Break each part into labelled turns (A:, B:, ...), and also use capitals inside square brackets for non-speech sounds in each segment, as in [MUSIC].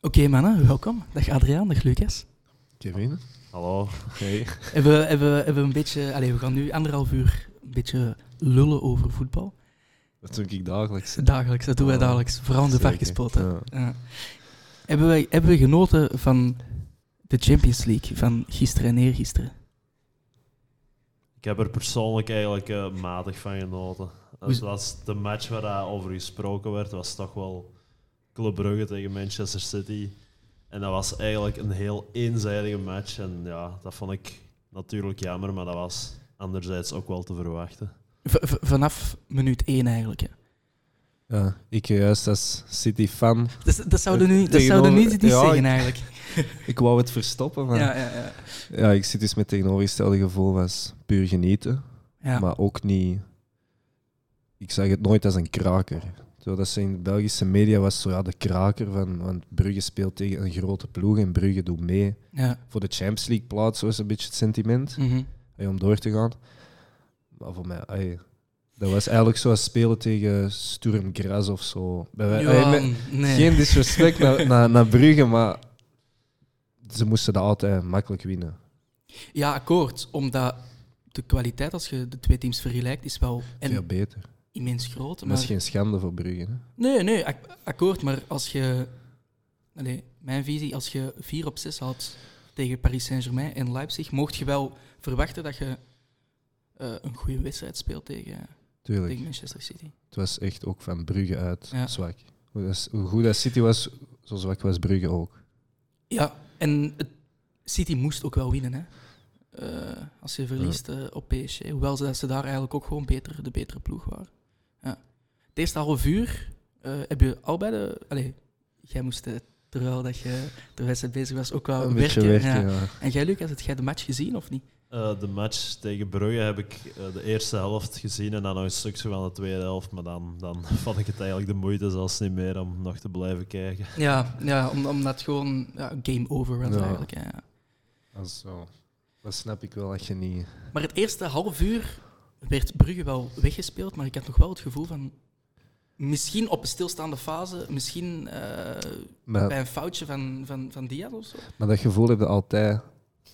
A: Oké, mannen, welkom. Dag Adriaan, dag Lucas.
B: Kevin?
C: Hallo. Hey.
A: Hebben we, hebben, we- hebben we een beetje... Allee, we gaan nu anderhalf uur een beetje lullen over voetbal.
B: Dat doe ik dagelijks.
A: Dagelijks, dat doen wij
B: Oh,
A: dagelijks. Vooral in de
B: zeker.
A: varkenspoten.
B: Ja.
A: Ja. Hebben, wij, hebben we genoten van de Champions League van gisteren en eergisteren?
C: Ik heb er persoonlijk eigenlijk eh, matig van genoten.
A: Hoe-
C: Dus dat is de match waar daar over gesproken werd, was toch wel Club Brugge tegen Manchester City. En dat was eigenlijk een heel eenzijdige match. En ja, dat vond ik natuurlijk jammer, maar dat was anderzijds ook wel te verwachten.
A: V- v- vanaf minuut 1 eigenlijk. Hè.
B: Ja, ik eh, juist als City-fan.
A: Dat, dat zouden nu, dat
B: Tegenover-
A: zouden nu niet
B: ja,
A: zeggen
B: ik-
A: eigenlijk.
B: Ik wou het verstoppen, maar... Ja.
A: Ja, ja, ja.
B: ik zit dus met tegenovergestelde gevoel was puur genieten.
A: ja.
B: Maar ook niet... Ik zag het nooit als een kraker. Terwijl dat ze in de Belgische media was zo, ja, de kraker van... Want Brugge speelt tegen een grote ploeg en Brugge doet mee
A: ja.
B: voor de Champions League plaats. Zo is een beetje het sentiment
A: Mhm.
B: hey, om door te gaan. Maar voor mij... hey, dat was eigenlijk zoals spelen tegen Sturm Graz of zo. Bij Eh, wij- hey,
A: Ja,
B: met-
A: nee.
B: Geen
A: [LAUGHS]
B: disrespect naar, naar, naar Brugge, maar ze moesten dat altijd makkelijk winnen.
A: Ja, akkoord. Omdat de kwaliteit, als je de twee teams vergelijkt, is wel en
B: Veel beter.
A: immens groot.
B: Dat is
A: Maar...
B: geen schande voor Brugge. Hè?
A: Nee, nee, ak- akkoord. Maar als je... Allee, mijn visie, als je 4 op 6 had tegen Paris Saint-Germain en Leipzig, mocht je wel verwachten dat je eh, een goede wedstrijd speelt tegen,
B: Tuurlijk.
A: tegen Manchester City.
B: Het was echt ook van Brugge uit
A: Ja.
B: zwak. Hoe, dat, hoe goed dat City was, zo zwak was Brugge ook.
A: Ja, en het- City moest ook wel winnen, hè. Eh, als je verliest eh, op PSG. Hoewel ze, dat ze daar eigenlijk ook gewoon beter, de betere ploeg waren. Ja. Het eerste half uur eh, heb je al bij de... Allee, jij moest, eh, terwijl dat je de wedstrijd bezig was, ook wel
B: Een
A: werken.
B: beetje werken,
A: ja.
B: ja.
A: En jij, Lucas, had jij de match gezien of niet?
C: Eh, de match tegen Brugge heb ik eh, de eerste helft gezien en dan nog een stukje van de tweede helft. Maar dan, dan [LAUGHS] vond ik het eigenlijk de moeite zelfs niet meer om nog te blijven kijken.
A: Ja, ja om- omdat gewoon ja, game over was
B: Ja.
A: eigenlijk. Ja.
B: Dat, is zo. dat snap ik wel dat je niet...
A: Maar het eerste half uur werd Brugge wel weggespeeld, maar ik had nog wel het gevoel van... Misschien op een stilstaande fase, misschien eh, bij
B: Maar,
A: een foutje van, van, van Diaz of zo.
B: maar dat gevoel heb je altijd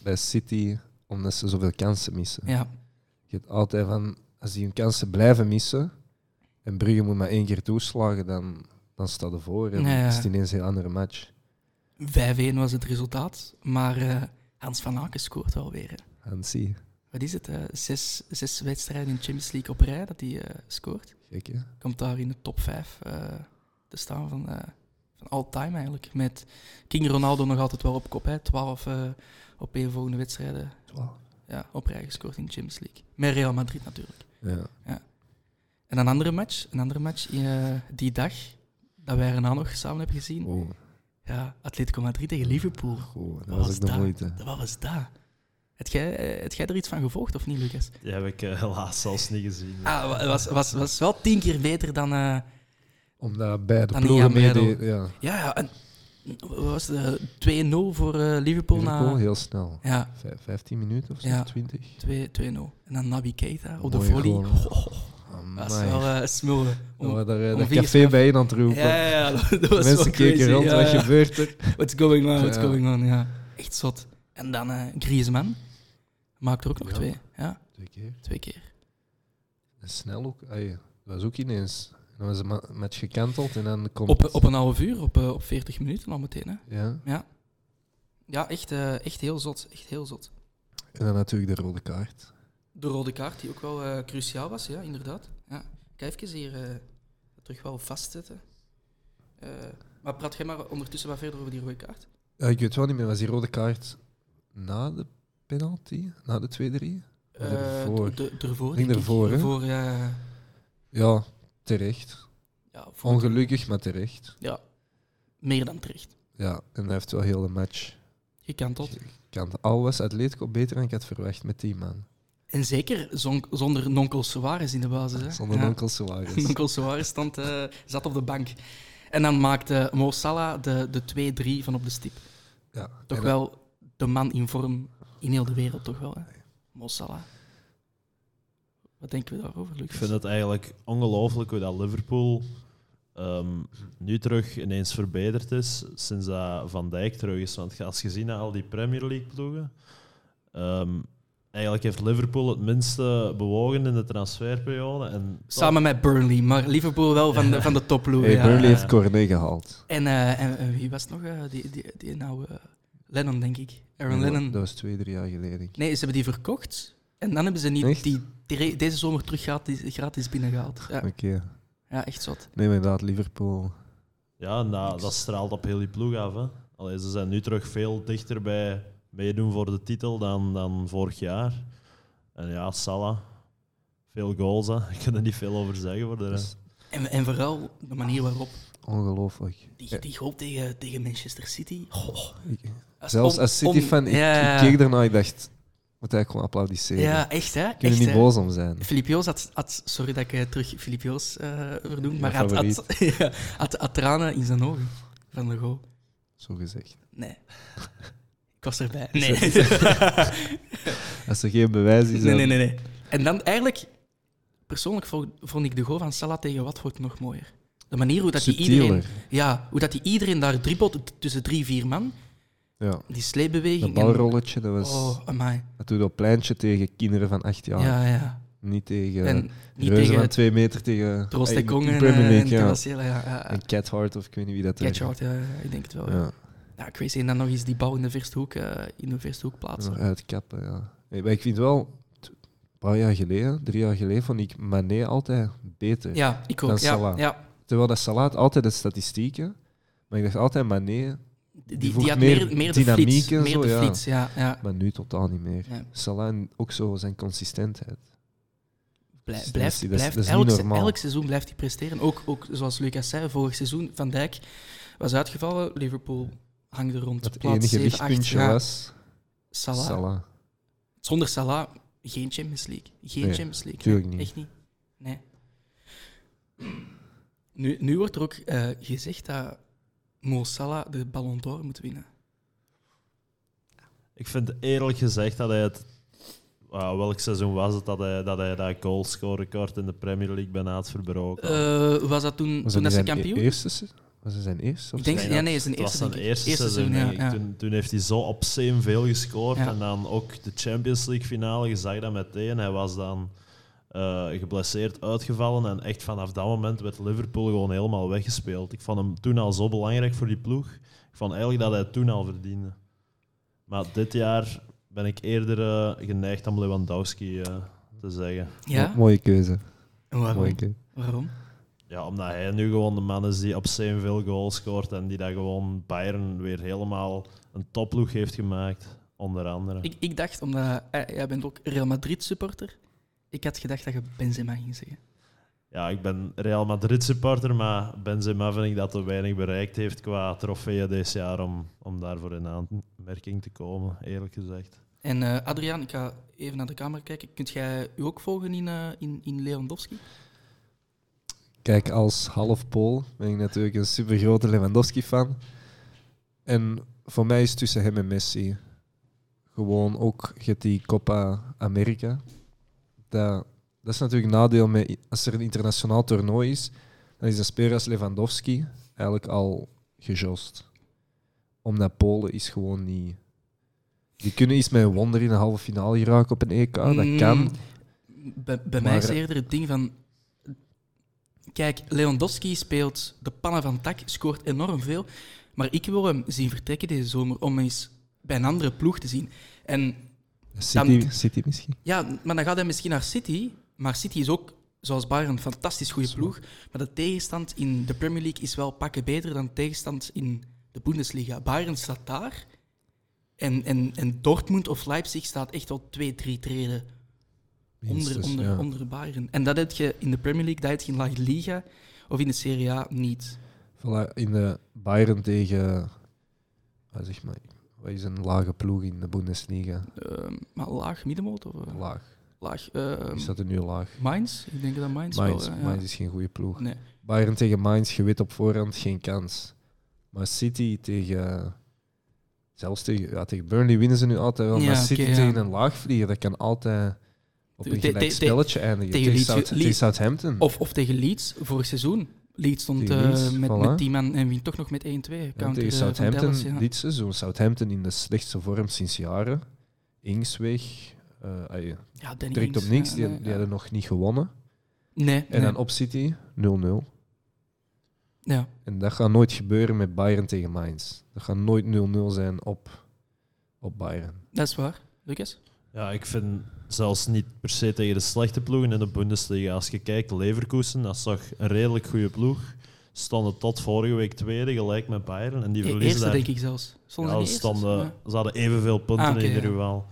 B: bij City, omdat ze zoveel kansen missen.
A: Ja,
B: Je hebt altijd van, als die hun kansen blijven missen en Brugge moet maar één keer toeslagen, dan, dan staat er voor. En
A: Ja, ja.
B: is het ineens een heel andere match.
A: 5-1 was het resultaat, maar eh, Hans van Aken scoort wel weer. hè.
B: Hansi,
A: Wat is het? eh, zes, zes wedstrijden in de Champions League op rij dat hij eh, scoort.
B: gek hè?
A: Komt daar in de top 5 te staan van, eh, van all time eigenlijk. Met King Ronaldo nog altijd wel op kop, hè. 12 eh op één volgende wedstrijden ja, op rij gescoord in de Champions League. Met Real Madrid natuurlijk.
B: Ja.
A: En een andere match, een andere match eh, die dag dat wij erna nog samen hebben gezien.
B: Oh,
A: Ja, Atletico Madrid tegen Liverpool.
B: goh, dat
A: Wat
B: was
A: was
B: ook de
A: dat?
B: moeite.
A: Wat was dat? Heb jij, eh, heb jij er iets van gevolgd of niet, Lucas?
C: Die heb ik eh, helaas zelfs niet gezien.
A: Ah, wa- was, was, was wel tien keer beter dan. eh,
B: Omdat beide
A: Dan
B: ploegen
A: niet aan
B: meedeed. Ja.
A: ja, ja. en- wat was de 2-0 voor eh, Liverpool,
B: Liverpool
A: na.
B: heel snel.
A: Ja,
B: Vijf- 15 minuten of zo,
A: Ja.
B: 20.
A: 2 2-0. En dan Nabi Keita op de
B: Mooie
A: volley.
B: goal,
A: Oh,
B: hè.
A: oh, dat was
B: Amai.
A: wel eh, smullen.
B: Dan
A: Om-
B: waren er, eh,
A: om
B: dat
A: vier
B: café bijeen aan het roepen.
A: Ja, [LAUGHS] ja, ja, dat dat was
B: Mensen
A: wel
B: keken
A: crazy,
B: rond,
A: ja,
B: wat
A: ja.
B: gebeurt er?
A: What's going on, what's
B: Ja.
A: going on, ja. Echt zot. En dan eh Griezmann maakt er ook nog
B: Ja.
A: twee. Ja,
B: Twee keer.
A: twee keer.
B: En snel ook. Ah, ja. Dat was ook ineens. Dan was de ma- match gekanteld en dan komt...
A: Op, op een half uur, op, eh, op 40 minuten al meteen. Hè.
B: Ja.
A: Ja, echt, eh, echt heel zot. Echt heel zot.
B: En dan natuurlijk de rode kaart.
A: De rode kaart, die ook wel eh, cruciaal was, ja, inderdaad. Ja. Ik ga even hier eh, terug wel vastzetten. Eh, maar praat jij maar ondertussen wat verder over die rode kaart.
B: Ja, ik weet wel niet meer, was die rode kaart na de penalty? Na de 2-3? Of ervoor?
A: Eh, d- d- ervoor.
B: Ik denk
A: denk ik.
B: ervoor, hè?
A: Ervoor, ja.
B: Ja, terecht.
A: ja, voor-
B: Ongelukkig, maar terecht.
A: ja, meer dan terecht.
B: Ja, en hij heeft wel heel de match.
A: Gekanteld.
B: Kant al was Atletico beter dan ik had verwacht met die man.
A: En zeker zon- zonder Nonkel Soares in de basis. Hè?
B: Zonder
A: Ja.
B: onkel Suarez.
A: [LAUGHS] Nonkel Soares stond, eh, zat op de bank. En dan maakte Mo Salah de, de 2-3 van op de stip.
B: Ja,
A: Toch
B: en-
A: wel de man in vorm in heel de wereld, toch wel? Hè? Mo Salah. Wat denken we daarover, Lucas?
C: Ik vind het eigenlijk ongelooflijk hoe dat Liverpool ehm, nu terug ineens verbeterd is sinds dat Van Dijk terug is. Want als je ziet naar al die Premier League ploegen, ehm, eigenlijk heeft Liverpool het minste bewogen in de transferperiode. En toch-
A: Samen met Burnley, maar Liverpool wel van
B: [LAUGHS]
A: de, van de topploeg.
B: Hey,
A: ja.
B: Burnley heeft Cornet gehaald.
A: En, eh, en eh, wie was het nog? eh, die, die, die nou... eh, Lennon, denk ik. Aaron Lennon.
B: Dat was twee, drie jaar geleden.
A: Nee, ze hebben die verkocht. En dan hebben ze niet
B: Echt?
A: die, die re- deze zomer terug gratis, gratis binnengehaald. Ja,
B: Oké.
A: ja, echt zot.
B: Nee, maar inderdaad, Liverpool.
C: Ja, en dat, dat straalt op heel die ploeg af. Hè. Allee, ze zijn nu terug veel dichter bij meedoen voor de titel dan, dan vorig jaar. En ja, Salah, veel goals. Hè. [LAUGHS] Ik kan er niet veel over zeggen voor de
B: Dat
C: rest.
B: is
A: En, en vooral de manier waarop
B: ongelooflijk.
A: die, die goal tegen, tegen Manchester City. Goh.
B: Ik-
A: Dat is
B: Zelfs
A: on-
B: als
A: on-
B: City-fan, ik,
A: Ja.
B: ik keek daarna ik dacht, moet hij gewoon applaudisseren.
A: Ja, echt hè?
B: ik kan er
A: Echt,
B: niet
A: hè.
B: boos om zijn.
A: Filip Joos had, had- sorry dat ik eh, terug Filip Joos eh vernoem,
B: Mijn
A: maar had, had, [LAUGHS] ja, had, had tranen in zijn ogen van de goal.
B: Zo gezegd.
A: Nee. Ik was
B: [LAUGHS]
A: erbij. Nee. [LAUGHS]
B: Als er geen bewijs is,
A: nee,
B: dan-
A: nee, nee, nee. En dan eigenlijk, persoonlijk vond, vond ik de goal van Salah tegen Watford nog mooier. De manier hoe dat die iedereen,
B: subtieler.
A: ja, hoe dat die iedereen daar dribbelt t- tussen drie, vier man,
B: Ja.
A: die sleepbeweging.
B: Dat
A: en-
B: balrolletje, dat was...
A: Oh, amai.
B: Dat doet dat pleintje tegen kinderen van acht jaar.
A: Ja, ja.
B: Niet tegen
A: En niet
B: reuzen
A: tegen
B: van twee meter, tegen...
A: Troost de
B: Hey,
A: Kong en,
B: Premier
A: eh, en
B: League, ja.
A: Terracela, ja. ja, ja.
B: En Cat Hart, of ik weet niet wie dat er-
A: Catchard, ja, ja, ik denk het wel. Ja.
B: Ja,
A: Ja, crazy. En dan nog eens die bal in de verste hoek, eh, in de verste hoek plaatsen.
B: nog uitkappen, ja. Hey, maar ik vind wel, t- een paar jaar geleden, drie jaar geleden, vond ik Mané altijd beter.
A: Ja, ik ook.
B: Dan
A: Ja,
B: Salah.
A: ja.
B: Terwijl dat Salat altijd de statistieken, maar ik dacht altijd Mané,
A: Die, die,
B: Die voegt
A: had
B: meer
A: meer, meer de
B: dynamiek
A: flits.
B: en
A: Meer
B: zo,
A: de
B: ja.
A: flits, ja. ja.
B: maar nu totaal niet meer.
A: Nee.
B: Salah en ook zo zijn consistentheid.
A: Blij-
B: Dus dat
A: blijft,
B: is- dat is-
A: blijft
B: dat is niet
A: elk, se-
B: normaal.
A: elk seizoen blijft hij presteren. Ook, ook zoals Lucas zei, vorig seizoen Van Dijk was uitgevallen. Liverpool hangde rond
B: Het
A: plaats
B: enige
A: 7, 8.
B: lichtpuntje
A: Ja,
B: was
A: Salah.
B: Salah.
A: Zonder Salah geen Champions League. Geen
B: Nee,
A: Champions League.
B: tuurlijk
A: Nee,
B: niet.
A: Echt niet. Nee. Nu, nu wordt er ook eh, gezegd dat Mo Salah de Ballon d'Or moet winnen.
C: Ik vind eerlijk gezegd dat hij het... ah, welk seizoen was het dat hij dat, hij dat goalscore-record in de Premier League bijna had verbroken?
A: Eh, was dat toen,
B: Was
A: toen dat ze
B: niet zijn
A: kampioen?
B: e- eerste? se- Was hij zijn eerste? of
A: Ik denk-
B: zijn-
A: ja, nee, zijn
C: het was
A: eerste,
C: zijn
A: denk ik.
C: eerste
A: Eerste
C: seizoen.
A: seizoen,
C: denk
A: ja,
C: ik.
A: ja.
C: Toen, toen heeft hij zo obscene veel gescoord.
A: Ja.
C: En dan ook de Champions League finale, je zag dat meteen. Hij was dan eh, geblesseerd uitgevallen. En echt vanaf dat moment werd Liverpool gewoon helemaal weggespeeld. Ik vond hem toen al zo belangrijk voor die ploeg. Ik vond eigenlijk dat hij het toen al verdiende. Maar dit jaar ben ik eerder eh, geneigd om Lewandowski eh, te zeggen.
A: Ja?
B: Mooie keuze.
A: En waarom?
B: Mooie keuze.
A: Waarom?
C: Ja, omdat hij nu gewoon de man is die op zijn veel goals scoort en die dat gewoon Bayern weer helemaal een topploeg heeft gemaakt, onder andere.
A: Ik, ik dacht, omdat eh, jij bent ook Real Madrid supporter, ik had gedacht dat je Benzema ging zeggen.
C: Ja, ik ben Real Madrid supporter, maar Benzema vind ik dat te weinig bereikt heeft qua trofeeën deze jaar om, om daarvoor in aanmerking te komen, eerlijk gezegd.
A: En eh, Adriaan, ik ga even naar de camera kijken. Kunt jij u ook volgen in, eh, in, in Lewandowski?
B: Kijk, als half Pool ben ik natuurlijk een super grote Lewandowski-fan. En voor mij is tussen hem en Messi gewoon ook je hebt die Copa America. Dat, dat is natuurlijk een nadeel met, als er een internationaal toernooi is, dan is een speler als Lewandowski eigenlijk al gejost. Omdat Polen is gewoon niet. Die kunnen iets met een wonder in de halve finale geraken op een EK, dat
A: Mm,
B: kan.
A: Bij, bij mij is
B: Maar-
A: eerder het ding van... Kijk, Lewandowski speelt de pannen van tak, scoort enorm veel. Maar ik wil hem zien vertrekken deze zomer om eens bij een andere ploeg te zien. En
B: City, City misschien.
A: Ja, maar dan gaat hij misschien naar City. Maar City is ook, zoals Bayern, een fantastisch goede ploeg. Maar de tegenstand in de Premier League is wel pakken beter dan de tegenstand in de Bundesliga. Bayern staat daar. En, en, en Dortmund of Leipzig staat echt al twee, drie treden onder,
B: Minstens,
A: onder,
B: ja.
A: onder Bayern. En dat heb je in de Premier League, dat heb je in La Liga of in de Serie A niet.
B: Voilà, in de Bayern tegen. Wat zeg maar. Wat is een lage ploeg in de Bundesliga?
A: Ehm, maar laag middenmoot of eh,
B: Laag.
A: laag? ehm,
B: Is dat er nu laag?
A: Mainz? Ik denk dat Mainz,
B: Mainz,
A: wel... eh,
B: Mainz is geen goede ploeg.
A: ja. Nee.
B: Bayern tegen Mainz, je weet op voorhand geen kans. Maar City tegen. Zelfs tegen, ja, tegen Burnley winnen ze nu altijd wel.
A: Ja,
B: maar City
A: oké, ja.
B: tegen een laagvlieger, dat kan altijd op
A: Te-
B: een
A: te-
B: gelijk
A: te-
B: spelletje eindigen.
A: tegen
B: Tegen,
A: Leeds-
B: South-
A: Leeds-
B: tegen Southampton.
A: Of, of tegen Leeds vorig seizoen. Leeds stond
B: Tegen
A: eh,
B: Leeds,
A: met,
B: voilà.
A: met 10 man en wint toch nog met 1-2.
B: Ja,
A: Counter, eh,
B: tegen
A: van
B: Southampton
A: Dallas, ja.
B: dit seizoen. Southampton in de slechtste vorm sinds jaren. Ings weg. eh, ah, ja,
A: Ja, Danny
B: direct
A: Ings,
B: op niks.
A: ja,
B: Die,
A: nee,
B: die
A: ja.
B: hadden nog niet gewonnen.
A: Nee,
B: En
A: nee.
B: dan op City 0-0.
A: ja.
B: En dat gaat nooit gebeuren met Bayern tegen Mainz. Dat gaat nooit 0-0 zijn op, op Bayern.
A: dat is waar. Lucas?
C: Ja, ik vind zelfs niet per se tegen de slechte ploegen in de Bundesliga. Als je kijkt, Leverkusen, dat is toch een redelijk goede ploeg. Stonden tot vorige week tweede, gelijk met Bayern. En die
A: E-
C: verliezen
A: eerste,
C: daar-
A: denk ik zelfs. Stonden
C: Ja,
A: ze
C: ze,
A: niet eerst?
C: stonden,
A: Ja.
C: ze hadden evenveel punten
A: Ah, oké,
C: in ieder
A: ja.
C: geval.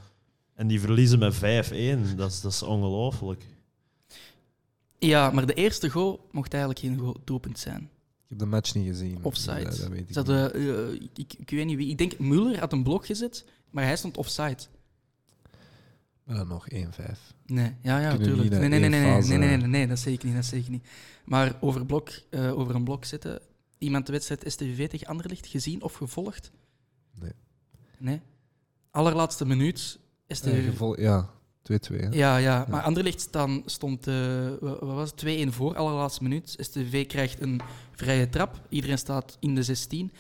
C: En die verliezen met 5-1. Dat is, dat is ongelooflijk.
A: Ja, maar de eerste goal mocht eigenlijk geen goal- doelpunt zijn.
B: Ik heb de match niet gezien.
A: Offside.
B: Dat, dat weet ik
A: Ze
B: niet.
A: hadden, eh, ik- ik, ik weet niet wie, ik denk Muller had een blok gezet, maar hij stond offside.
B: Maar dan nog 1-5.
A: Nee, ja, ja,
B: Kunnen
A: natuurlijk.
B: niet
A: Nee, nee,
B: naar
A: nee, nee,
B: één
A: nee,
B: fase- eh.
A: nee, nee, nee, nee, dat zeker niet, dat zeker niet. Maar over, blok, eh, over een blok zitten, iemand de wedstrijd STVV tegen Anderlecht gezien of gevolgd?
B: Nee.
A: Nee? Allerlaatste minuut,
B: Eh,
A: STVV...
B: gevol- ja, 2-2. hè?
A: Ja, ja, maar Anderlecht staan, stond eh, wa- wat was het, 2-1 voor, allerlaatste minuut. STV krijgt een vrije trap. Iedereen staat in de 16.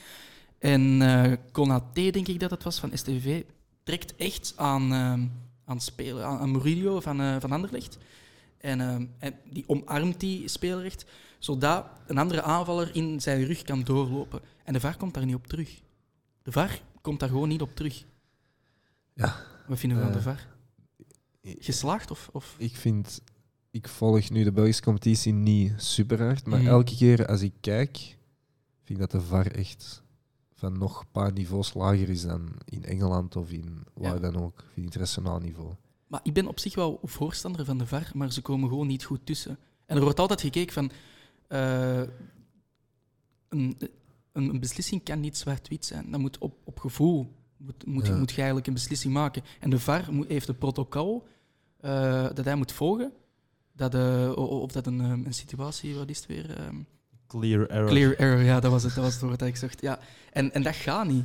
A: En eh Konaté, denk ik dat het was, van STV, trekt echt aan, eh, aan, het spelen, aan, aan Murillo van, eh, van Anderlecht. En, eh, en die omarmt die speler echt, zodat een andere aanvaller in zijn rug kan doorlopen. En de VAR komt daar niet op terug. De VAR komt daar gewoon niet op terug.
B: Ja.
A: Wat vinden we van
B: Eh,
A: de VAR? Geslaagd of... of?
B: Ik vind, ik volg nu de Belgische competitie niet super hard, maar
A: Mhm.
B: elke keer als ik kijk, vind ik dat de VAR echt van nog een paar niveaus lager is dan in Engeland of in waar
A: Ja.
B: dan ook, op internationaal niveau.
A: Maar ik ben op zich wel voorstander van de VAR, maar ze komen gewoon niet goed tussen. En er wordt altijd gekeken van... eh, een, een een beslissing kan niet zwart-wit zijn. Dat moet op, op gevoel. Moet, moet,
B: Ja.
A: moet je eigenlijk een beslissing maken. En de VAR moet- heeft een protocol eh, dat hij moet volgen. Dat, eh, o- of dat een, ehm, een situatie... Wat is het weer? ehm,
C: Clear error.
A: Clear error, ja, dat was het, dat was het woord dat ik zocht. Ja. En, en dat gaat niet.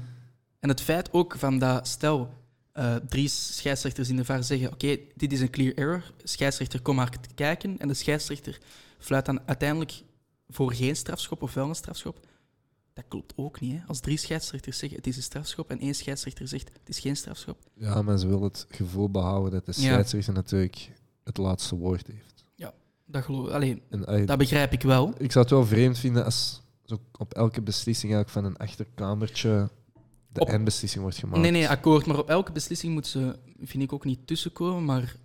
A: En het feit ook van dat, stel, eh, drie scheidsrechters in de VAR zeggen: Oké, dit is een clear error. Scheidsrechter, kom maar kijken. En de scheidsrechter fluit dan uiteindelijk voor geen strafschop of wel een strafschop. Dat klopt ook niet. Hè? Als drie scheidsrechters zeggen: Het is een strafschop. en één scheidsrechter zegt: Het is geen strafschop.
B: Ja, maar ze willen het gevoel behouden dat de
A: Ja.
B: scheidsrechter natuurlijk het laatste woord heeft.
A: Dat, geloof, allee,
B: En als je-
A: dat begrijp ik wel.
B: ik zou het wel vreemd vinden als zo op elke beslissing eigenlijk van een achterkamertje de
A: Op-
B: eindbeslissing wordt gemaakt.
A: Nee, nee, akkoord. Maar op elke beslissing moeten ze, vind ik, ook niet tussenkomen. Maar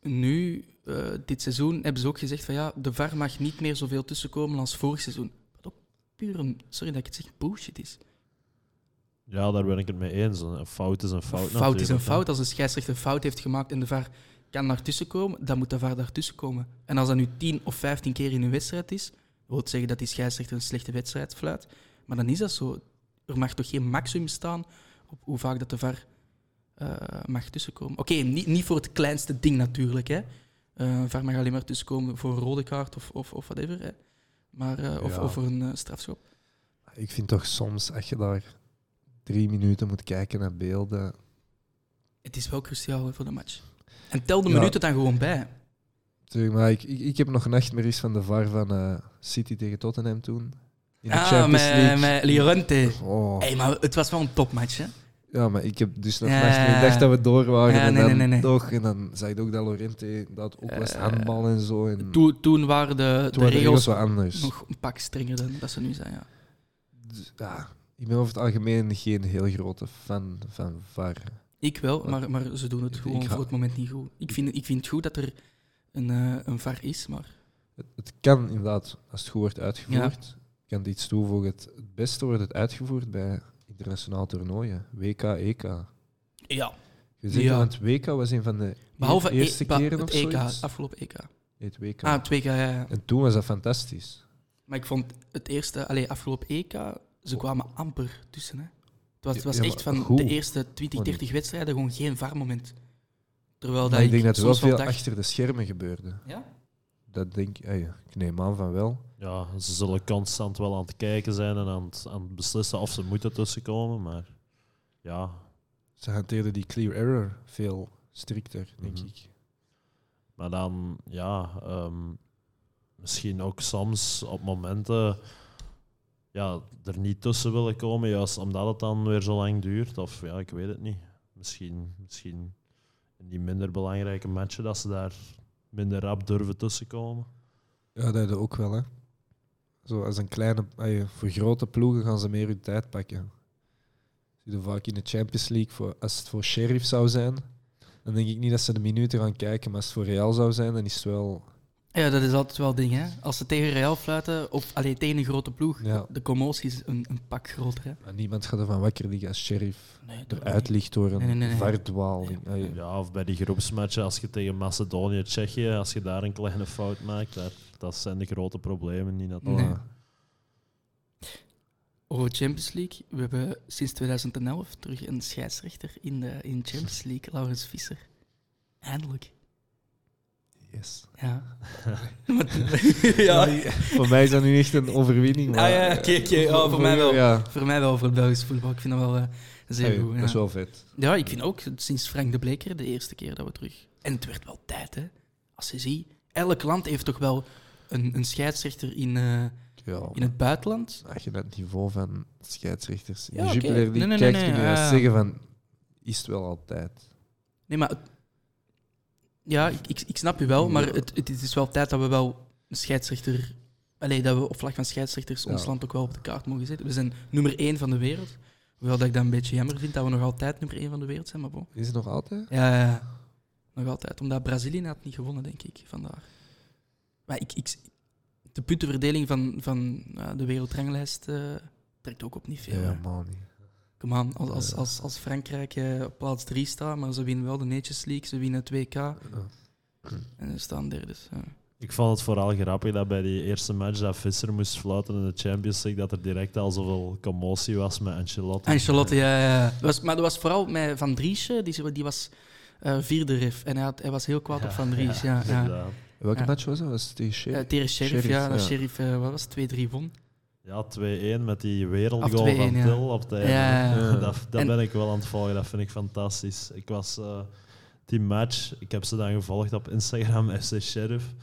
A: nu, eh, dit seizoen, hebben ze ook gezegd van ja, de VAR mag niet meer zoveel tussenkomen als vorig seizoen. Wat ook puur een, sorry dat ik het zeg, bullshit is.
C: Ja, daar ben ik het mee eens. Een fout is een fout.
A: Een fout is een
C: natuurlijk, hè.
A: fout. Als een scheidsrechter een fout heeft gemaakt en de VAR kan daartussen komen, dan moet de VAR daartussen komen. En als dat nu 10 of 15 keer in een wedstrijd is, wil het zeggen dat die scheidsrechter een slechte wedstrijd fluit. Maar dan is dat zo. Er mag toch geen maximum staan op hoe vaak dat de VAR eh, mag tussenkomen. Oké, niet, niet voor het kleinste ding natuurlijk. Hè. Eh, VAR mag alleen maar tussenkomen voor een rode kaart of, of, of whatever. Hè. Maar, eh, of,
B: Ja.
A: of voor een eh, strafschop.
B: Ik vind toch soms, als je daar drie minuten moet kijken naar beelden.
A: Het is wel cruciaal hè, voor de match. En tel de
B: Ja.
A: minuten dan gewoon bij.
B: Tuurlijk, maar ik, ik, ik heb nog nachtmerries van de VAR van eh, City tegen Tottenham toen. In de
A: ah,
B: Champions
A: met,
B: League.
A: met Llorente.
B: Oh.
A: Hey, maar het was wel een topmatch, hè?
B: Ja, maar ik heb dus nog
A: Ja,
B: nachtmerries. Ik dacht dat we door waren.
A: Ja,
B: en
A: nee,
B: dan
A: nee, nee, nee.
B: toch. En dan zei ik ook dat Lorente dat ook was
A: Eh,
B: handbal en zo. En Hmm. toen
A: Toen, toen waren de, de
B: waren de
A: regels
B: regels wat anders.
A: nog een pak strenger dan dat ze nu zijn, ja.
B: Dus, ja, ik ben over het algemeen geen heel grote fan van VAR.
A: Ik wel,
B: Wat?
A: maar, maar ze doen het
B: Ik-
A: gewoon
B: ik ga-
A: voor het moment niet goed. Ik vind, ik vind het goed dat er een, eh, een VAR is, maar...
B: Het, het kan inderdaad, als het goed wordt uitgevoerd, kan het iets toevoegen. Het, het beste wordt het uitgevoerd bij internationaal toernooien. WK, EK.
A: Ja.
B: Je zegt
A: Ja.
B: al, want het WK was een van de
A: Behalve e-
B: eerste
A: ba-
B: keren
A: het
B: of
A: EK,
B: zoiets.
A: afgelopen EK.
B: Nee, het WK.
A: Ah, 2K, ja, ja.
B: En toen was dat fantastisch.
A: Maar ik vond het eerste, allee, afgelopen EK, ze kwamen amper tussen, hè. Het was, het was
B: Oh. Ja, maar
A: echt van
B: goed.
A: de eerste 20, 30 wedstrijden gewoon geen VAR-moment. Terwijl dat
B: Maar ik denk dat er wel
A: soms wel
B: veel
A: dacht-
B: achter de schermen gebeurde.
A: Ja?
B: Dat denk ah ja, ik neem aan van wel.
C: Ja, ze zullen constant wel aan het kijken zijn en aan het, aan het beslissen of ze moeten tussenkomen. Maar ja,
B: Ze hanteerden die clear error veel strikter, denk
C: Mhm.
B: ik.
C: maar dan, ja, ehm, misschien ook soms op momenten ja, er niet tussen willen komen, juist omdat het dan weer zo lang duurt. Of ja, ik weet het niet. Misschien, misschien in die minder belangrijke matchen dat ze daar minder rap durven tussenkomen.
B: Ja, dat doe ook wel, hè. Zo als een kleine... ai, voor grote ploegen gaan ze meer hun tijd pakken. Zie je vaak in de Champions League, voor, als het voor Sheriff zou zijn, dan denk ik niet dat ze de minuten gaan kijken, maar als het voor Real zou zijn, dan is het wel...
A: Ja, dat is altijd wel een ding, hè. Als ze tegen Real fluiten, of alleen tegen een grote ploeg,
B: Ja.
A: de commotie is een, een pak groter, hè.
B: Maar ah, niemand gaat ervan wakker liggen als Sheriff
A: Nee, dat
B: eruit ligt door een
A: Nee, nee, nee, nee.
B: verdwaling. Ai,
C: Ja, of bij die groepsmatchen, als je tegen Macedonië, Tsjechië, als je daar een kleine fout maakt, daar, dat zijn de grote problemen. Niet dat dat-
B: oh,
A: Nee. Over Champions League. We hebben sinds 2011 terug een scheidsrechter in de in Champions League, Laurens Visser. Eindelijk. [LAUGHS]
B: Yes.
A: Ja. Maar- ja.
B: Nee, voor mij is dat nu echt een overwinning.
A: Ah
B: maar,
A: ja,
B: eh,
A: oké, oké. Oh, voor mij wel.
B: Ja.
A: Voor mij wel, voor het Belgisch voetbal. Ik vind dat wel eh, zeer
B: Ai,
A: goed.
B: Dat is
A: ja.
B: wel vet.
A: Ja, ik vind ook sinds Frank de Bleker de eerste keer dat we terug. En het werd wel tijd, hè? Als je ziet, elk land heeft toch wel een, een scheidsrechter in, eh,
B: Ja.
A: in het buitenland.
B: Als je dat niveau van scheidsrechters in
A: Ja,
B: de
A: oké.
B: Jupiler League
A: Nee, nee,
B: kijkt,
A: nee,
B: kun je
A: nee,
B: dat
A: ja.
B: zeggen van... Is het wel altijd.
A: Nee, maar. het- Ja, ik, ik, ik snap je wel, maar
B: Ja.
A: het, het is wel tijd dat we wel een scheidsrechter. Allee, dat we op vlag van scheidsrechters ons
B: Ja.
A: land ook wel op de kaart mogen zetten. We zijn nummer één van de wereld. Hoewel dat ik dat een beetje jammer vind dat we nog altijd nummer één van de wereld zijn, maar bon.
B: Is het nog altijd?
A: Ja, ja, ja. nog altijd. Omdat Brazilië had niet gewonnen, denk ik, vandaag. Maar ik, ik, de puntenverdeling van, van eh, de wereldranglijst eh, trekt ook op niet veel. hè.
B: man. niet.
A: Kom aan, als, als,
B: Ja.
A: als, als Frankrijk eh, op plaats 3 staat, maar ze winnen wel de Nations League, ze winnen het WK
B: Ja.
A: en ze staan derde. dus, ja.
C: Ik vond het vooral grappig dat bij die eerste match dat Visser moest fluiten in de Champions League, dat er direct al zoveel commotie was met Ancelotti.
A: En Charlotte, ja, ja, ja. Dat Was, maar dat was vooral met Van Driesje, die, die was eh, vierde ref en hij, had, hij was heel kwaad op Van Dries. Ja, ja,
C: inderdaad.
B: Welke
A: Ja.
B: match was dat? Was het tegen Sheriff?
A: Eh, tegen Sheriff,
B: Sheriff,
A: ja, dat
B: ja.
A: Sheriff, eh, wat was het, 2-3 won.
C: Ja, 2-1 met die wereldgoal
A: Of 2-1,
C: van
A: ja.
C: Til op het einde.
A: Ja,
B: ja, ja.
C: [LAUGHS] Dat, dat
A: En-
C: ben ik wel aan het volgen, dat vind ik fantastisch. Ik was eh, die match, ik heb ze dan gevolgd op Instagram, [LAUGHS] FC Sheriff.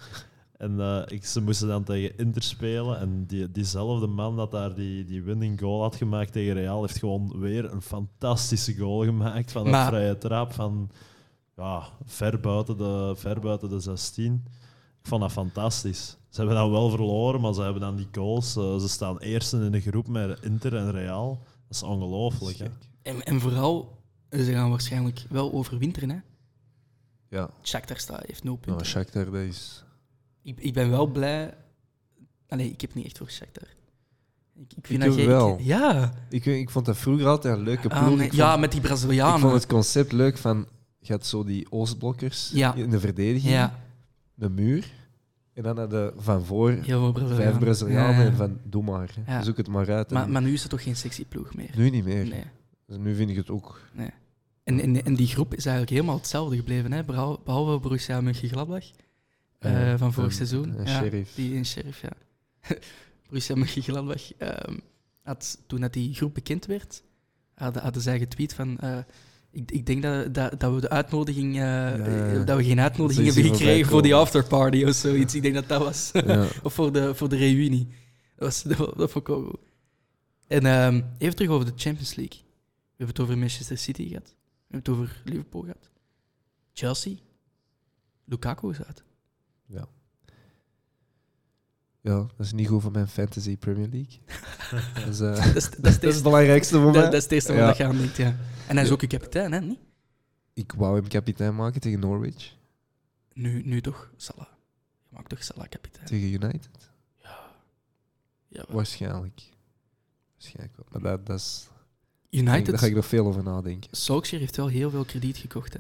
C: En eh, ik, ze moesten dan tegen Inter spelen. En die, diezelfde man dat daar die, die winning goal had gemaakt tegen Real, heeft gewoon weer een fantastische goal gemaakt van een
A: Maar-
C: vrije trap van ja, ver, buiten de, ver buiten de 16. Ik vond dat fantastisch. Ze hebben dan wel verloren, maar ze hebben dan die goals. eh, ze staan eerst in de groep met Inter en Real. Dat is ongelooflijk. hè.
A: En, en vooral, eh, ze gaan waarschijnlijk wel overwinteren. Hè?
B: Ja.
A: Shakhtar staat, heeft nul punten.
B: Nou, Shakhtar, dat is...
A: ik, ik ben wel blij... Allee, ik heb niet echt voor Shakhtar. Ik, ik vind dat
B: Ik doe
A: jij-
B: wel.
A: Ja.
B: Ik, weet- ik vond dat vroeger altijd een leuke ploeg.
A: Ah,
B: ik
A: nee.
B: vond,
A: ja, met die
B: ik
A: Brazilianen.
B: vond het concept leuk van... Je had zo die Oostblokkers
A: Ja.
B: in de verdediging,
A: Ja,
B: de muur. En dan hadden van voor
A: heel veel Brazilianen.
B: vijf Brazilianen
A: Ja, ja.
B: en van doe maar. hè.
A: Ja.
B: Zoek het maar uit. En
A: Maar, maar nu is het toch geen sexy ploeg meer?
B: Nu niet meer.
A: Nee.
B: Dus nu vind ik het ook...
A: En, en, en die groep is eigenlijk helemaal hetzelfde gebleven, hè? Behal- behalve Borussia Mönchengladbach eh
B: eh,
A: van vorig
B: een-
A: seizoen.
B: een
A: ja,
B: Sheriff.
A: Die in Sheriff, ja. [LAUGHS] Borussia Mönchengladbach ehm had, toen dat die groep bekend werd, hadden, hadden zij getweet van... eh, ik, ik denk dat, dat, dat we de uitnodiging... eh,
B: ja.
A: Dat we geen uitnodiging
B: Zoiets
A: hebben
B: die voorbij
A: gekregen voor die
B: komen.
A: afterparty of zoiets. Ik denk dat dat was. [LAUGHS]
B: Ja.
A: Of voor de, voor de reunie. Dat, was, dat, wa- dat vond ik wel goed. En ehm, even terug over de Champions League. We hebben het over Manchester City gehad. We hebben het over Liverpool gehad. Chelsea. Lukaku is uit.
B: ja, dat is niet goed voor mijn Fantasy Premier
A: [LAUGHS]
B: League. dat, is, eh,
A: Dat [LAUGHS] is, dat is, het,
B: [LAUGHS] dat is het
A: eerste,
B: belangrijkste voor
A: dat,
B: mij.
A: dat is het eerste waar
B: Ja.
A: dat je aan denkt, ja. En hij is ook je kapitein, hè? Niet?
B: Ik wou hem kapitein maken tegen Norwich,
A: Nu, nu toch Salah. Je maakt toch Salah kapitein?
B: tegen United.
A: Ja, wel.
B: Waarschijnlijk. Waarschijnlijk wel. Maar dat, dat is, daar ga
A: United,
B: ik nog veel over nadenken.
A: Solskjaer heeft wel heel veel krediet gekocht, hè.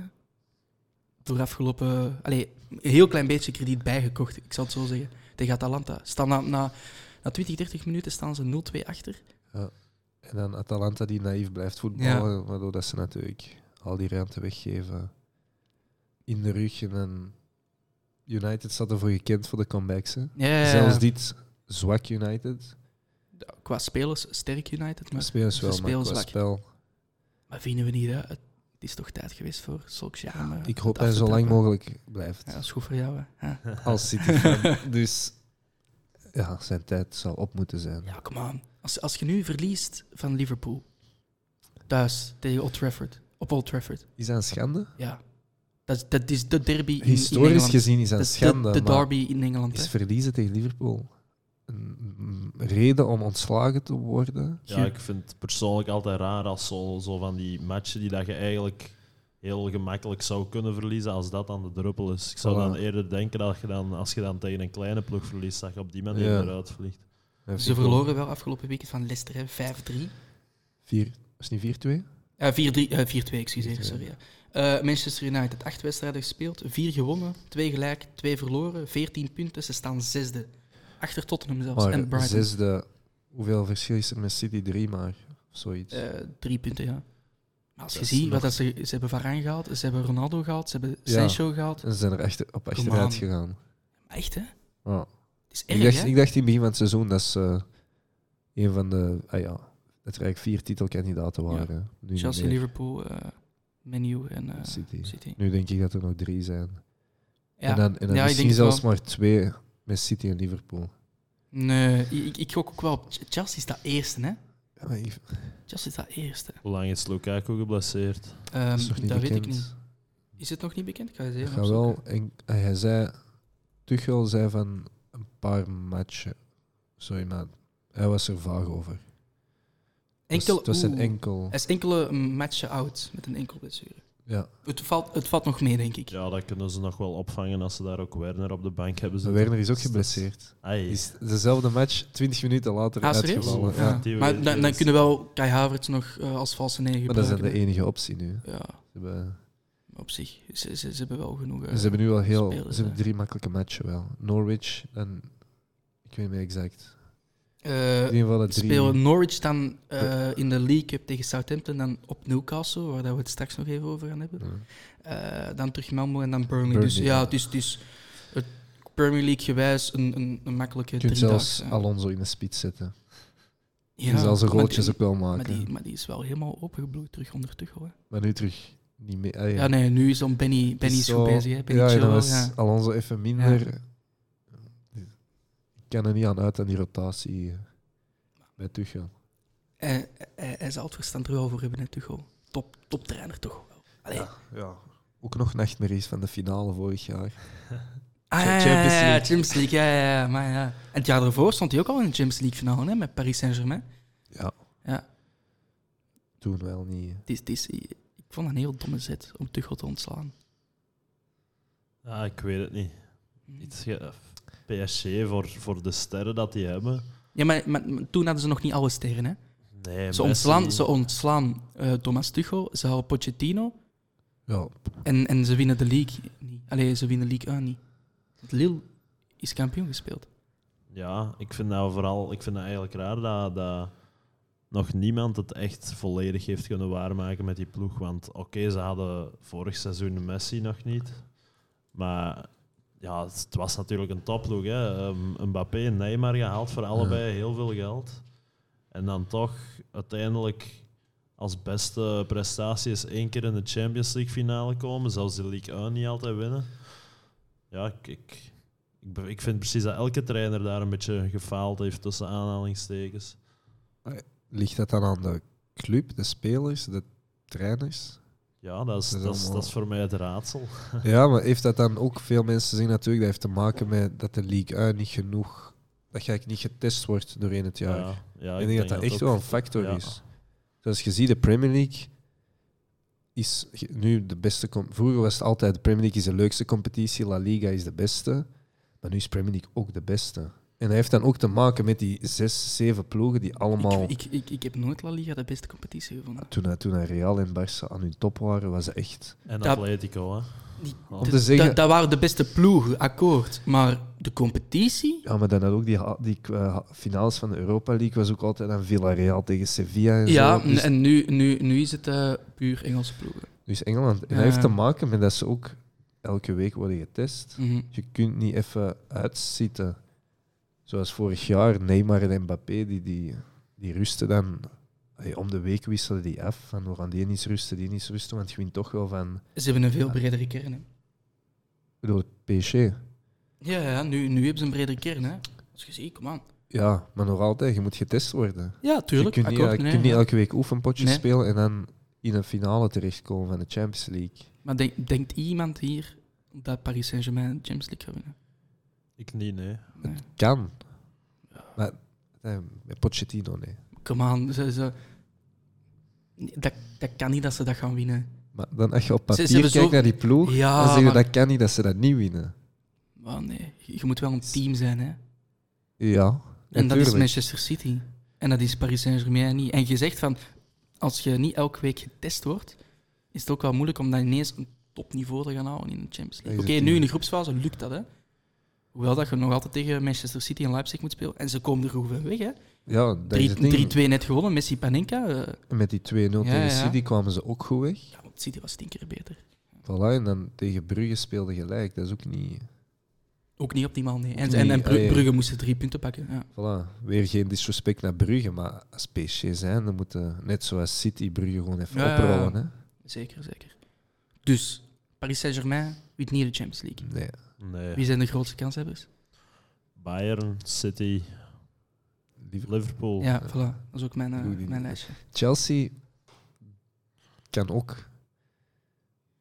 A: Door afgelopen... Allee, een heel klein beetje krediet bijgekocht, ik zal het zo zeggen. Tegen Atalanta. Staan na, na, na 20, 30 minuten staan ze 0-2 achter.
B: En dan Atalanta die naïef blijft voetballen, waardoor dat ze natuurlijk al die ruimte weggeven in de rug. En dan United staat ervoor gekend voor de comebacks. hè.
A: Ja,
B: Zelfs dit zwak United.
A: Qua spelers, sterk United.
B: Maar
A: Maar,
B: spelers wel,
A: ze
B: maar
A: spelen
B: qua
A: zwak.
B: spel.
A: maar vinden we niet, hè? Het is toch tijd geweest voor Solskjaer. om, eh,
B: Ik
A: het af
B: hoop dat hij
A: te
B: zo lang
A: trappen.
B: mogelijk blijft
A: [LAUGHS]
C: [LAUGHS]
A: Ja, dat is goed voor jou, hè. Ja.
B: als City-fan. dus ja, zijn tijd zal op moeten zijn.
A: Ja, kom aan. Als, als je nu verliest van Liverpool, thuis tegen Old Trafford, op Old Trafford,
B: Is dat een schande?
A: ja. Dat, is- dat is de derby in, in
B: Historisch
A: Engeland.
B: gezien is dat
A: Dat
B: een
A: is de-
B: schande.
A: de,
B: maar
A: derby in Engeland.
B: is
A: hè.
B: verliezen tegen Liverpool een een reden om ontslagen te worden?
C: Ja, ik vind het persoonlijk altijd raar als zo, zo van die matchen die dat je eigenlijk heel gemakkelijk zou kunnen verliezen, als dat dan de druppel is. Ik zou
B: Voilà.
C: dan eerder denken dat je dan, als je dan tegen een kleine ploeg verliest, dat je op die manier
B: Ja.
C: eruit vliegt.
A: Ze verloren wel afgelopen weekend van Leicester, hè, 5-3.
B: Vier, was het niet 4-2?
A: Eh, 4-3, eh, 4-2, excuseer,
B: 4-2.
A: sorry. ja. Eh, Manchester United, acht wedstrijden gespeeld, vier gewonnen, twee gelijk, twee verloren, 14 punten. Ze staan zesde. Achter Tottenham zelfs en
B: Maar
A: Brighton.
B: zesde, hoeveel verschil is er met City 3 maar? Of zoiets.
A: Eh, drie punten, ja. Maar als je
C: Dat is
A: ziet, wat
C: nog-
A: dat ze, ze hebben Varane gehaald, ze hebben Ronaldo gehaald, ze hebben
B: Ja.
A: Sancho gehaald.
B: En ze zijn er echt op
A: Come
B: achteruit
A: on.
B: gegaan.
A: Maar echt, hè?
B: Ja.
A: Het is
B: Ik,
A: erg,
B: dacht,
A: hè?
B: ik dacht in het begin van het seizoen dat ze eh, een van de... Ah ja, dat er eigenlijk vier titelkandidaten waren. Nu niet
A: Chelsea,
B: meer.
A: Liverpool, eh Menu en eh,
B: City.
A: City.
B: Nu denk ik dat er nog drie zijn.
A: Ja.
B: En dan, en
A: Ja, ik
B: dan
A: denk
B: misschien
A: het
B: zelfs
A: wel.
B: maar twee met City en Liverpool.
A: Nee, ik, ik gok ook wel op... Chelsea staat eerste, hè?
B: Ja, maar ik-
A: Chelsea staat eerste.
C: Hoe lang is Lukaku geblesseerd?
A: Ehm,
B: dat is toch niet
A: dat weet
B: bekend?
A: ik niet. Is het nog niet bekend? Ik ga eens
B: Ik
A: even
B: ga
A: opzoeken.
B: wel, en, en hij zei... Tuchel zei van een paar matchen. Sorry, maar hij was er vaag over. Het was-
A: Enkel,
B: het was een
A: oeh,
B: enkel...
A: Hij is enkele matchen oud met een enkel blessure.
B: Ja,
A: Het valt, het valt nog mee, denk ik.
C: Ja, dat kunnen ze nog wel opvangen als ze daar ook Werner op de bank hebben
B: de
C: zitten.
B: Werner is ook
C: Dus dat
B: geblesseerd.
C: Ai,
B: Is dezelfde match, 20 minuten later
A: Ah, serieus?
B: uitgevallen.
A: Ja.
B: Ja.
C: Die
A: Maar
C: weet
A: dan,
C: je
A: dan
C: dus.
A: kunnen we wel Kai Havertz nog eh, als valse negen
B: Maar dat is e-
A: gebruiken.
B: de
A: hè.
B: enige optie nu.
A: Ja,
B: Ze hebben,
A: maar op zich. Ze, ze, ze hebben wel genoeg. eh,
B: ze hebben nu al heel...
A: spelers,
B: Ze hebben
A: hè.
B: drie makkelijke matchen wel. Norwich en... Ik weet niet meer exact.
A: eh,
B: In ieder geval de drie...
A: spelen Norwich dan eh, in de League Cup tegen Southampton, dan op Newcastle, waar dat we het straks nog even over gaan hebben.
B: Ja.
A: Eh, dan terug Malmo en dan Burnley.
B: Burnley,
A: Dus ja,
B: ja.
A: het is, het is het Premier League gewijs een, een, een makkelijke
B: Je kunt
A: drie
B: zelfs Alonso in de spits zetten.
A: Ja,
B: en zelfs een
A: maar
B: goaltjes
A: die-
B: ook wel
A: Maar
B: maken. Maar,
A: die, maar die is wel helemaal opengebloeid terug onder Tuchel. Hè.
B: nu terug niet meer. Ah, ja.
A: Ja, nee, nu is dan Benny, Benny is
B: zo-
A: goed bezig. Hè. Benny
B: ja, en
A: Chilwell,
B: dan was
A: ja.
B: Alonso even minder. Ik kan er niet aan uit aan die rotatie eh, bij Tuchel.
A: Hij, hij, hij zal het verstand er wel voor hebben, hè, Tuchel. Top, top trainer toch wel. Allee.
B: Ja. Ook nog nachtmerries van de finale vorig jaar.
A: Ah, ja, ja,
B: Champions
A: ja, ja,
B: League.
A: Champions League. Ja, ja, ja, maar ja. En het jaar daarvoor stond hij ook al in de Champions League finale hè, met Paris Saint-Germain.
B: Ja,
A: Ja,
B: toen wel niet. eh.
A: het is, het is, ik vond dat een heel domme zet om Tuchel te ontslaan.
C: Ah, ik weet het niet. Iets ge- PSG voor, voor de sterren dat die hebben.
A: Ja, maar, maar- maar toen hadden ze nog niet alle sterren. Hè.
C: Nee,
A: Ze
C: Messi-
A: ontslaan, ze ontslaan eh, Thomas Tuchel, ze halen Pochettino.
B: Ja,
A: En, en ze winnen de league niet. Allee, ze winnen de league aan niet. Want Lille is kampioen gespeeld.
C: Ja, ik vind dat vooral, ik vind dat eigenlijk raar dat, dat nog niemand het echt volledig heeft kunnen waarmaken met die ploeg. Want oké, ze hadden vorig seizoen Messi nog niet. Maar ja, het, het was natuurlijk een topploeg. Hè. Um, Mbappé en Neymar gehaald voor allebei heel veel geld. En dan toch uiteindelijk als beste prestatie is één keer in de Champions League finale komen. Zelfs de League 1 niet altijd winnen. Ja, ik, ik, ik, be- ik vind precies dat elke trainer daar een beetje gefaald heeft tussen aanhalingstekens.
B: Ligt dat dan aan de club, de spelers, de trainers?
C: Ja, dat is,
B: Dat is
C: dat is,
B: allemaal-
C: dat is voor mij het raadsel.
B: Ja, maar heeft dat dan ook veel mensen zien natuurlijk? Dat heeft te maken met dat de League uit niet genoeg, dat je eigenlijk niet getest wordt doorheen het jaar.
C: Ja, ja,
B: ik, denk dat dat echt
C: ook-
B: wel een factor
C: ja.
B: is. Zoals je ziet, de Premier League is ge- nu de beste. com- Vroeger was het altijd: de Premier League is de leukste competitie, La Liga is de beste. Maar nu is Premier League ook de beste. En dat heeft dan ook te maken met die zes, zeven ploegen die allemaal.
A: Ik, ik, ik, ik heb nooit La Liga de beste competitie gevonden.
B: toen, toen Real en Barça aan hun top waren, was dat echt.
C: En
A: Dat-
C: Atletico, hè.
A: Die-
C: Om
A: de-
B: te zeggen-
A: dat- Dat waren de beste ploegen, akkoord. Maar de competitie?
B: Ja, maar dan had ook die, ha- die eh, finales van de Europa League was ook altijd aan Villarreal tegen Sevilla en
A: Ja,
B: zo. Dus
A: en nu, nu, nu is het eh, puur Engelse ploegen.
B: Dus Engeland. En
A: Ja.
B: dat heeft te maken met dat ze ook elke week worden getest.
A: Mhm.
B: Je kunt niet even uitzitten. Zoals vorig jaar, Neymar en Mbappé, die, die, die rusten dan... Allee, om de week wisselen die af. Van we gaan die niet rusten, die niet rusten. Want je wint toch wel van...
A: Ze hebben een veel
B: Ja.
A: bredere kern. Hè.
B: Ik bedoel, PSG.
A: Ja, ja nu, nu hebben ze een bredere kern. Hè. Dus je ziet, kom aan.
B: Ja, maar nog altijd, je moet getest worden.
A: Ja, tuurlijk.
B: je kunt niet,
A: akkoord,
B: el-
A: nee.
B: kunt niet elke week oefenpotjes
A: Nee.
B: spelen en dan in een finale terechtkomen van de Champions League.
A: Maar denk- denkt iemand hier dat Paris Saint-Germain de Champions League gaat winnen?
C: Ik niet, nee.
A: Nee.
B: Kan. Maar eh, met Pochettino, nee.
A: Come on, ze, ze- Nee, dat, dat kan niet dat ze dat gaan winnen.
B: Maar dan als je op
A: Ze- ze
B: papier
A: hebben
B: kijkt
A: zo-
B: naar die ploeg,
A: Ja,
B: dan zeg je
A: maar-
B: dat kan niet dat ze dat niet winnen.
A: Maar nee, je je moet wel een team zijn, hè.
B: Ja,
A: En dat is
B: natuurlijk.
A: Manchester City. En dat is Paris Saint-Germain niet. En je zegt van, als je niet elke week getest wordt, is het ook wel moeilijk om dan ineens een topniveau te gaan houden in de Champions League.
B: Dat
A: Oké,
B: is het
A: nu in
B: niet.
A: de groepsfase lukt dat, hè. Hoewel dat je nog altijd tegen Manchester City en Leipzig moet spelen. En ze komen er goed van weg, hè.
B: Ja, dat is het ding.
A: Drie- 3-2 net gewonnen, Messi Panenka. eh,
B: Met die 2-0 tegen
A: Ja, ja.
B: City kwamen ze ook goed weg.
A: ja, want City was tien keer beter.
B: Voilà, en dan tegen Brugge speelde gelijk. Dat is ook niet...
A: Ook niet optimaal, nee. En,
B: Nee,
A: en, en Bru-
B: ah, ja.
A: Brugge moesten drie punten pakken, ja.
B: Voilà, weer geen disrespect naar Brugge, maar als PSG zijn, dan moeten, net zoals City, Brugge gewoon even
A: Ja, ja, ja.
B: oprollen. Hè?
A: Zeker, zeker. Dus, Paris Saint-Germain wint niet de Champions League.
B: Nee.
C: Nee.
A: Wie zijn de grootste kanshebbers?
C: Bayern, City,
B: Liever-
C: Liverpool.
A: Ja, voilà. Dat is ook mijn, eh,
B: Doe die
A: mijn
B: niet.
A: lijstje.
B: Chelsea kan ook.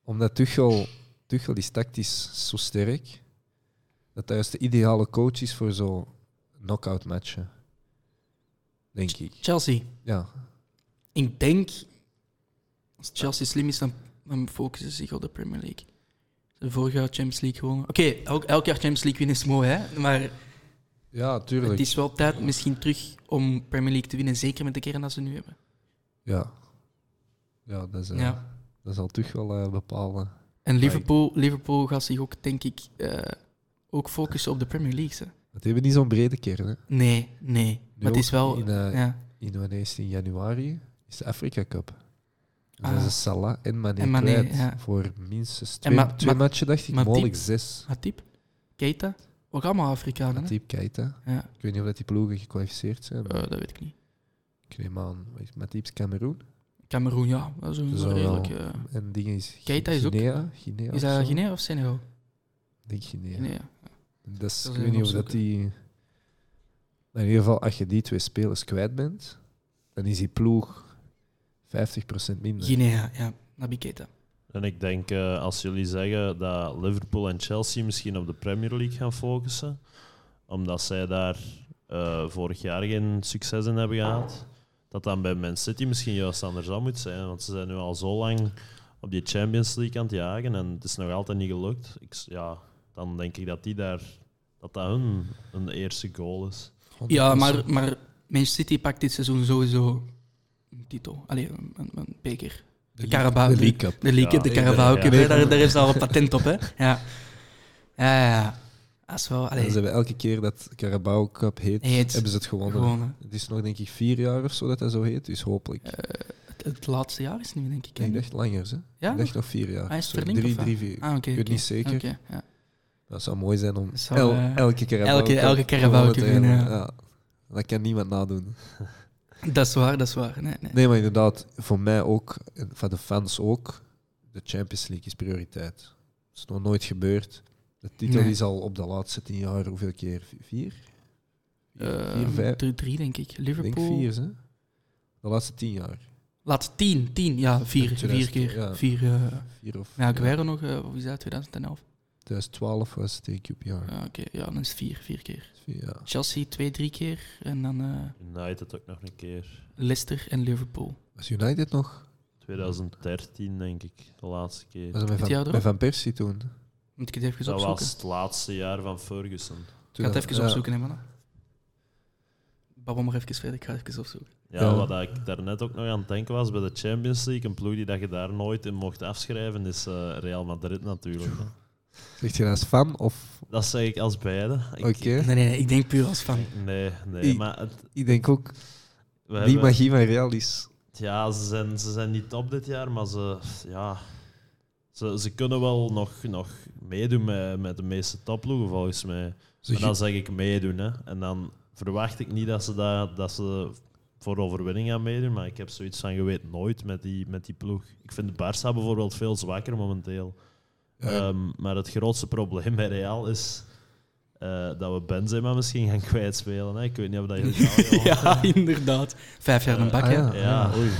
B: Omdat Tuchel, Tuchel is tactisch zo sterk, dat hij juist de ideale coach is voor zo'n knock-out matchen. Denk ik.
A: Chelsea.
B: Ja,
A: Ik denk, als Chelsea slim is, dan, dan focussen ze zich op de Premier League. Ze hebben vorig jaar Champions League gewonnen. Oké, elk, elk jaar Champions League winnen is mooi, hè? maar
B: ja
A: het
B: tuurlijk.
A: is wel tijd misschien terug om Premier League te winnen, zeker met de kern dat ze nu hebben.
B: Ja. Ja, dat, is, eh,
A: Ja.
B: dat zal Tuchel eh, bepalen.
A: En Liverpool, Liverpool gaat zich ook, denk ik, eh, ook focussen op de Premier League. Hè?
B: Want die hebben niet zo'n brede kern. Hè.
A: Nee, nee.
B: Nu
A: Maar het is
B: ook
A: wel...
B: In, eh,
A: Ja.
B: in, wanneer is het? in januari is de Afrika Cup. Dus
A: Ah.
B: dat is Salah en Mané,
A: En Mané,
B: kwijt
A: ja.
B: voor minstens twee,
A: Ma-
B: twee
A: Ma-
B: matchen, dacht ik,
A: Matip?
B: mogelijk zes.
A: Hatip, Keita, ook allemaal Afrikanen. hè?
B: Matip Keita.
A: Ja,
B: Ik weet niet of dat die ploegen gekwalificeerd zijn.
A: eh,
B: maar
A: dat weet ik niet.
B: Ik neem aan, wat is Matip is Cameroen.
A: Cameroen, ja, dat is een
B: Dat is wel-
A: redelijk... eh,
B: En dingen is
A: Keita is ook-
B: Guinea. Guinea
A: Is
B: of
A: dat
B: zo.
A: Guinea of Senegal?
B: Ik denk Guinea.
A: Guinea.
B: Dat is,
A: Dat
B: ik
A: is
B: weet niet of dat
A: opzoeken.
B: die... Maar in ieder geval, als je die twee spelers kwijt bent, dan is die ploeg 50% minder.
A: Guinea, ja. Nabi Keita.
C: En ik denk, eh, als jullie zeggen dat Liverpool en Chelsea misschien op de Premier League gaan focussen, omdat zij daar eh, vorig jaar geen succes in hebben gehad, dat dan bij Man City misschien juist andersom moet zijn. Want ze zijn nu al zo lang op die Champions League aan het jagen en het is nog altijd niet gelukt. Ik, s- ja, dan denk ik dat die daar, dat, dat hun, hun eerste goal is.
A: Ja, maar, maar Manchester City pakt dit seizoen sowieso een titel. Allee, een, een, een beker. De Carabao
B: de League
A: League.
B: Cup.
A: De League,
C: Ja,
A: de Carabao Cup.
C: iedereen,
A: hè.
C: ja.
A: Daar, daar is al een patent op, hè. Ja. Ja, ja, ja. Dat is wel...
B: En Ze
A: Allee,
B: hebben elke keer dat Carabao Cup heet,
A: Heet.
B: hebben ze het gewonnen.
A: gewoon... hè.
B: Het is nog denk ik vier jaar of zo dat dat zo heet, dus hopelijk.
A: Eh, Het, het laatste jaar is nu, denk ik. hè.
B: ik dacht langer, hè?
A: ja?
B: ik dacht nog vier jaar.
A: Ah, is het
B: Sorry,
A: verlinkt
B: drie,
A: of wat?
B: drie, vier.
A: Ah, oké.
B: ik weet
A: oké.
B: niet zeker.
A: Oké, ja.
B: Dat zou mooi zijn om
A: Dat zou,
B: el-
A: eh,
B: elke Carabao
A: elke-
B: Cup
A: elke Carabao
B: gewonnen
A: Cup
B: te hebben.
A: winnen, ja.
B: Ja, Dat kan niemand nadoen.
A: Dat is waar, dat is waar. Nee, nee.
B: Nee, maar inderdaad, voor mij ook, en van de fans ook, de Champions League is prioriteit. Dat is nog nooit gebeurd. De titel
A: Nee.
B: is al op de laatste tien jaar hoeveel keer? Vi- Vier?
A: Eh,
B: vier, vijf.
A: drie, drie, denk ik.
B: Ik denk
A: Liverpool.
B: vier, hè? De laatste tien jaar.
A: Laat tien, tien. Ja, vier, vier
B: 2000,
A: keer.
B: ja.
A: Vier... eh,
B: Vier of
A: Ja, Aguero nog, eh, of is dat 2011?
B: 2012 was het tegen QPR.
A: Ja, oké. Ja, dan is het vier, vier keer.
B: Dus Ja.
A: Chelsea twee, drie keer. En dan eh,
C: United ook nog een keer.
A: Leicester en Liverpool.
B: Was United nog?
C: 2013 denk ik, de laatste keer.
B: Was dat met
A: Dit jaar
B: Van,
A: erop?
B: met van Persie toen?
A: Moet ik het even
C: Dat
A: opzoeken?
C: was het laatste jaar van Ferguson.
A: Ik ga het even
B: Ja.
A: opzoeken, hè, mannen. Babbel maar even verder, ik ga even opzoeken.
C: Ja,
B: Ja.
C: wat ik daarnet ook nog aan het denken was bij de Champions League, een ploeg die dat je daar nooit in mocht afschrijven, is eh, Real Madrid natuurlijk. hè.
B: Zegt je dat als fan of...
C: Dat zeg ik als beide. Ik-
B: Oké.
A: Nee, nee, nee, ik denk puur als fan.
C: Nee, nee,
B: I-
C: maar het,
B: Ik denk ook,
C: we
B: die
C: hebben-
B: magie van Real is...
C: ja, ze zijn, ze zijn niet top dit jaar, maar ze, ja, ze, ze kunnen wel nog, nog meedoen met, met de meeste topploegen volgens mij.
B: Ze
C: Maar dan
B: ge-
C: zeg ik meedoen. Hè. En dan verwacht ik niet dat ze, dat, dat ze voor overwinning gaan meedoen. Maar ik heb zoiets van, je weet nooit met die, met die ploeg. Ik vind de Barça bijvoorbeeld veel zwakker momenteel.
B: Ja.
C: Ehm, maar het grootste probleem bij Real is... eh, dat we Benzema misschien gaan [LAUGHS] kwijtspelen. Hè? Ik weet niet of
B: [LAUGHS]
C: dat je
A: [LAUGHS] ja, inderdaad. Vijf jaar een bak,
B: Ah,
A: hè.
B: ja.
C: Ja.
B: Oei.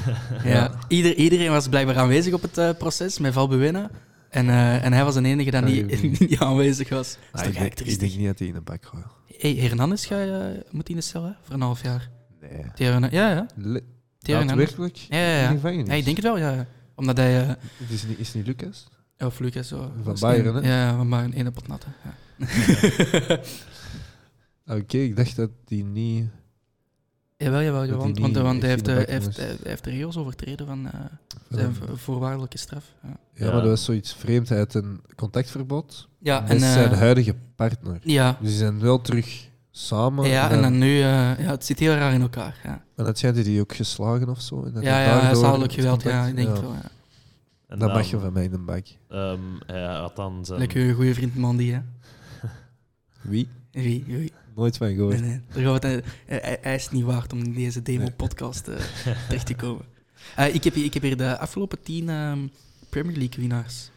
A: Ja. Ieder, iedereen was blijkbaar aanwezig op het eh, proces met Valbuena. En, eh, en hij was de enige dat
B: Ah,
A: niet,
B: je-
A: [LAUGHS] niet aanwezig was. Dat is toch
B: Ah, ik,
A: eigenlijk
B: denk, ik
A: triestig.
B: denk niet dat hij in een bak gooit.
A: Hey, Hernandez ga je, eh, moet in de cel, hè? Voor een half jaar.
B: Nee.
A: Theo Hernan- ja, ja.
B: Le-
A: Theo Hernandez.
B: Daadwerkelijk?
A: Ja, ja, ja.
B: In de gevangenis?
A: Ja, ik denk het wel, ja. Omdat hij... eh
B: Het is niet, is niet Lucas?
A: of Lucas, zo...
B: Van Bayern, hè?
A: Ja, van Bayern. Ene pot nat, hè. Ja.
B: [LAUGHS] Ah, Oké, ik dacht dat die niet...
A: Jawel, jawel,
B: hij
A: jawel. Want,
B: niet
A: want, want hij,
B: echt
A: heeft, eh,
B: in de
A: hij,
B: bak
A: heeft,
B: moest.
A: hij heeft de regels overtreden van eh,
B: van-
A: zijn vo- voorwaardelijke straf. Ja,
B: ja,
C: Ja.
B: maar dat was zoiets vreemd. Hij had een contactverbod
A: ja en...
B: met zijn
A: eh,
B: huidige partner.
A: ja,
B: Dus die zijn wel terug samen.
A: ja, en
B: dan-
A: dan nu... eh, ja, het zit heel raar in elkaar, ja.
B: Maar dat schijnt hij die ook geslagen of zo. En dat
A: Ja,
B: hij
A: ja,
B: daardoor
A: huishoudelijk
B: het
A: geweld,
B: contact-
A: ja, ik denk het wel. Ja.
C: [LAUGHS] En
B: Dat
C: dan,
B: mag je van mij in een bak.
C: ehm, hij had dan zijn...
A: Lekker uw goede vriend Mandy, hè?
B: Wie?
A: Oei, oei.
B: Nooit van gehoord.
A: Nee, nee. Daar gaan we het, eh, hij, hij is niet waard om in deze demo-podcast eh, terecht te
B: [LAUGHS]
A: komen. Eh, ik, heb, hier- ik heb hier de afgelopen tien ehm, Premier League-winnaars.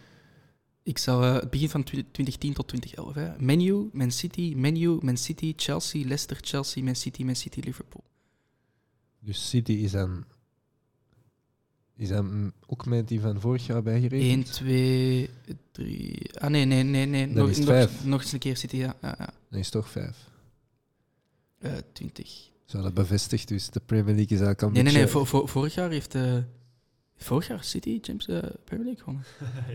A: Ik zal eh, het begin van twi- 2010 tot 2011. Hè. Menu, Man City, Menu, Man City, Chelsea, Leicester, Chelsea, Man City, Man City, Liverpool.
B: Dus City is dan... Is dan ook met die van vorig jaar
A: 1,
B: bijgerekend?
A: 2, 3. Ah nee, nee, nee, nee.
B: Dan
A: Nog,
B: is het
A: nog,
B: vijf.
A: nog eens een keer City, ja. ja, ja.
B: Nee, is toch vijf.
A: Eh, 20.
B: Zo, dat bevestigt dus. De Premier League is eigenlijk al een
A: Nee, nee, nee.
B: beetje-
A: Vor, vor- vorig jaar heeft eh, vorig jaar City James eh Premier League gewonnen.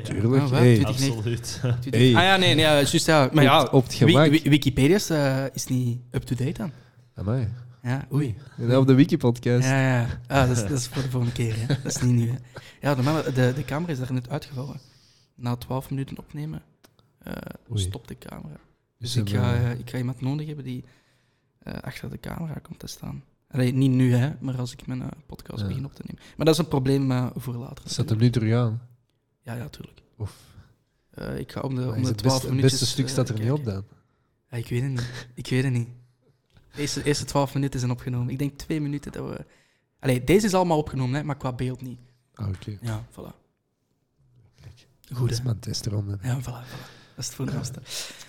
B: Tuurlijk.
A: Ah, wat?
B: hey,
A: Twintig-
C: Absoluut. [LAUGHS]
B: Hey.
A: Ah ja, nee, nee, ja, juist ja. Maar ja,
B: opt- opt
A: Wi-
B: gemaakt.
A: Wi- Wikipedia is, eh, is niet up-to-date dan.
B: Amai.
A: Ja, oei.
B: En dan op de Wiki-podcast.
A: Ja, ja. ja. Ah, dat, is, dat is voor de volgende keer. Hè. Dat is niet nu. Hè. Ja, de, man- de, de camera is daar net uitgevallen. Na 12 minuten opnemen eh,
B: Oei.
A: stopt de camera. Dus
B: Ze
A: ik
B: hebben-
A: ga, eh, ik ga iemand nodig hebben die eh, achter de camera komt te staan. Allee, niet nu, hè, maar als ik mijn eh, podcast
B: Ja.
A: begin op te nemen. Maar dat is een probleem eh, voor later.
B: Zet hem nu terug aan.
A: Ja, ja, tuurlijk.
B: Of
A: Eh, ik ga om de,
B: maar
A: om
B: is
A: de eh,
B: het
A: 12
B: beste, het
A: minuten.
B: beste stuk staat er niet op dan.
A: Ja, ik weet het niet. Ik weet het niet. De eerste, eerste 12 minuten zijn opgenomen. Ik denk twee minuten dat we. Allee, deze is allemaal opgenomen, hè, maar qua beeld niet.
B: Ah, Oké.
A: Ja, voilà.
B: Kijk.
A: Goed,
B: Dat is
A: hè?
B: mijn testronde.
A: Ja, voilà. voilà. Dat is het voor de gasten.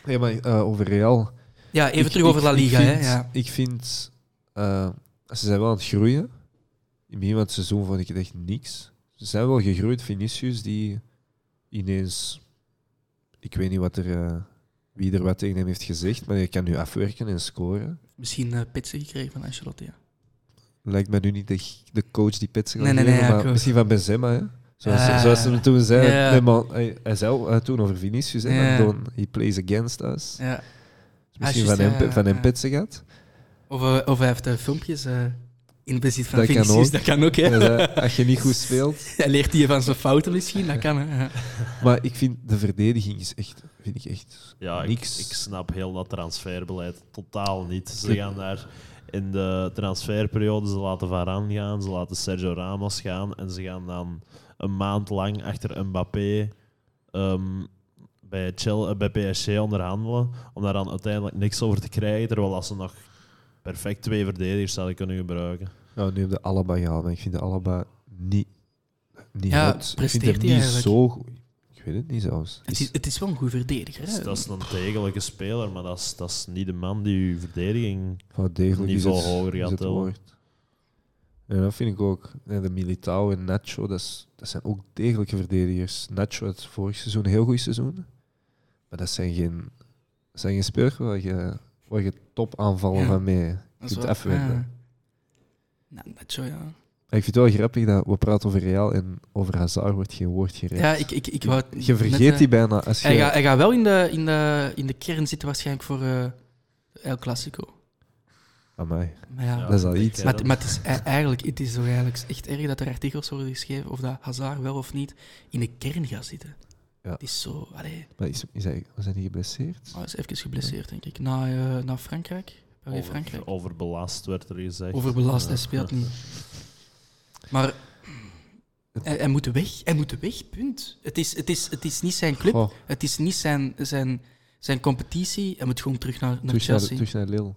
B: Nee, maar eh, over Real.
A: Ja, even
B: Ik-
A: terug over
B: ik-
A: La
B: ik
A: Liga.
B: vind-
A: Hè, ja.
B: Ik vind... eh, ze zijn wel aan het groeien. In het begin van het seizoen vond ik het echt niks. Ze zijn wel gegroeid. Vinicius, die ineens... Ik weet niet wat er, eh, wie er wat tegen hem heeft gezegd, maar hij kan nu afwerken en scoren.
A: Misschien eh pitsen gekregen van Ancelotti. Ja.
B: Lijkt mij nu niet de, de coach die pitsen gaat
A: Nee, nee,
B: geven,
A: nee, ja,
B: maar
A: klopt.
B: misschien van Benzema. Hè? Zoals,
A: Ah.
B: zoals ze hem toen zei.
A: Ja.
B: Nee, maar hij, hij zei al, eh, toen over Vinicius, hè,
A: Ja.
B: van don't- he plays against us.
A: Ja.
B: Dus misschien
A: Ah,
B: van,
A: juist,
B: hem,
A: ja,
B: van hem
A: ja.
B: pitsen gaat.
A: Of, eh, of hij heeft eh, filmpjes eh, in het bezit van
B: Dat kan
A: Vinicius.
B: ook.
A: Dat kan ook, hè?
B: Hij zei, eh, als je niet goed
C: [LAUGHS]
B: speelt.
A: [LAUGHS] Hij leert hier van zijn fouten misschien. Dat kan, hè? Ja.
B: Maar ik vind de verdediging is echt, vind ik echt
C: Ja, ik,
B: niks.
C: ik snap heel dat transferbeleid totaal niet. Ze
B: Ik-
C: gaan daar in de transferperiode, ze laten Varane gaan, ze laten Sergio Ramos gaan en ze gaan dan een maand lang achter Mbappé ehm, bij, Chel- eh, bij PSG onderhandelen om daar dan uiteindelijk niks over te krijgen, terwijl als ze nog perfect twee verdedigers zouden kunnen gebruiken.
B: Nou, nu hebben we Alaba gehaald, maar ik vind de Alaba niet, niet
A: Ja,
B: hot.
A: presteert
B: ik vind
A: hij
B: hem niet
A: eigenlijk?
B: zo goed. Ik weet het niet zelfs.
A: Het, is, het is wel een goed verdediger.
C: Dus
A: Hè?
C: dat is een degelijke speler, maar dat is, dat is niet de man die uw verdediging...
B: Van degelijk is
C: Niveau
B: het,
C: hoger
B: is
C: gaat
B: het
C: wel.
B: woord. En dat vind ik ook. Ja, de Militao en Nacho, dat, is- dat zijn ook degelijke verdedigers. Nacho had vorig seizoen een heel goed seizoen. Maar dat zijn geen, dat zijn geen spelers waar je, waar je topaanvallen
A: Ja.
B: van mee
A: Dat
B: kunt
A: wel-
B: afwenden.
A: ja. Nou, dat zo, ja.
B: Maar ik vind het wel grappig dat we praten over Real en over Hazard wordt geen woord gerecht.
A: Ja, ik, ik, ik wou het
B: je
A: net,
B: vergeet
A: eh,
B: die bijna. Als je,
A: Hij gaat hij gaat wel in de, in, de, in de kern zitten waarschijnlijk voor eh, El Clasico.
B: Amai,
A: Maar ja,
C: Ja,
B: dat is al
C: ik
B: iets.
C: ken
A: maar, het- maar het is ei- eigenlijk, het is toch eigenlijk echt erg dat er artikels worden geschreven of dat Hazard wel of niet in de kern gaat zitten.
B: Ja.
A: Het is zo, allee,
B: Maar is, is hij, was hij niet geblesseerd?
A: hij is even geblesseerd denk ik. Na, eh na Frankrijk, België
C: Over,
A: Frankrijk.
C: overbelast werd er gezegd.
A: Overbelast, hij
C: Ja.
A: speelt niet. Maar hij, hij moet weg, hij moet weg, punt. Het is, het is, het is niet zijn club,
B: Goh,
A: het is niet zijn, zijn, zijn competitie. Hij moet gewoon terug naar, naar
B: terug, naar,
A: Chelsea.
B: terug naar Lille.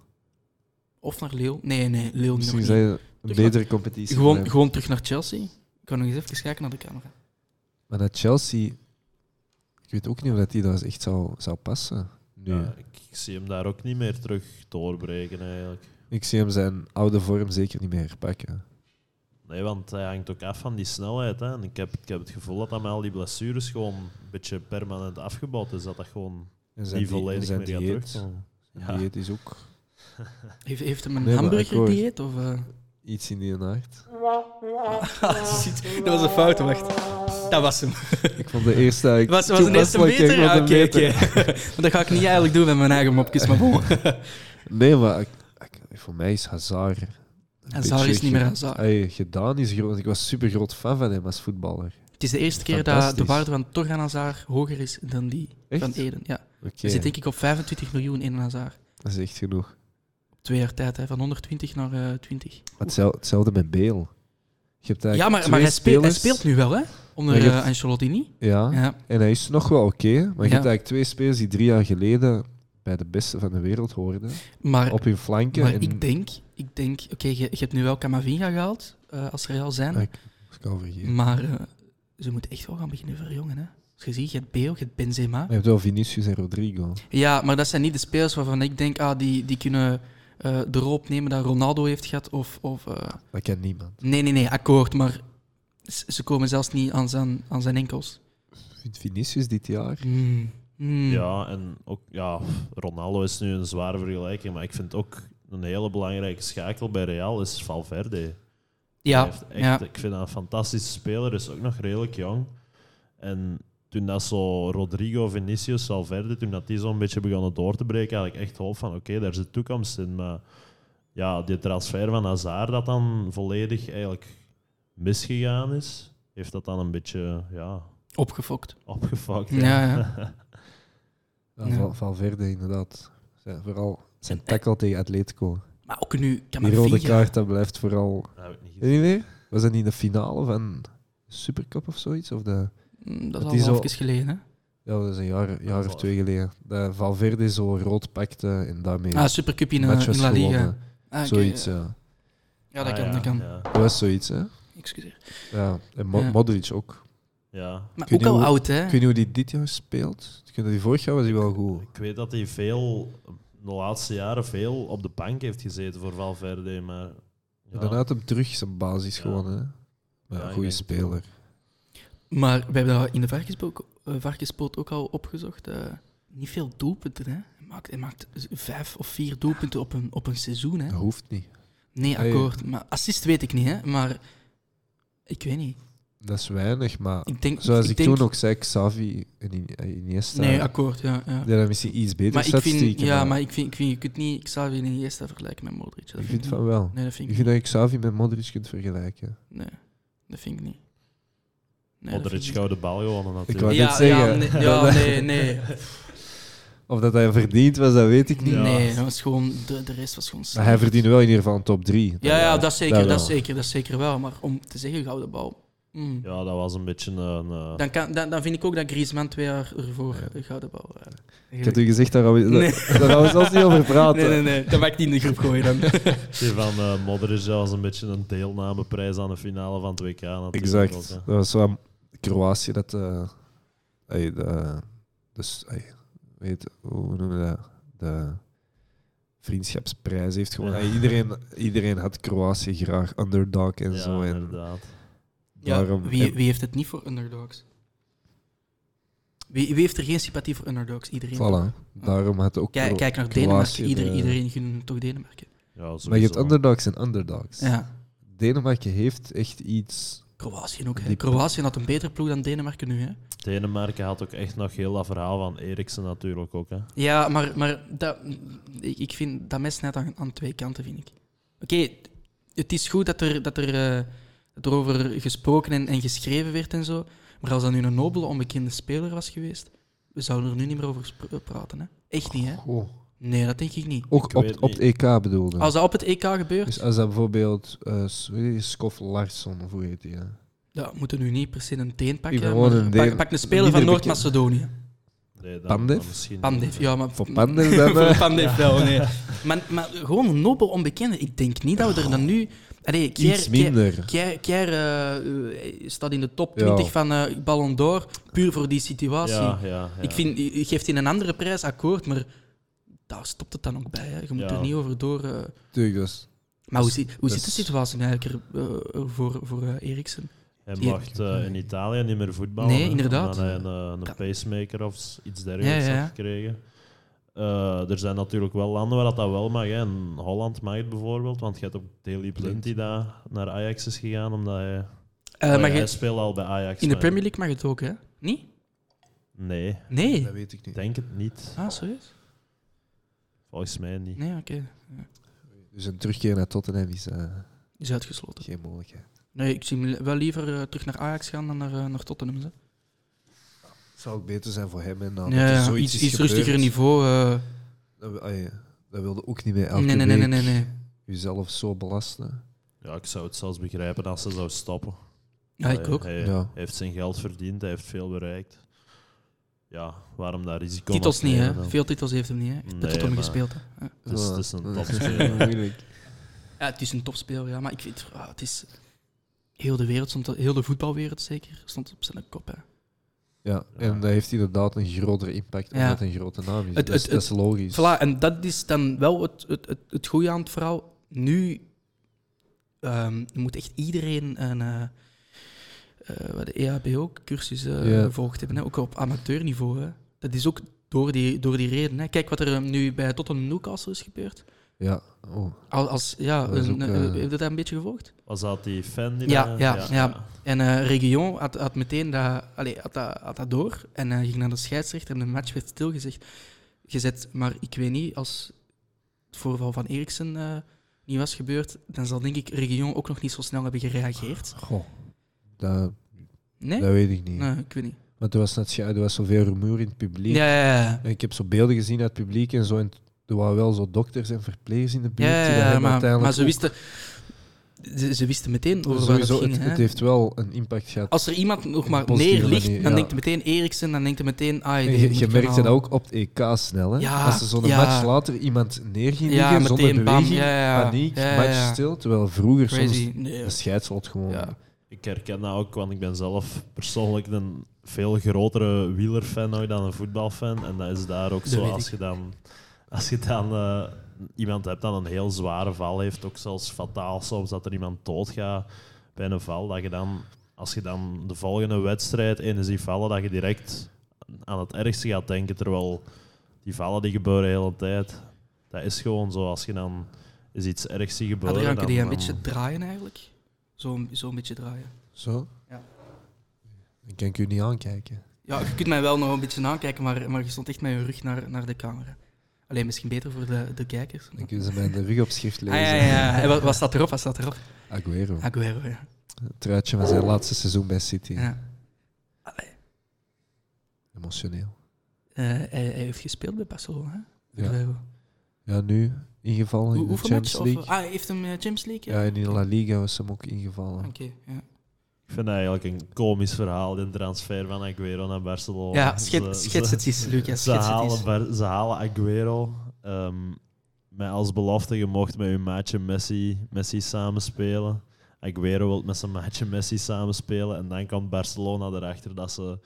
A: Of naar Lille. Nee, nee, Lille nog
B: Misschien
A: niet.
B: zijn een
A: Terug
B: betere competitie. voor
A: Gewoon,
B: hem.
A: gewoon terug naar Chelsea. Ik kan nog eens even kijken naar de camera.
B: Maar dat Chelsea, ik weet ook niet of dat die daar echt zou, zou passen. nu.
C: Ja, ik, ik zie hem daar ook niet meer terug doorbreken eigenlijk.
B: Ik zie hem zijn oude vorm zeker niet meer herpakken.
C: Nee, want hij hangt ook af van die snelheid. Hè. En ik, heb, ik heb het gevoel dat dat met al die blessures gewoon een beetje permanent afgebouwd is. Dat dat gewoon
B: En
C: niet volledig
B: en
C: meer gaat
B: dieet,
C: terugkomen.
B: zijn dieet is ook
A: Heeft, heeft hem een
B: Nee, maar
A: hamburgerdieet? Of, eh? [LAUGHS]
B: iets in die nacht.
A: Ziet, dat was een fout, wacht. Dat was hem.
B: Ik vond de eerste eigenlijk
A: [LAUGHS] Was, was een eerste
B: toepasselijk,
A: beter?
B: ik vond
A: Ja,
B: hem
A: oké,
B: beter.
A: oké. [LAUGHS] Want dat ga ik niet eigenlijk doen met mijn eigen mopjes, maar
B: [LAUGHS]
A: bon.
B: Nee, maar ik, ik- voor mij is Hazard... een
A: Hazard
B: beetje
A: is niet meer
B: ge-
A: Hazard.
B: Ey, gedaan is groot. want Ik was super groot fan van hem als voetballer.
A: Het is de eerste keer dat de
B: Fantastisch.
A: waarde van Torgan Hazard hoger is dan die van
B: Echt?
A: Eden. Ja.
B: Oké,
A: Hij zit denk ik op 25 miljoen in Hazard.
B: dat is echt genoeg.
A: Op twee jaar tijd, hè, van 120 naar eh, 20.
B: Maar hetzelfde, hetzelfde met Bale. Je hebt eigenlijk
A: Ja, maar, maar
B: twee
A: hij, speelt, hij
B: spelers-
A: speelt nu wel, hè? Onder
B: Maar je
A: eh,
B: hebt-
A: Ancelotti niet.
B: Ja,
A: Ja.
B: en hij is nog wel oké. maar je hebt
A: Ja.
B: eigenlijk twee spelers die drie jaar geleden bij de beste van de wereld hoorden.
A: Maar,
B: Op hun flanken.
A: maar
B: en
A: ik denk, ik denk oké, je, je hebt nu wel Camavinga gehaald, eh, als Real zijn.
B: Ah, ik- dat kan ik vergeten.
A: Maar eh, ze moeten echt wel gaan beginnen verjongen, hè? Als je ziet, je hebt Beel, je hebt Benzema.
B: Maar je hebt wel Vinicius en Rodrigo.
A: Ja, maar dat zijn niet de spelers waarvan ik denk, ah, die, die kunnen eh, de rol opnemen dat Ronaldo heeft gehad. Of, of, eh,
B: Dat kent niemand.
A: Nee, nee, nee, akkoord. Maar s- ze komen zelfs niet aan zijn, aan zijn enkels.
B: Vindt Vinicius dit jaar?
A: Hmm. Hmm.
C: Ja, en ook, ja, Ronaldo is nu een zware vergelijking, maar ik vind ook een hele belangrijke schakel bij Real is Valverde. Hij
A: ja.
C: heeft echt-
A: ja.
C: Ik vind dat een fantastische speler, is ook nog redelijk jong. En toen dat zo Rodrigo, Vinicius, Valverde, toen dat die zo'n beetje begonnen door te breken, had ik echt hoop van oké, daar zit toekomst in. Maar ja, die transfer van Hazard dat dan volledig eigenlijk misgegaan is, heeft dat dan een beetje ja,
A: Opgefokt.
C: opgefokt.
A: Ja,
B: Ja,
A: Ja.
B: Val- Valverde inderdaad. Zijn, vooral zijn tackle tegen Atletico.
A: Maar ook nu,
B: Die rode
A: Camavinga.
B: kaart, dat blijft vooral...
C: [LAUGHS] Dat heb ik niet gezien.
B: Weet je niet meer? Was dat niet de finale van de Supercup of zoiets? Of de...
A: Hmm, Dat
B: Het
A: is al
B: is
A: wel
B: al-
A: even geleden, hè?
B: Ja, dat is een jaar, jaar of
C: wel-
B: twee geleden. Dat Valverde zo rood pakte en daarmee
A: Ah, Supercup in, eh,
B: match was
A: in La Liga.
B: gewonnen.
A: Ah, oké,
B: Zoiets, eh.
A: ja.
B: ja.
A: Ja, dat
C: Ah,
A: kan, dat kan.
C: Ja,
B: Dat was zoiets, hè?
A: Excuseer.
B: Ja. En Mo-
A: Ja.
B: Modric ook.
C: ja.
A: Maar
B: Kun
A: ook
B: je
A: al
B: hoe-
A: oud, hè?
B: Ik weet niet hoe die dit jaar speelt. Ik vind dat die vorig jaar was hij wel goed.
C: Ik weet dat hij veel, de laatste jaren veel op de bank heeft gezeten voor Valverde, maar... ja.
B: En dan had hem terug zijn basis
C: Ja.
B: gewoon, hè? Maar
C: Ja, ik
B: goede
C: denk het wel.
B: speler.
A: Maar we hebben dat in de varkenspoot, eh, varkenspoot ook al opgezocht. eh, niet veel doelpunten, hè? Hij maakt, hij maakt vijf of vier doelpunten op een, op een seizoen, hè?
B: Dat hoeft niet.
A: Nee,
B: Hey.
A: akkoord. Maar assist weet ik niet, hè? Maar ik weet niet.
B: Dat is weinig, maar
A: Ik denk,
B: zoals ik,
A: denk,
B: toen ook zei, Xavi en In- en Iniesta,
A: Nee,
B: nee,
A: akkoord, ja. ja.
B: die hebben misschien iets beter
A: Maar ik
B: statistieken.
A: vind, ja, maar ik vind, ik vind, je kunt niet Xavi en Iniesta vergelijken met Modric. Dat
B: ik vind
A: ik niet.
B: van wel.
A: Nee, dat vind
B: Ik
A: ik
B: vind dat je Xavi met Modric kunt vergelijken.
A: Nee, dat vind ik niet. Nee, dat
C: Modric
A: vind ik
C: gouden bal gewonnen
B: Ik wou
C: natuurlijk.
A: niet.
B: net
A: Ja, ja,
B: zeggen.
A: nee,
B: [LAUGHS]
A: ja, nee, nee.
B: Of dat hij verdiend was, dat weet ik niet.
C: Ja.
A: Nee, dat was gewoon, de, de rest was gewoon...
B: Maar
A: slecht.
B: hij verdiende wel in ieder geval een top 3.
A: Ja, ja, dat zeker, dat,
B: wel.
A: zeker, dat zeker wel. Maar om te zeggen gouden bal... mm.
C: Ja, dat was een beetje een... eh,
A: Dan, kan, dan, dan vind ik ook dat Griezmann twee jaar ervoor een gouden bal... eh,
B: Ik had u gezegd, daar gaan we,
A: Nee.
B: [LAUGHS] daar gaan we zelfs niet over praten.
A: Nee, nee, nee, dat mag ik niet in de groep gooien dan.
B: [LAUGHS]
C: die van eh, Modric dat was een beetje een deelnameprijs aan de finale van het WK natuurlijk.
B: Exact.
C: ook, hè.
B: Dat was wel Kroatië dat... eh ey, de, dus, ey, weet, hoe noemen we dat? De vriendschapsprijs heeft gewoon...
C: Ja.
B: Ey, iedereen, iedereen had Kroatië graag, underdog en
C: Ja,
B: zo. En
C: inderdaad.
A: Ja,
B: daarom,
A: wie,
B: en-
A: wie heeft het niet voor underdogs? Wie, wie heeft er geen sympathie voor underdogs? Iedereen.
B: voilà, daarom had ook...
A: Kijk,
B: Kro-
A: kijk naar
B: Kroatië
A: Denemarken. Ieder,
B: de-
A: Iedereen gun toch Denemarken.
C: Ja, sowieso.
B: Maar je hebt underdogs en underdogs.
A: Ja.
B: Denemarken heeft echt iets...
A: Kroatië ook. Hè.
B: Die-
A: Kroatië had een betere ploeg dan Denemarken nu. Hè.
C: Denemarken had ook echt nog heel dat verhaal van Eriksen natuurlijk ook. Hè.
A: Ja, maar, maar dat, ik, ik vind dat mes net aan, aan twee kanten, vind ik. Oké, het is goed dat er, dat, er, eh, dat er over gesproken en, en geschreven werd en zo. Maar als dat nu een nobele, onbekende speler was geweest, we zouden er nu niet meer over spra- praten. Hè. Echt niet, hè?
B: Goh.
A: Nee, dat denk ik niet.
B: Ook
C: Ik
B: op,
C: weet
B: op
C: niet.
B: het EK bedoelde.
A: Als dat op het EK gebeurt,
B: Dus als dat bijvoorbeeld eh, s- hoe heet die? Skof Larsson, of hoe heet die? hè?
A: ja, we moeten nu niet per se een teen
B: Ik ben
A: pakken.
B: gewoon
A: maar
B: een
A: pak,
B: Deen.
A: pak een speler van
B: Minder
A: Noord-Macedonië.
C: Nee, dan,
B: Pandev?
C: dan misschien-
A: Pandev, ja, maar...
B: Voor Pandev dan,
A: [LAUGHS] Voor
B: eh.
A: Pandev wel, nee. Maar, maar gewoon een nobel onbekende. Ik denk niet dat we er dan nu Allee, Kier,
B: Iets
A: Kier-
B: minder.
A: Kier, Kier, eh, eh, staat in de top
B: Ja.
A: 20 van eh, Ballon d'Or, puur voor die situatie.
C: Ja, ja, ja.
A: Ik vind, je je geeft in een andere prijs akkoord, maar daar stopt het dan ook bij. Hè. Je moet
C: Ja.
A: er niet over door. eh.
B: Tuurlijk, dus.
A: Maar hoe,
B: Dus-
A: zi- hoe zit de
B: dus-
A: situatie nu eigenlijk er, eh, er voor, voor eh, Eriksen?
C: Hij
A: Ja.
C: mag eh, in Italië niet meer voetballen.
A: Nee,
C: hè,
A: inderdaad.
C: Omdat hij een, eh, een
A: Kan-
C: pacemaker of iets dergelijks
A: Ja, ja, ja.
C: had gekregen. Eh, er zijn natuurlijk wel landen waar dat wel mag. Hè. In Holland mag het bijvoorbeeld, want je hebt ook Daley Blind die daar naar Ajax is gegaan. Omdat hij,
A: Eh,
B: Oh,
C: maar
A: maar
C: hij
A: je-
C: speelde al bij Ajax.
A: in de
C: maar-
A: Premier League mag het ook, hè? Niet?
C: Nee,
A: Nee.
B: Dat weet ik
C: ik
B: niet.
C: denk het niet.
A: Ah, serieus?
C: Volgens mij niet.
A: Nee, oké.
B: Dus een terugkeer naar Tottenham is eh,
A: Is uitgesloten.
B: geen mogelijkheid.
A: Nee, ik zie hem li- wel liever eh, terug naar Ajax gaan dan naar, eh, naar Tottenham. Hè.
B: Zou ook beter zijn voor hem. En dan
A: Ja,
B: er
A: ja,
B: zoiets
A: iets,
B: is
A: iets
B: gebeurd,
A: rustiger niveau. eh.
B: Dat, wil- ah, ja, dat wilde ook niet meer elke
A: nee, nee, nee, nee, nee,
B: week
A: nee.
B: jezelf zo belasten.
C: Ja, ik zou het zelfs begrijpen als ze zou stoppen.
A: Ja, ik
C: Hij-
A: ook.
C: Hij,
B: Ja.
C: heeft zijn geld verdiend, hij heeft veel bereikt. Ja, waarom daar risico
A: Titels
C: op
A: niet, hè?
C: nemen dan?
A: Veel titels heeft hem niet, hè? Hij heeft bij
C: Nee,
A: Tottenham
C: maar-
A: gespeeld. Hè? Ja.
C: Het is, het is een
B: [LAUGHS] Dat
C: topspeler.
B: moeilijk.
A: Ja, het is een topspeler, ja, maar ik vind, ah, het is heel de wereld, stond, heel de voetbalwereld zeker, stond op zijn kop. Hè.
B: Ja,
C: Ja.
B: en dat heeft inderdaad een grotere impact
A: Ja.
B: omdat het een grote naam is.
A: Het-
B: dat, is
A: het-
B: dat is logisch.
A: Voilà, en dat is dan wel het, het, het, het goede aan het verhaal. Nu ehm, moet echt iedereen een eh, eh, wat de EHBO-cursus eh,
B: Ja.
A: gevolgd hebben, hè? ook op amateurniveau. Hè. Dat is ook door die, door die reden. Hè. Kijk wat er eh, nu bij Tottenham Newcastle is gebeurd.
B: Ja, oh,
A: Als, als, ja,
B: Dat is
A: een,
B: ook,
A: eh,
B: eh,
A: heb je dat een beetje gevolgd?
C: Was dat die fan die
A: Ja,
C: daar-
A: ja, ja. En eh Region had, had meteen dat, allee, had dat, had dat door en eh, ging naar de scheidsrechter en de match werd stilgezegd. Gezet. Maar ik weet niet, als het voorval van Eriksen eh, niet was gebeurd, dan zal denk ik Region ook nog niet zo snel hebben gereageerd.
B: goh, dat,
A: Nee?
B: dat weet ik niet.
A: Nee, ik weet niet.
B: Want er was, net, ja, er was zoveel rumoer in het publiek.
A: Ja, ja, ja.
B: En ik heb zo beelden gezien uit het publiek en zo. En er waren wel zo dokters en verplegers in de buurt.
A: Ja,
B: die dat
A: ja,
B: hem
A: maar,
B: uiteindelijk
A: maar ze
B: ook-
A: wisten... Ze, ze wisten meteen over waar het
B: Sowieso,
A: ging.
B: het,
A: hè.
B: het heeft wel een impact gehad.
A: Als er iemand nog maar
B: positieve
A: neer ligt,
B: manier,
A: dan
B: ja.
A: denkt hij meteen Eriksen, dan denkt hij meteen... Ah,
B: En
A: die
B: je
A: moet
B: je
A: ik
B: merkte
A: gaan
B: dat ook op het EK snel. Hè?
A: Ja,
B: Als er zo'n
A: ja.
B: match later iemand neer ging
A: Ja,
B: liggen zonder
A: meteen, bam,
B: beweging,
A: ja, ja.
B: paniek,
A: Ja, ja,
B: match
A: ja.
B: stil. Terwijl vroeger
A: halen. Crazy.
B: soms
A: Nee.
B: een scheidslot gewoon.
A: Ja.
C: Ik herken dat ook, want ik ben zelf persoonlijk een veel grotere wielerfan ooit dan een voetbalfan. En dat is daar ook
A: Dat
C: zo.
A: weet
C: Als
A: ik.
C: je dan, als je dan eh, iemand hebt dat een heel zware val heeft, ook zelfs fataal soms dat er iemand doodgaat bij een val, dat je dan, als je dan de volgende wedstrijd in ziet vallen, dat je direct aan het ergste gaat denken. Terwijl die vallen die gebeuren de hele tijd. Dat is gewoon zo. Als je dan is iets ergs ziet gebeuren.
A: Adriaan, kun
C: dan-
A: je een
C: dan-
A: beetje draaien eigenlijk? Zo'n zo'n beetje draaien.
B: Zo?
A: Ja.
B: Dan kan ik u niet aankijken.
A: Ja, je kunt mij wel nog een beetje aankijken, maar, maar je stond echt met je rug naar, naar de camera. Alleen misschien beter voor de, de kijkers.
B: Dan kunnen ze mijn rug op schrift
A: Ah,
B: lezen.
A: ja, ja. Hey, Wat, wat staat erop? Wat staat erop?
B: Aguero.
A: Aguero, ja.
B: Het truitje van zijn laatste seizoen bij City.
A: ja. Allee,
B: Emotioneel.
A: eh, hij, hij heeft gespeeld bij Barcelona. hè?
B: Ja.
A: Aguero.
B: Ja, nu ingevallen
A: Hoe,
B: in de
A: hoeveel matches? Of,
B: Champions League.
A: ah, hij heeft hem eh, Champions League?
B: Ja, en in La Liga was hem ook ingevallen.
A: Oké, ja.
C: Ik vind dat eigenlijk een komisch verhaal, de transfer van Aguero naar Barcelona.
A: Ja,
C: Oh, Ze-
A: schet-
C: ze-
A: schets het eens, Lucas.
C: Ze
A: Schets het
C: halen,
A: eens.
C: Bar- ze halen Aguero ehm, met als belofte, je mocht met je maatje Messi, Messi samenspelen. Aguero wil met zijn maatje Messi samenspelen. En dan komt Barcelona erachter dat ze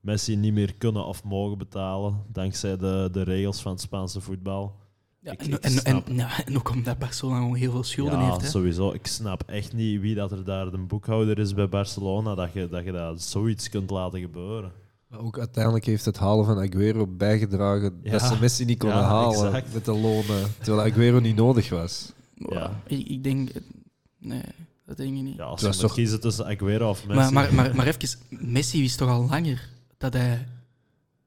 C: Messi niet meer kunnen of mogen betalen, dankzij de, de regels van het Spaanse voetbal.
A: Ja,
C: Ik-
A: en,
C: ik
A: en, en,
C: snap.
A: ja, en ook omdat Barcelona gewoon heel veel schulden
C: ja,
A: heeft. Hè?
C: sowieso. Ik snap echt niet wie dat er daar de boekhouder is bij Barcelona, dat je dat, je dat zoiets kunt laten gebeuren.
B: Maar ook uiteindelijk heeft het halen van Aguero bijgedragen
C: Ja.
B: dat ze Messi niet konden
C: Ja,
B: halen
C: exact.
B: met de lonen. Terwijl Aguero niet nodig was.
C: Ja.
A: Ik, ik denk... eh, Nee, dat denk ik niet.
C: Ja,
B: Het was
C: als je moet
B: toch-
C: kiezen tussen Aguero of Messi.
A: Maar, maar, maar, maar even, Messi wist toch al langer dat hij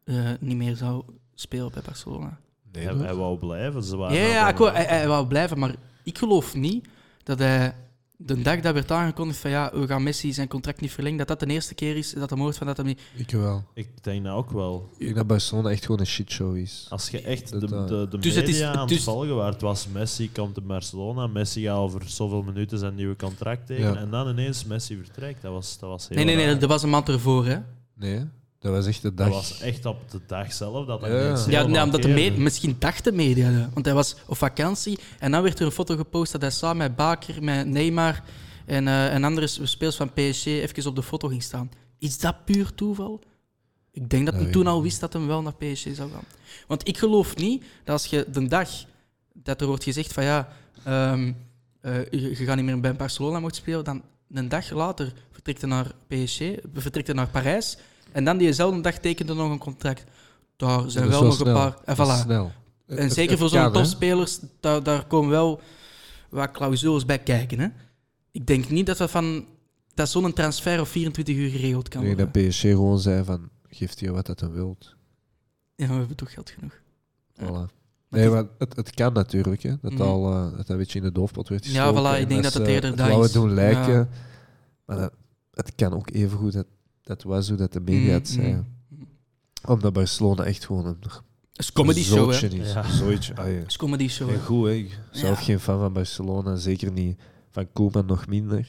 A: eh, niet meer zou spelen bij Barcelona.
B: Nee,
C: hij,
B: hoor.
C: hij wou blijven. Ze
A: Ja,
C: waren
A: ja,
C: aan het-
A: akkoord, hij, hij wou eh, blijven, maar ik geloof niet dat hij de dag dat werd aangekondigd van ja, we gaan Messi zijn contract niet verlengen, dat dat de eerste keer is dat hem hoort van dat hem niet...
B: ik wel.
C: Ik denk nou ook wel.
B: Ik denk dat Barcelona echt gewoon een shitshow is.
C: Als je echt de,
B: Dat, eh,
C: de, de
A: Dus
C: media
A: het is-
C: aan
A: dus-
C: het volgen waard was, Messi komt te Barcelona, Messi gaat over zoveel minuten zijn nieuwe contract tekenen
B: Ja.
C: en dan ineens Messi vertrekt. Dat was, dat was heel
A: Nee, nee, nee,
C: raar.
A: dat was een maand ervoor, hè.
B: Nee, hè? Dat was echt de dag.
C: Dat was echt op de dag zelf dat dat
B: Ja.
C: mensen
A: Ja,
C: helemaal
A: ja, omdat de me-
C: keerden.
A: misschien dacht de media dat. Want hij was op vakantie en dan werd er een foto gepost dat hij samen met Baker, met Neymar en, eh, en andere s- speels van PSG even op de foto ging staan. Is dat puur toeval? Ik denk dat
B: Dat
A: hij
B: weet
A: toen
B: ik
A: al
B: niet.
A: wist dat hij wel naar PSG zou gaan. Want ik geloof niet dat als je de dag dat er wordt gezegd van ja, ehm, eh, je, je gaat niet meer bij Barcelona mocht spelen, dan een dag later vertrekt hij naar PSG, vertrekt hij naar Parijs en dan diezelfde dag tekende nog een contract. Daar zijn
B: Dat
A: wel
B: is zo
A: nog
B: snel.
A: een paar. En
B: Dat is
A: voilà.
B: Snel.
A: En zeker voor zo'n
B: kan, hè.
A: topspelers, daar, daar komen wel wat clausules bij kijken. Hè? Ik denk niet dat, dat, van- dat zo'n transfer op 24 uur geregeld kan
B: Ik denk
A: worden.
B: dat PSG gewoon zei van, geef je wat dat dan wilt.
A: Ja, we hebben toch geld genoeg. Ja.
B: Voilà.
A: Maar
B: Nee,
A: het
B: maar het, het kan natuurlijk, hè. Dat,
A: Mhm.
B: al, eh, dat dat een beetje in de doofpot werd
A: Ja,
B: gestoken.
A: voilà, ik
B: en
A: denk dat het
B: ze
A: eerder dat
B: wou
A: is.
B: doen lijken.
A: Ja.
B: Maar dat, het kan ook evengoed dat dat was hoe dat de media het
A: Mm,
B: zei.
A: mm.
B: Omdat Barcelona echt gewoon een
A: is comedy show, hè?
B: zootje
A: Het
B: is.
C: Ja.
B: Zootje, ah, ja.
A: is comedy show.
B: En
A: hè.
B: goed, hè. Ik Zelf
A: Ja.
B: geen fan van Barcelona. Zeker niet van Koeman, nog minder.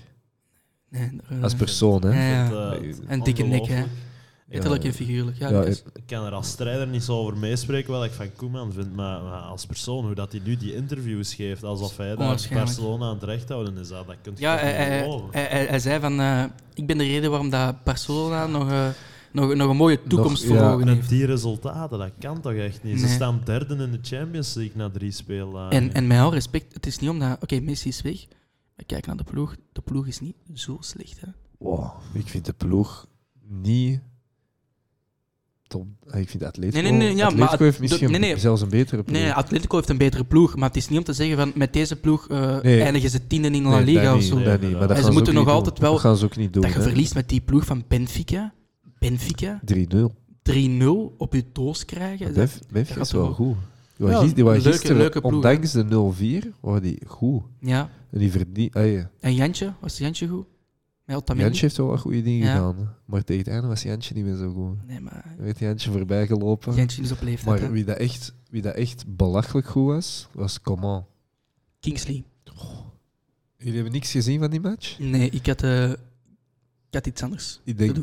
A: Nee, daar-
B: Als persoon, hè.
A: Ja, ja.
C: Dat, eh,
B: En
A: En dikke nek, hè?
C: ongelooflijk.
A: Letterlijk
B: Ja.
A: en figuurlijk. Ja,
B: Ja,
A: Lucas.
C: Ik kan er als strijder niet zo over meespreken wat ik van Koeman vind, maar, maar als persoon, hoe dat hij nu die interviews geeft, alsof hij daar
A: Onwaarschijnlijk.
C: Barcelona aan het recht houden is, dat, dat kunt je
A: Ja,
C: toch
A: hij,
C: niet
A: hij-
C: geloven.
A: hij- hij- hij zei van... eh, ik ben de reden waarom dat Barcelona nog, eh, nog, nog een mooie toekomst
B: Nog-
A: voor
B: ja.
A: ogen
C: Met
A: heeft.
C: die resultaten, dat kan toch echt niet? Ze
A: Nee.
C: staan derde in de Champions League na drie speeldagen.
A: En, en met al respect, het is niet omdat... Oké, Messi is weg. Maar kijk naar de ploeg. De ploeg is niet zo slecht, hè?
B: Wow, ik vind de ploeg niet top. Ah, Ik vind Atletico,
A: Nee, nee, nee, ja, maar
B: Atletico heeft
A: de-
B: misschien
A: nee, nee.
B: zelfs een betere ploeg.
A: Nee, nee, Atletico heeft een betere ploeg. Maar het is niet om te zeggen van... Met deze ploeg eh,
B: Nee.
A: eindigen ze tiende in La
B: Nee,
A: Liga
B: dat
A: of
B: niet,
A: zo.
B: dat
C: Nee,
B: niet, maar
C: En
B: dat
A: ze
B: gaan
A: moeten
B: ook
A: nog
B: niet
A: altijd
B: doen.
A: wel-
B: Dat gaan ze ook niet doen.
A: Dat je
B: hè.
A: verliest met die ploeg van Benfica. Benfica.
B: 3-0.
A: 3-0 op je doos krijgen. Dat-
B: Benf- Benfica
A: gaat
B: is wel
A: toch-
B: goed. Die
A: Ja,
B: waren gis- die waren
A: leuke-
B: gisteren,
A: leuke ploeg,
B: ondanks de 0-4, waren die goed.
A: ja.
B: En die verdien... Ah, ja.
A: En Jantje? Was Jantje goed? Met Otamendi?
B: Jantje heeft wel wat goede dingen
A: Ja.
B: gedaan. Maar tegen het einde was Jantje niet meer zo goed.
A: Nee, maar...
B: Dan werd Jantje voorbij gelopen.
A: Jantje is op leeftijd,
B: Maar
A: hè.
B: wie dat, echt, wie dat echt belachelijk goed was, was Coman.
A: Kingsley.
B: Jullie hebben niks gezien van die match?
A: Nee, ik had, eh, ik had iets anders.
B: Ik denk,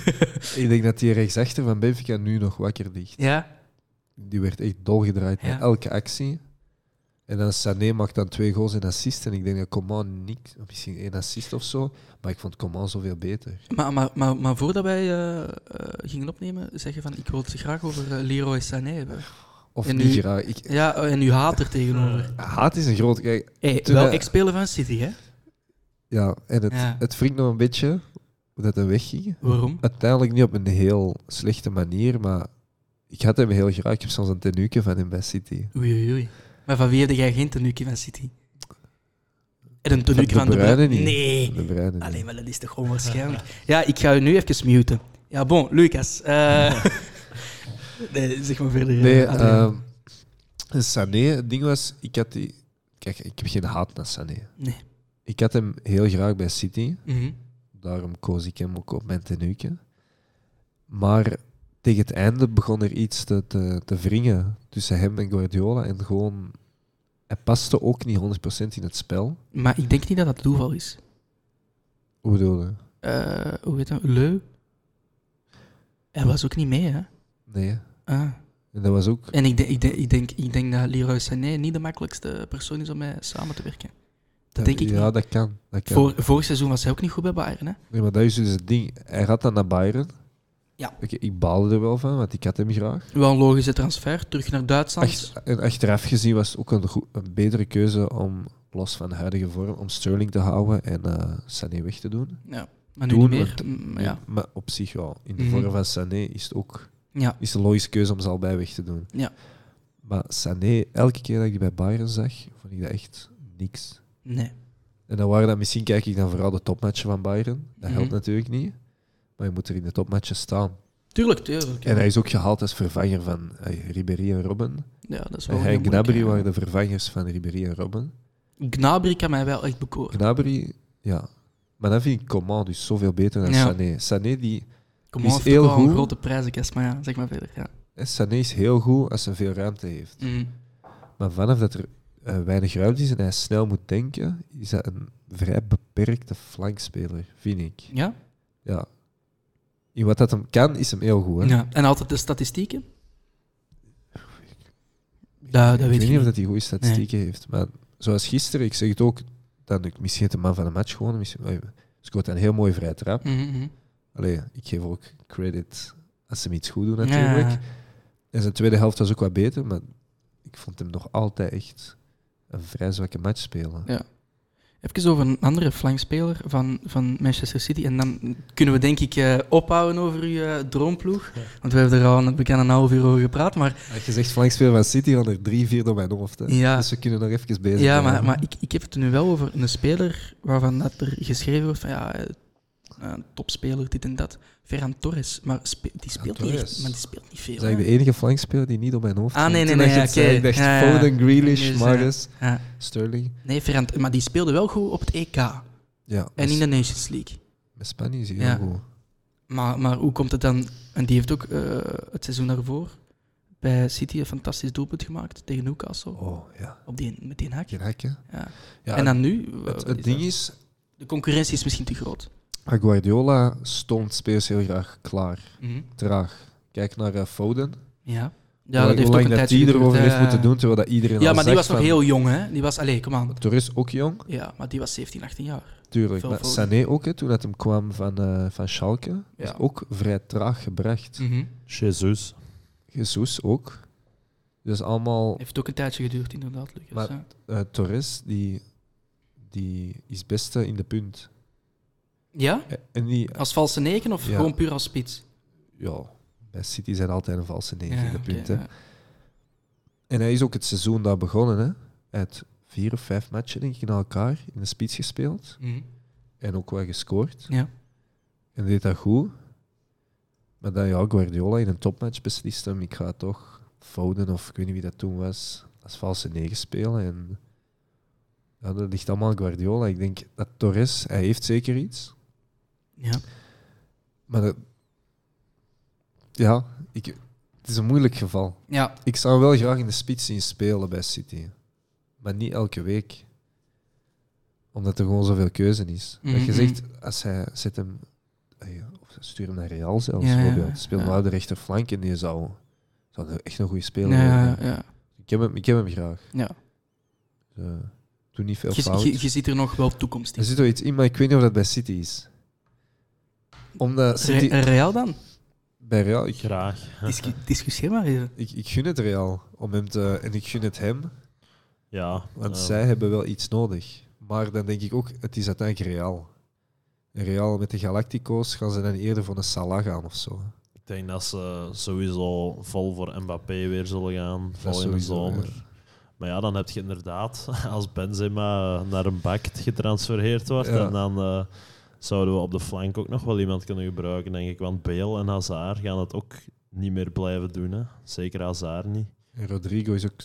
B: [LAUGHS] ik denk dat die rechtsachter van Benfica nu nog wakker ligt.
A: ja?
B: Die werd echt dolgedraaid
A: Ja.
B: met elke actie. En dan Sané maakt dan twee goals en assist. En ik denk dat Coman niks, of misschien één assist of zo. Maar ik vond Coman zoveel beter.
A: Maar, maar, maar, maar voordat wij eh, eh, gingen opnemen, zeg je van ik wil het graag over eh, Leroy Sané hebben.
B: Of
A: En
B: niet
A: nu-
B: graag. Ik,
A: Ja, eh, en uw haat er
B: Eh,
A: tegenover.
B: haat is een groot... Kijk,
A: Hey,
B: Toen
A: wel
B: hij-
A: ex-speler van City, hè?
B: ja, en eh, het,
A: Ja.
B: het wringt nog een beetje hoe dat hij wegging.
A: Waarom?
B: Uiteindelijk niet op een heel slechte manier, maar ik had hem heel graag. Ik heb soms een tenuke van hem bij City.
A: Oei, oei, oei. Maar van wie heb jij geen tenuukje van City? En een
B: Van
A: tenuukje
B: De
A: van de
B: Bruyne
A: Bruyne?
B: niet.
A: Nee.
B: De Bruyne niet.
A: Alleen maar dat is toch onwaarschijnlijk. Ja, ik ga u nu even muten. Ja, bon, Lucas.
B: [LAUGHS]
A: eh, [LAUGHS] nee, zeg maar verder. eh,
B: Nee,
A: Adriaan.
B: ehm Sané, het ding was, ik had die... Kijk, ik heb geen haat naar Sané.
A: nee.
B: Ik had hem heel graag bij City.
A: Mhm.
B: Daarom koos ik hem ook op mijn tenuke. Maar tegen het einde begon er iets te, te, te wringen tussen hem en Guardiola. En gewoon... Hij paste ook niet 100% in het spel.
A: Maar ik denk niet dat dat toeval is.
B: Hoe bedoel je?
A: Eh, hoe heet dat? Leu? Hij was ook niet mee, hè?
B: Nee.
A: Ah.
B: En dat was ook...
A: En ik, denk- ik, denk- ik, denk, ik denk dat Leroy Sané niet de makkelijkste persoon is om mee samen te werken. Dat denk ik
B: Ja,
A: niet.
B: dat kan. Dat kan.
A: Voor, vorig seizoen was hij ook niet goed bij Bayern, hè?
B: Nee, maar dat is dus het ding. Hij gaat dan naar Bayern.
A: Ja.
B: Oké, ik baalde er wel van, want ik had hem graag.
A: Wel een logische transfer, terug naar Duitsland.
B: Ach- en achteraf gezien was het ook een, goe- een betere keuze om, los van de huidige vorm, om Sterling te houden en eh Sané weg te doen.
A: Ja, maar nu
B: Doen,
A: niet meer.
B: want-
A: Mm, ja.
B: Maar op zich wel. In de
A: Mhm.
B: vorm van Sané is het ook
A: Ja.
B: is het een logische keuze om ze allebei weg te doen.
A: Ja.
B: Maar Sané, elke keer dat ik die bij Bayern zag, vond ik dat echt niks.
A: nee.
B: En dan waren dat, misschien kijk ik dan vooral de topmatchen van Bayern. Dat helpt
A: Mhm.
B: natuurlijk niet. Maar je moet er in de topmatchen staan.
A: Tuurlijk, tuurlijk. Ja,
B: En hij is ook gehaald als vervanger van eh, Ribéry en Robben.
A: Ja, dat is wel
B: En hij
A: heel
B: en
A: moeilijk,
B: Gnabry
A: hè.
B: waren de vervangers van Ribéry en Robben.
A: Gnabry kan mij wel echt bekoren.
B: Gnabry, ja. Maar dan vind ik Coman dus zoveel beter dan
A: Ja.
B: Sané. Sané, die,
A: Kom
B: Die
A: maar, heeft
B: is heel
A: heel wel
B: goed.
A: een grote prijzenkast, maar ja, zeg maar verder. Ja.
B: eh, Sané is heel goed als hij veel ruimte heeft.
A: Mm.
B: Maar vanaf dat er eh, weinig ruimte is en hij snel moet denken, is dat een vrij beperkte flankspeler, vind ik.
A: ja?
B: Ja. in wat dat hem kan, is hem heel goed. Hè?
A: Ja. En altijd de statistieken. Dat, dat
B: ik
A: weet
B: weet
A: ik
B: niet of
A: niet.
B: dat hij goede statistieken heeft. Maar zoals gisteren, ik zeg het ook, dan ik misschien heeft de man van de match gewonnen. Misschien hij scoort een heel mooi vrij trap.
A: Mhm, mhm.
B: Allee, ik geef ook credit als ze hem iets goed doen
A: Ja,
B: natuurlijk.
A: ja,
B: En zijn tweede helft was ook wat beter, maar ik vond hem nog altijd echt een vrij zwakke match spelen.
A: Ja. Even over een andere flankspeler van, van Manchester City. En dan kunnen we denk ik eh, ophouden over uw eh, droomploeg. Want we hebben er al een bekende een half uur over gepraat. Maar,
B: Had je zegt flankspeler van City, van er drie, vier door mijn hoofd. Hè.
A: Ja.
B: Dus we kunnen nog even bezig
A: ja, maar,
B: blijven.
A: maar ik, ik heb het nu wel over een speler waarvan dat er geschreven wordt van ja, eh, een topspeler, dit en dat. Ferran Torres. Maar spe- die speelt niet echt-
B: Torres.
A: maar die speelt niet veel.
B: Dat
A: hè.
B: is eigenlijk de enige flankspeler die niet op mijn hoofd
A: Ah,
B: kwam.
A: nee, nee,
B: Toen
A: nee,
B: dat je het
A: oké.
B: zei, Ik dacht
A: Ja, ja.
B: Foden,
A: Dus,
B: Grealish,
A: ja.
B: Mahrez,
A: Ja.
B: Sterling.
A: Nee, Ferran, maar die speelde wel goed op het EK
B: Ja,
A: en
B: met-
A: in de Nations League.
B: met Spanje is hij
A: Ja.
B: heel goed.
A: Maar, maar hoe komt het dan? En die heeft ook eh, het seizoen daarvoor bij City een fantastisch doelpunt gemaakt tegen Newcastle.
B: Oh, ja.
A: Op die, met die hak.
B: Geen hak, hè?
A: Ja.
B: Ja,
A: en dan nu? eh,
B: het,
A: wat
B: het
A: is
B: ding
A: dat?
B: is,
A: De concurrentie is misschien te groot.
B: Guardiola stond spelers heel graag klaar,
A: Mhm.
B: traag. Kijk naar eh, Foden.
A: Ja.
B: Hoe
A: Ja, dat heeft
B: lang
A: ook een
B: dat
A: tijdje
B: hij
A: geduurd,
B: erover
A: hè.
B: heeft moeten doen, terwijl dat iedereen
A: Ja,
B: al
A: maar die
B: zegt
A: was nog
B: van,
A: heel jong, hè? Die was, allee, kom aan.
B: Torres ook jong,
A: Ja, maar die was 17, 18 jaar.
B: tuurlijk.
A: Veel
B: Maar
A: Foden.
B: Sané ook, hè, toen dat hem kwam van, eh, van Schalke,
A: Ja. Mm.
B: was ook vrij traag gebracht.
A: Mhm.
C: Jezus.
B: Jesus ook. Dus allemaal
A: Heeft ook een tijdje geduurd, inderdaad, Lucas.
B: Maar-
A: ja.
B: eh, Torres, die, die is beste in de punt.
A: Ja?
B: Eh, En die,
A: Als valse negen of
B: Ja.
A: gewoon puur als spits?
B: ja, bij City zijn altijd een valse negen
A: Ja,
B: in de
A: oké,
B: punt. hè.
A: ja.
B: En hij is ook het seizoen daar begonnen, hè? Uit vier of vijf matchen, denk ik, na elkaar in de spits gespeeld.
A: Mhm.
B: En ook wel gescoord.
A: Ja.
B: En deed dat goed. Maar dan, ja, Guardiola in een topmatch beslist hem. Ik ga toch Foden of ik weet niet wie dat toen was, als valse negen spelen. En ja, dat ligt allemaal aan Guardiola. Ik denk dat Torres, hij heeft zeker iets.
A: Ja.
B: Maar dat, ja, ik, het is een moeilijk geval.
A: ja,
B: Ik zou hem wel graag in de spits zien spelen bij City. Maar niet elke week. Omdat er gewoon zoveel keuze is. Dat
A: Mhm.
B: je zegt, als hij zet hem... eh, Of stuur hem naar Real zelfs,
A: Ja, ja,
B: bijvoorbeeld. Speel
A: ja.
B: hem op de rechterflank en die zou, zou een- echt een goede speler
A: ja,
B: worden.
A: ja.
B: Ik heb hem, ik heb hem graag.
A: ja.
B: Dus, eh, doe niet veel
A: Je,
B: fout.
A: je, je ziet er nog wel toekomst
B: Er
A: in.
B: zit wel iets in, maar ik weet niet of dat bij City is. Omdat City...
A: Re- eh. Real
B: [LAUGHS]
A: dan?
B: bij Real... Ik,
C: Graag.
A: Discu- discussieer maar even.
B: ik, ik gun het Real. Om hem te, en ik gun het hem.
C: Ja.
B: Want
C: eh,
B: zij hebben wel iets nodig. Maar dan denk ik ook, het is uiteindelijk Real. En Real met de Galactico's gaan ze dan eerder voor een Salah gaan of zo.
C: Ik denk dat ze sowieso vol voor Mbappé weer zullen gaan. Vol in de
B: sowieso,
C: zomer.
B: ja.
C: Maar ja, dan heb je inderdaad, [LAUGHS] als Benzema eh, naar een bak getransfereerd wordt,
B: Ja.
C: en dan eh, zouden we op de flank ook nog wel iemand kunnen gebruiken, denk ik. Want Bale en Hazard gaan het ook niet meer blijven doen. Hè. Zeker Hazard niet.
B: En Rodrigo is ook.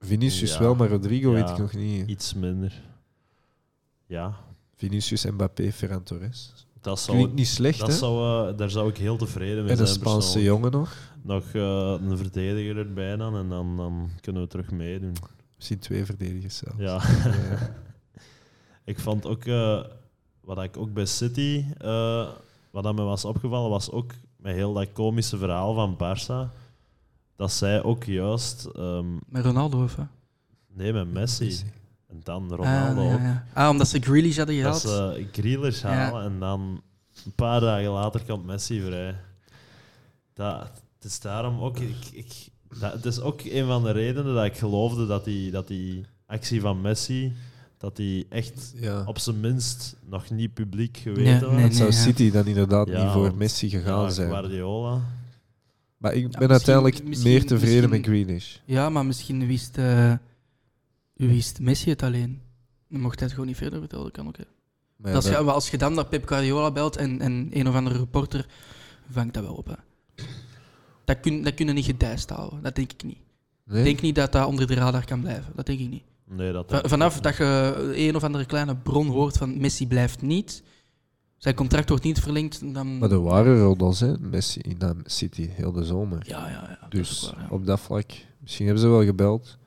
B: Vinicius
C: Ja.
B: wel, maar Rodrigo weet
C: Ja.
B: ik nog niet.
C: Iets minder. Ja,
B: Vinicius, Mbappé, Ferran Torres.
C: dat
B: Klinkt
C: zou,
B: niet slecht,
C: dat
B: hè?
C: zou, eh, daar zou ik heel tevreden mee
B: En een
C: zijn.
B: Spaanse
C: persoonlijk.
B: jongen nog.
C: Nog eh, een verdediger erbij dan, en dan, dan kunnen we terug meedoen.
B: Misschien twee verdedigers zelf.
C: Ja. [LAUGHS] Ik vond ook, eh, wat ik ook bij City, eh, wat aan me was opgevallen, was ook met heel dat komische verhaal van Barça, dat zij ook juist, ehm,
A: Met Ronaldo of hè?
C: nee, met Messi en dan Ronaldo
A: Ah, ja,
C: ook,
A: ja. Ah, omdat ze Grealish hadden
C: dat
A: gehaald.
B: eh,
C: ze grillers halen en dan een paar dagen later komt Messi vrij. Dat, het is daarom ook, ik, ik, dat, het is ook een van de redenen dat ik geloofde dat die, dat die actie van Messi, dat die echt
B: Ja.
C: op zijn minst nog niet publiek geweten
A: Nee,
C: was.
A: nee,
B: Het zou
A: ja.
B: City dan inderdaad
C: Ja,
B: niet voor
C: want-
B: Messi gegaan
C: Ja,
B: zijn.
C: Guardiola.
B: Maar ik ben
A: misschien-
B: uiteindelijk
A: misschien-
B: meer tevreden
A: misschien-
B: met Greenish.
A: Ja, maar misschien wist, eh, wist Messi het alleen. Dan mocht hij het gewoon niet verder vertellen, dat kan ook. hè.
B: Maar ja,
A: dat is,
B: dat-
A: maar als je dan naar Pep Guardiola belt en, en een of andere reporter vangt dat wel op. Hè. Dat kunnen dat kunnen niet gedijst houden, dat denk ik niet.
B: nee?
A: Ik denk niet dat dat onder de radar kan blijven, dat denk ik niet.
C: Nee, dat
A: Va- Vanaf dat je een of andere kleine bron hoort van Messi blijft niet, zijn contract wordt niet verlengd, dan...
B: Maar er waren roddels, hè? Messi in eh, City, heel de zomer.
A: Ja, ja, ja. dat is
B: Dus
A: ook waar, ja.
B: op dat vlak, misschien hebben ze wel gebeld.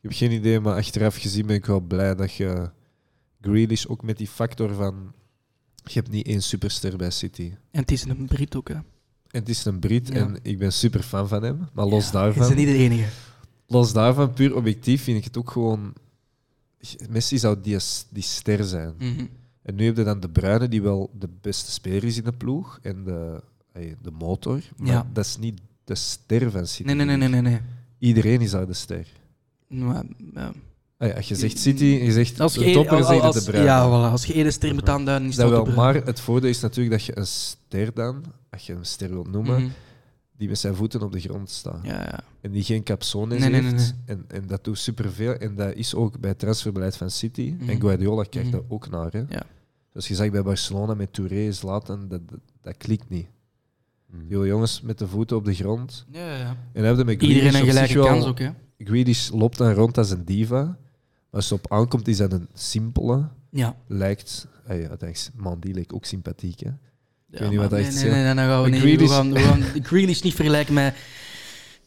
B: Ik heb geen idee, maar achteraf gezien ben ik wel blij dat je Grealish ook met die factor van Je hebt niet één superster bij City.
A: En het is een Brit ook, hè.
B: En het is een Brit
A: Ja.
B: en ik ben super fan van hem. Maar los
A: Ja, Is
B: daarvan,
A: hij niet de enige?
B: los daarvan, puur objectief, vind ik het ook gewoon... Messi zou die, die ster zijn.
A: Mhm.
B: En nu heb je dan De Bruyne, die wel de beste speler is in de ploeg. En de, ey, de motor. Maar
A: Ja.
B: dat is niet de ster van City.
A: Nee, nee, nee, nee, nee. nee.
B: Iedereen is daar de ster.
A: Maar, ja.
B: Ey, als je zegt City en je zegt
A: Mm. Als je
B: de
A: één-
B: topper, zeg je
A: als-
B: De Bruyne.
A: Ja, voilà. als je eerder ster moet aanduiden, is
B: dat
A: dat
B: wel,
A: de
B: maar het voordeel is natuurlijk dat je een ster dan, als je een ster wilt noemen,
A: Mhm.
B: die met zijn voeten op de grond staat.
A: Ja, ja.
B: En die geen capzone
A: Nee, nee,
B: heeft.
A: nee,
B: En, en dat doet superveel. En dat is ook bij het transferbeleid van City.
A: Mhm.
B: En Guardiola kijkt
A: Mhm.
B: daar ook naar. Hè.
A: Ja.
B: Zoals je zag bij Barcelona met Touré, Zlatan, dat, dat, dat klikt niet.
C: Mhm.
B: Heel jongens met de voeten op de grond.
A: Ja, ja, ja.
B: En hebben met
A: Iedereen een
B: Grealish op zich
A: gelijke
B: wel-
A: kans ook, hè.
B: Grealish loopt dan rond als een diva. Maar als het op aankomt, is dat een simpele.
A: Ja.
B: Lijkt, ah ja, uiteindelijk, man, die leek ook sympathiek. Hè.
A: Ik
B: weet niet wat dat
A: nee,
B: echt
A: nee,
B: zegt.
A: nee, nee, dan gaan we, nee,
B: Maar
A: we
B: Grealish-
A: gaan, we gaan Grealish niet vergelijken met,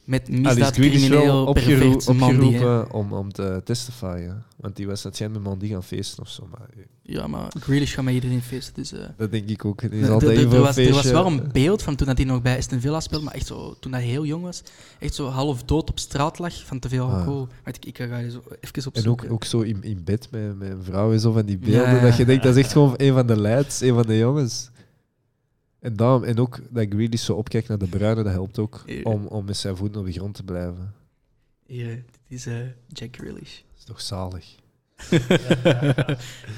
A: met
B: Al is
A: misdaad,
B: Grealish
A: crimineel,
B: wel opgero-
A: pervert, man die... hè.
B: opgeroepen om, om te testifyen. Want die was dat jij met Mandy gaan feesten of zo. Maar eh,
A: Ja, maar Grealish gaat met iedereen feesten, dus... eh,
B: dat denk ik ook. Die
A: Er-
B: is altijd
A: er- er
B: even een
A: was, er was
B: feestje.
A: wel een beeld van toen dat hij nog bij Aston Villa speelde, maar echt zo, toen hij heel jong was, echt zo half dood op straat lag van te veel
B: Ah.
A: alcohol. Maar ik, ik ga je zo even op
B: En ook, ook zo in, in bed met, met een vrouw en zo van die
A: Ja,
B: beelden.
A: ja.
B: Dat je denkt, dat is echt gewoon een van de leids, een van de jongens. En, daarom, en ook dat Grealish zo opkijkt naar de bruine, dat helpt ook
A: Ja.
B: om, om met zijn voeten op de grond te blijven.
A: Hier, eh, dit is eh, Jack
B: [LAUGHS]
A: Grealish.
B: Dat is toch zalig.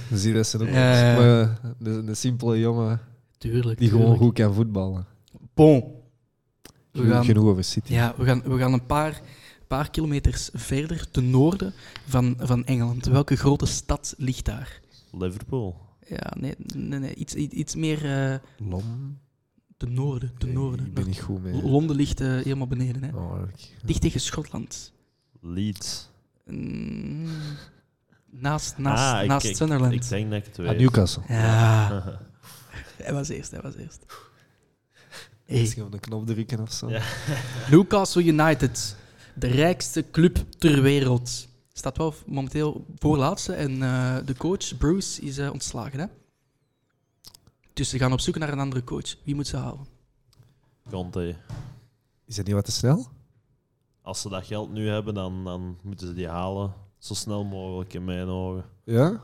B: Dan zie je dat ze ook
A: Ja, ja.
B: maar, eh, een, een simpele jongen
A: Tuurlijk.
B: die gewoon
A: tuurlijk.
B: goed kan voetballen.
A: Bon. We
B: Genoeg-
A: gaan,
B: Genoeg over City.
A: ja, we gaan, we gaan een paar, paar kilometers verder, ten noorden van, van Engeland. Welke grote stad ligt daar?
C: Liverpool.
A: Ja, nee, nee, nee iets, iets, iets meer eh,
B: Lom?
A: ten noorden. Ten
B: Ik-
A: noorden.
B: Ik ben niet goed mee.
A: Londen ligt eh, helemaal beneden, hè.
B: Oh, ik-
A: dicht tegen Schotland.
C: Leeds.
A: Mm, Naast, naast,
C: Ah, ik-
A: naast
C: ik-
A: Sunderland.
C: Ik denk dat ik het weet.
B: Ah, Newcastle.
A: ja, hij was eerst, hij was eerst. Hey,
B: Misschien op de knop drukken of zo.
C: Ja.
A: Newcastle United, de rijkste club ter wereld. Staat wel momenteel voorlaatste en eh, de coach, Bruce, is eh, ontslagen. Hè? Dus ze gaan op zoek naar een andere coach. Wie moet ze halen?
C: [LAUGHS] Conte.
B: Is dat niet wat te snel?
C: Als ze dat geld nu hebben, dan, dan moeten ze die halen. Zo snel mogelijk, in mijn ogen.
B: Ja.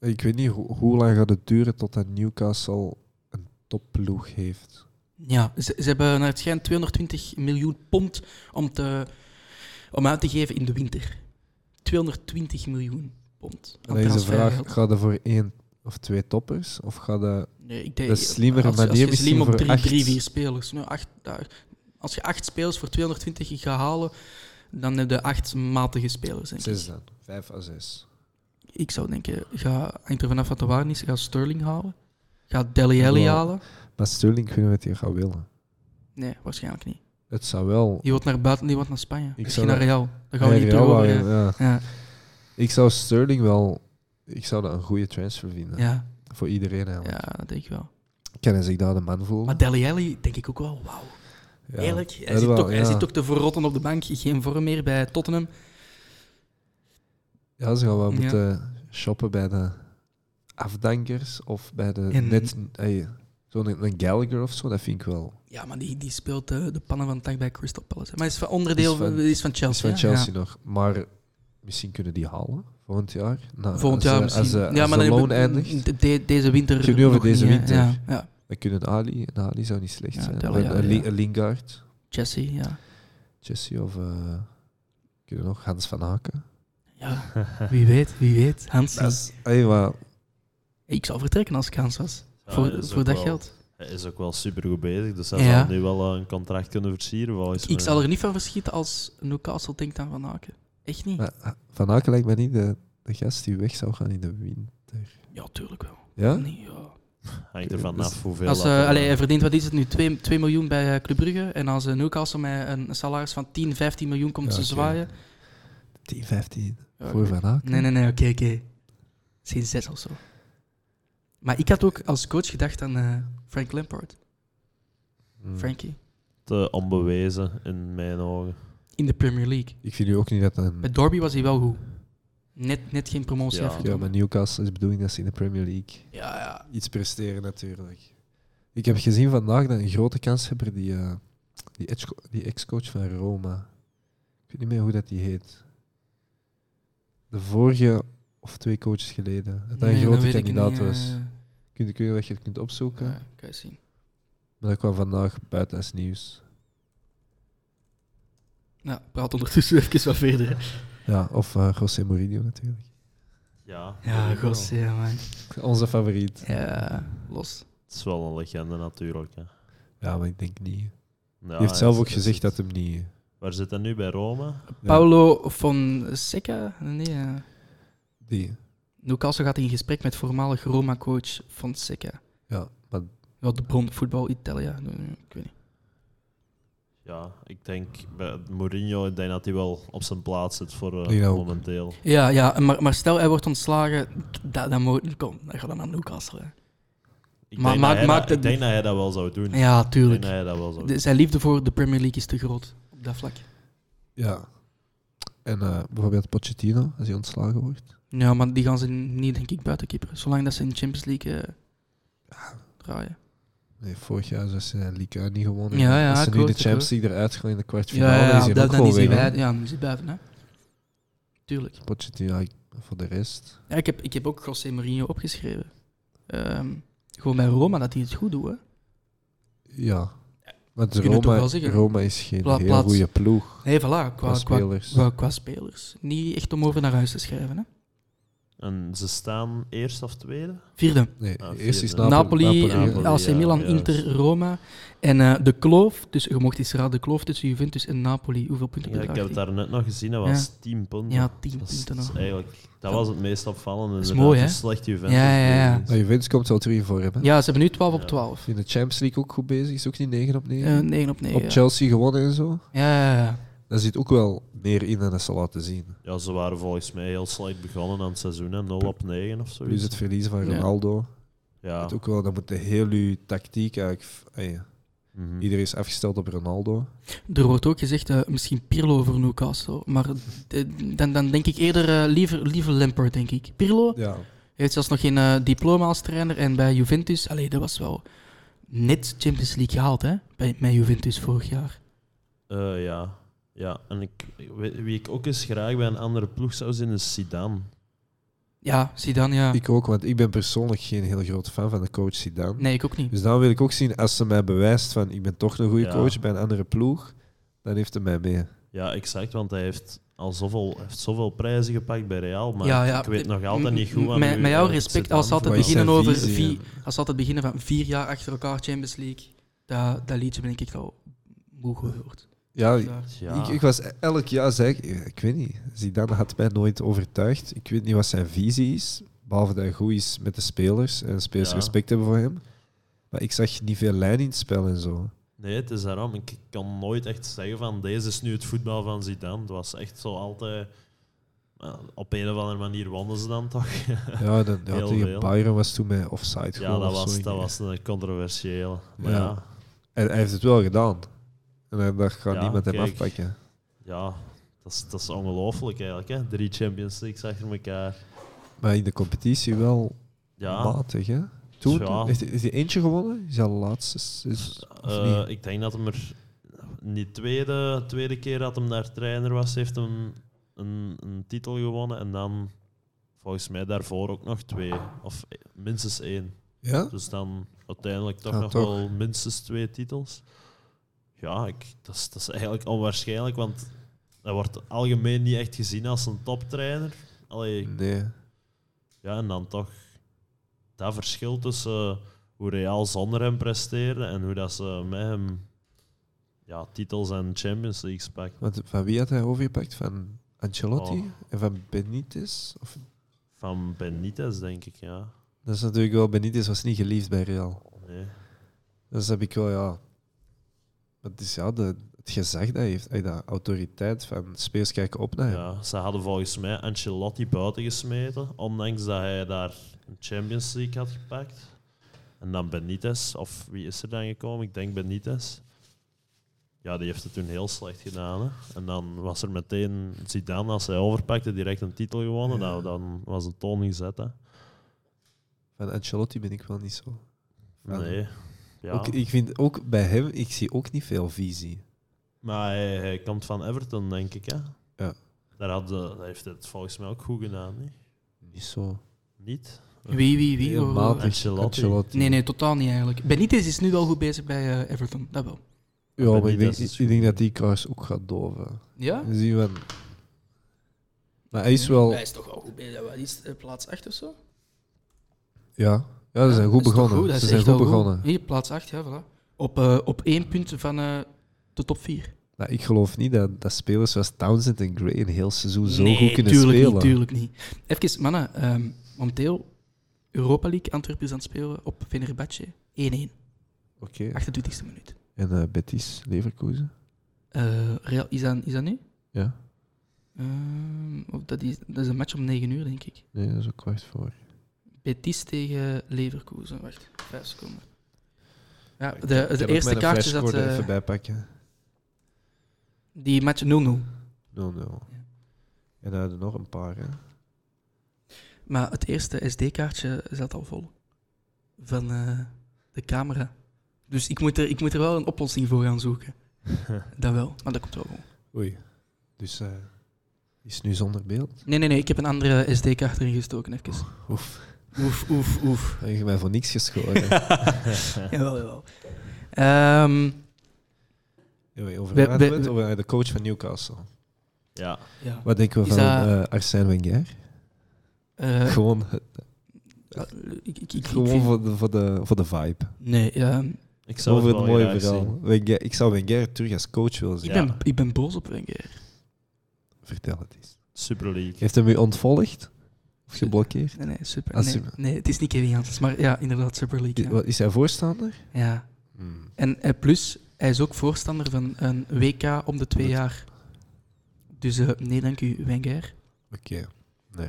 B: Ik weet niet ho- hoe lang gaat het duren totdat Newcastle een topploeg heeft.
A: Ja, ze, ze hebben naar het schijn 220 miljoen pond om, te, om uit te geven in de winter. 220 miljoen pond. aan
B: En dan is de
A: transfergeld.
B: vraag, gaat er voor één of twee toppers? Of gaat er...
A: Nee, ik denk,
B: Dat is een slimmere
A: als, je- als
B: manier
A: je slim
B: misschien
A: op
B: voor
A: drie,
B: acht.
A: drie, vier spelers. Nou, acht, daar- als je acht spelers voor 220 gaat halen, dan heb je acht matige spelers. Denk ik.
B: Zes dan. Vijf à zes.
A: ik zou denken, ga, hangt er vanaf wat de waar is, ga Sterling halen. Ga Deli Alli
B: Wow.
A: halen.
B: Maar Sterling, kunnen we het hier gaan willen?
A: Nee, waarschijnlijk niet.
B: Het zou wel...
A: Die wordt naar buiten, die wordt naar Spanje. Misschien
B: zou
A: naar
B: dat-
A: Real. Daar gaan we
B: Nee,
A: niet
B: Real
A: meer over.
B: wou-
A: eh,
B: ja.
A: Ja,
B: Ik zou Sterling wel... Ik zou dat een goede transfer vinden.
A: ja,
B: Voor iedereen eigenlijk.
A: ja, dat denk ik wel.
B: Kan hij zich daar de man voelen?
A: Maar Deli Alli denk ik ook wel, wauw.
B: Ja.
A: Eerlijk, hij,
B: dat
A: zit
B: wel,
A: toch, hij
B: ja.
A: zit toch te verrotten op de bank. Geen vorm meer bij Tottenham.
B: Ja, ze gaan wel
A: Ja.
B: moeten shoppen bij de afdankers of bij de
A: En-
B: net... Hey, Zo'n een Gallagher of zo, dat vind ik wel.
A: Ja, maar die, die speelt eh, de pannen van het dak bij Crystal Palace. hè. Maar hij is van onderdeel
B: Is van-
A: is van Chelsea.
B: Dat is van
A: hè?
B: Chelsea nog. Maar misschien kunnen die halen volgend jaar. Nou,
A: Ja. Volgend
B: als,
A: jaar
B: eh,
A: misschien.
B: Als, eh, als de
A: dan-
B: loon eindigt,
A: de- de- deze winter.
B: Ik heb nu over
A: nog
B: deze
A: niet, hè.
B: winter.
A: Ja, ja.
B: dan kunnen Ali... En Ali zou niet slecht
A: Ja,
B: zijn.
A: Dele
B: Een- een
A: Alli,
B: Li-
A: ja.
B: een Lingard,
A: Chelsea,
B: [LAUGHS]
A: ja.
B: Jesse of... eh kunnen nog Hans van Haken.
A: ja. Wie weet, wie weet. Hansen.
B: Dat is- hey, maar
A: Ik zou vertrekken als ik Hans was.
C: Ja, hij
A: voor
C: is
A: voor
C: ook
A: dat
C: wel-
A: geld.
C: Hij is ook wel supergoed bezig, dus hij
A: Ja.
C: zal nu wel eh, een contract kunnen versieren, volgens
A: Ik
C: mij.
A: zal er niet van verschieten als Newcastle denkt aan Van Aken. Echt niet?
B: maar eh, Van Haken lijkt me niet de, de gast die weg zou gaan in de winter.
A: Ja, tuurlijk wel.
B: Ja?
A: Nee, ja.
C: Hangt er vanaf hoeveel...
A: Als,
C: dat,
A: eh,
C: eh,
A: allee, hij verdient, wat is het nu, 2, miljoen bij eh, Club Brugge. En als eh, Newcastle met een salaris van 10, 15 miljoen komt
B: Ja,
A: te
B: oké.
A: zwaaien...
B: 10, 15.
A: ja,
B: Voor Van Haken.
A: Nee, nee, nee, oké, oké. Misschien zes of zo. Maar ik had ook als coach gedacht aan eh, Frank Lampard.
B: Hmm.
A: Frankie.
C: Te onbewezen, in mijn ogen.
A: In de Premier League.
B: Hmm. Ik vind nu ook niet dat een...
A: Bij Derby was hij wel goed. Net, net geen promotie
C: Ja.
A: heeft
B: Ja,
A: gedaan.
B: maar Newcastle is de bedoeling dat ze in de Premier League
A: Ja, ja.
B: iets presteren natuurlijk. Ik heb gezien vandaag dat een grote kanshebber, die, eh, die, edge- die ex-coach van Roma, ik weet niet meer hoe dat die heet, de vorige of twee coaches geleden, dat dat
A: Nee,
B: een
A: dat
B: grote
A: weet ik
B: kandidaat
A: niet, eh,
B: was. Kun je, kun je dat je het kunt opzoeken?
A: ja, kan je zien.
B: Maar dat kwam vandaag buiten als nieuws.
A: Ja, praat ondertussen [LAUGHS] even wat verder.
B: Ja, of eh, José Mourinho natuurlijk.
C: Ja,
A: Ja,
C: dat wel.
A: gos, ja, man.
B: Onze favoriet.
A: Ja, los.
C: Het is wel een legende natuurlijk. Hè.
B: Ja, maar ik denk niet. Hij
C: Ja,
B: heeft zelf
C: het-
B: ook
C: het
B: gezegd dat
C: zit-
B: hem niet...
C: Waar zit hij nu bij Rome?
A: Paulo von Seca? Nee, eh,
B: Die,
A: Newcastle gaat in gesprek met voormalig Roma-coach van Seca.
B: ja, maar
A: Wat de bron voetbal Italia. Nee, nee, Ik weet niet.
C: Ja, ik denk bij Mourinho, ik denk dat hij wel op zijn plaats zit voor eh,
B: Ik ook.
C: momenteel.
A: Ja, ja maar, maar stel hij wordt ontslagen, dat, dat moet, kom, dan gaat dan naar Newcastle. Hè.
C: Ik,
A: Maar
C: denk,
A: maak-
C: dat hij
A: maak
C: dat,
A: het-
C: ik denk dat hij dat wel zou doen. Ik
A: Ja,
C: denk
A: tuurlijk.
C: dat hij dat wel zou
A: De- zijn liefde voor de Premier League is te groot op dat vlak.
B: Ja. En eh, bijvoorbeeld Pochettino, als hij ontslagen wordt.
A: Ja, maar die gaan ze niet, denk ik, buiten keeper. Zolang dat ze in de Champions League eh, draaien.
B: Nee, vorig jaar zijn ze de League 1 niet gewonnen.
A: Ja, ja,
B: als ze
A: ik
B: nu de
A: hoor het, ik
B: Champions
A: hoor
B: League eruit gaan in de
A: Ja,
B: kwartfinale,
A: ja,
B: is hij
A: dat,
B: ook
A: dan
B: gewoon
A: is hij
B: weg. hè.
A: buiten. Ja, dan is hij buiten, hè. Tuurlijk.
B: Pochettino, ja, ik- voor de rest.
A: Ja, ik, heb, ik heb ook José Mourinho opgeschreven. Ehm, gewoon bij Roma, dat hij het goed doet, hè.
B: Ja. Want
A: kunnen het toch
B: Roma,
A: wel zeggen.
B: Roma is geen
A: Pla-
B: heel
A: plaats.
B: goede ploeg
A: Nee, voilà, qua,
B: qua spelers.
A: Qua, qua spelers. Niet echt om over naar huis te schrijven, hè.
C: doen. En ze staan eerst of tweede?
A: Vierde.
B: Nee,
C: Ah,
B: eerst is
C: vierde.
B: Napoli.
A: Napoli,
B: Napoli,
A: eh,
B: ja.
C: als-
A: AC
C: ja,
A: Milan,
C: juist.
A: Inter, Roma. En eh, de kloof, dus je mocht eens raden, de kloof tussen Juventus en Napoli. Hoeveel punten
C: Ja, ik
A: bedraagt
C: heb het
A: die?
C: daar net nog gezien, dat was 10 punten.
A: Ja, 10
C: Dat is-
A: punten
C: dat is
A: nog.
C: eigenlijk, dat
A: Ja.
C: was het meest opvallende.
A: is
C: inderdaad,
A: mooi,
C: hoe
A: hè?
C: slecht Juventus
A: Ja, ja, ja.
C: bezig is.
B: Maar Juventus komt wel terug voor hebben.
A: Ja, ze hebben nu 12 op
C: Ja.
A: 12.
B: In de Champions League ook goed bezig. Is ook niet 9 op 9.
A: Eh 9 op 9.
B: op Chelsea gewonnen en zo.
A: Ja, ja, ja.
B: Daar zit ook wel meer in dan dat ze laten zien.
C: Ja, ze waren volgens mij heel slecht begonnen aan het seizoen, hè, 0 op 9 of
B: Dus
C: zoiets.
B: het verliezen van
A: Ja.
B: Ronaldo.
C: Ja.
B: Dat ook wel, dan moet de hele tactiek eigenlijk... f- ah ja.
C: Mhm.
B: Iedereen is afgesteld op Ronaldo.
A: Er wordt ook gezegd, eh, misschien Pirlo voor Newcastle. Maar eh, dan, dan denk ik eerder eh, liever, liever Lampard, denk ik. Pirlo
B: Ja.
A: heeft zelfs nog geen eh, diploma als trainer. En bij Juventus, allee, dat was wel net Champions League gehaald, hè? Bij, met Juventus vorig jaar.
C: Eh, ja. ja, en ik, wie wie ik ook eens graag bij een andere ploeg zou zien is Zidane.
A: Ja, Zidane,
C: Ah.
A: ja.
B: Ik ook, want ik ben persoonlijk geen heel groot fan van de coach Zidane.
A: Nee, ik ook niet.
B: Dus dan wil ik ook zien, als ze mij bewijst van ik ben toch een goede
C: Ja.
B: coach bij een andere ploeg, dan heeft hij mij mee.
C: Ja, exact, want hij heeft al zoveel, heeft zoveel prijzen gepakt bij Real, maar
A: Ja, ja.
C: ik weet nog altijd niet goed
A: M-
C: aan
A: met-
C: u,
A: met jouw
C: eh,
A: respect,
C: Zidane
A: als ze altijd
B: Wat is
C: verwacht.
A: beginnen
B: zijn
A: over
B: visie
A: vier-
B: en-
A: Als ze altijd beginnen van vier jaar achter elkaar Champions League, dat, dat liedje ben ik al moe gehoord.
B: Ja, ik,
A: Daar.
C: Ja,
B: ik was elk jaar, zei ik, ik weet niet, Zidane had mij nooit overtuigd. Ik weet niet wat zijn visie is, behalve dat hij goed is met de spelers en de spelers
C: Ja.
B: respect hebben voor hem. Maar ik zag niet veel lijn in het spel en zo.
C: Nee, het is daarom. Ik kan nooit echt zeggen van deze is nu het voetbal van Zidane. Het was echt zo altijd... eh, Op een of andere manier wonnen ze dan toch. [LAUGHS]
B: Ja, dat, ja
C: Heel
B: tegen
C: veel.
B: Bayern was toen met offside
C: Ja,
B: gewoon
C: dat
B: of zo,
C: was,
B: ik
C: dat
B: weet
C: was een controversieel. Maar
B: Ja.
C: ja, ja,
B: En hij heeft het wel gedaan. En dan dacht ik, gaat
C: Ja,
B: niemand hem
C: kijk.
B: afpakken.
C: dat, is, dat is ongelooflijk eigenlijk. Hè? Drie Champions Leagues achter elkaar.
B: Maar in de competitie wel
C: Ja,
B: matig, hè? Toen
C: Ja.
B: heeft, heeft hij eentje gewonnen? Is hij de laatste? Is, is- dus, of
C: eh,
B: niet?
C: ik denk dat hem er... Niet tweede, tweede keer dat hem daar trainer was, heeft hem een, een titel gewonnen. En dan volgens mij daarvoor ook nog twee. Of eh, minstens één.
B: Ja?
C: Dus dan uiteindelijk toch
B: Ja,
C: nog
B: toch.
C: wel minstens twee titels. Ja, ik, dat, is, dat is eigenlijk onwaarschijnlijk, want hij wordt algemeen niet echt gezien als een toptrainer. Allee,
B: Nee.
C: ja, en dan toch dat verschil tussen hoe Real zonder hem presteerde en hoe dat ze met hem ja, titels en Champions Leagues pakten.
B: Want van wie had hij overgepakt? Van Ancelotti
C: Oh.
B: en van Benitez? Of,
C: Van Benitez, denk ik, ja.
B: dat is natuurlijk wel, Benitez was niet geliefd bij Real.
C: Nee.
B: Dus heb ik wel, ja. Maar Het is ja, de, het gezag dat hij heeft, eh, de autoriteit van spelers kijken op naar hem.
C: Ja, ze hadden volgens mij Ancelotti buiten gesmeten, ondanks dat hij daar een Champions League had gepakt. En dan Benitez, of wie is er dan gekomen? Ik denk Benitez. Ja, die heeft het toen heel slecht gedaan. Hè. En dan was er meteen Zidane, als hij overpakte, direct een titel gewonnen.
B: Ja.
C: Nou, dan was de toon gezet. Hè.
B: Van Ancelotti ben ik wel niet zo. Van-
C: Nee. Ja.
B: Ook, ik vind ook bij hem, ik zie ook niet veel visie.
C: Maar hij, hij komt van Everton, denk ik. Hè?
B: Ja.
C: Daar had de, hij heeft het volgens mij ook goed gedaan. Niet?
B: Niet zo. [LAUGHS]
C: niet? [LAUGHS]
A: Wie, wie, wie?
B: Heel
A: Oh,
B: matig.
C: Ancelotti.
A: Nee, nee, totaal niet eigenlijk. Benitez is nu wel goed bezig bij eh, Everton, dat wel.
B: Ja, maar ik denk,
C: Benitez is
B: ik,
C: goed.
B: denk dat die kaars ook gaat doven.
A: Ja?
B: We zien wel. Maar hij is wel...
A: Hij is toch wel goed bezig. Wat is eh, plaats 8 of zo?
B: Ja, ja ze zijn goed
A: Dat is toch
B: begonnen.
A: goed, dat is
B: ze zijn
A: echt
B: goed
A: wel
B: begonnen.
A: Hier, plaats 8, ja, voilà. Op, eh, op één punt van eh, de top 4.
B: Nou, ik geloof niet dat, dat spelers zoals Townsend en Gray een heel seizoen zo
A: nee,
B: goed kunnen
A: tuurlijk
B: spelen.
A: Niet, tuurlijk niet. Even, mannen, ehm, momenteel Europa League Antwerpen is aan het spelen op Venerbatje 1-1,
B: Oké.
A: 28e minuut.
B: En eh, Betis, Leverkusen.
A: Eh, Real, is, dat, is dat nu?
B: Ja,
A: Ehm, of dat, is, dat is een match om 9 uur, denk ik.
B: nee, dat is ook kwart voor.
A: Betis tegen Leverkusen. Wacht, 5 seconden. Ja,
B: Ik
A: de,
B: heb- ik
A: de
B: heb ook
A: eerste
B: mijn
A: kaartje
B: flashscore
A: dat
B: er
A: eh,
B: even bijpakken.
A: die match 0-0.
B: 0-0. En daar hadden nog een paar. Hè.
A: Maar het eerste SD-kaartje zat al vol. Van eh, de camera. Dus ik moet, er, ik moet er wel een oplossing voor gaan
B: [LAUGHS]
A: zoeken. dat wel, maar dat komt wel gewoon.
B: Oei. Dus eh, is nu zonder beeld.
A: Nee, nee, nee, ik heb een andere SD-kaart erin gestoken, even.
B: Oef.
A: Oef, oef, oef.
B: Heb je mij voor niks [LAUGHS] geschoren.
A: [LAUGHS] jawel, jawel. Ehm,
B: Anyway, over
A: We-
B: waar hadden
A: we-
B: we het? Over, eh, de coach van Newcastle.
C: Ja.
A: ja.
B: Wat denken we
A: Is
B: van
A: dat-
B: eh, Arsène Wenger?
A: Eh,
B: Gewoon, eh,
A: ik, ik, ik, ik
B: gewoon
A: vind-
B: voor, de, voor, de, voor de vibe.
A: Nee, ehm,
C: Ik zou
B: Over
C: het,
B: het
C: wel
B: mooie
C: graag zien.
B: verhaal. Wenger, ik zou Wenger terug als coach willen
A: ik,
B: zien.
C: Ja.
A: ben, ik ben boos op Wenger.
B: Vertel het eens.
C: Super League.
B: Heeft hem u ontvolgd? Of geblokkeerd?
A: Nee, nee, super.
B: Ah,
A: nee,
B: super.
A: nee, het is niet Kevin Janssens, maar ja, inderdaad, Super League.
B: I-
A: Ja.
B: wat, Is hij voorstander?
A: ja.
B: Hmm,
A: En eh, plus, hij is ook voorstander van een WK om de twee
B: Goed.
A: jaar. Dus eh, nee, dank u, Wenger.
B: Oké.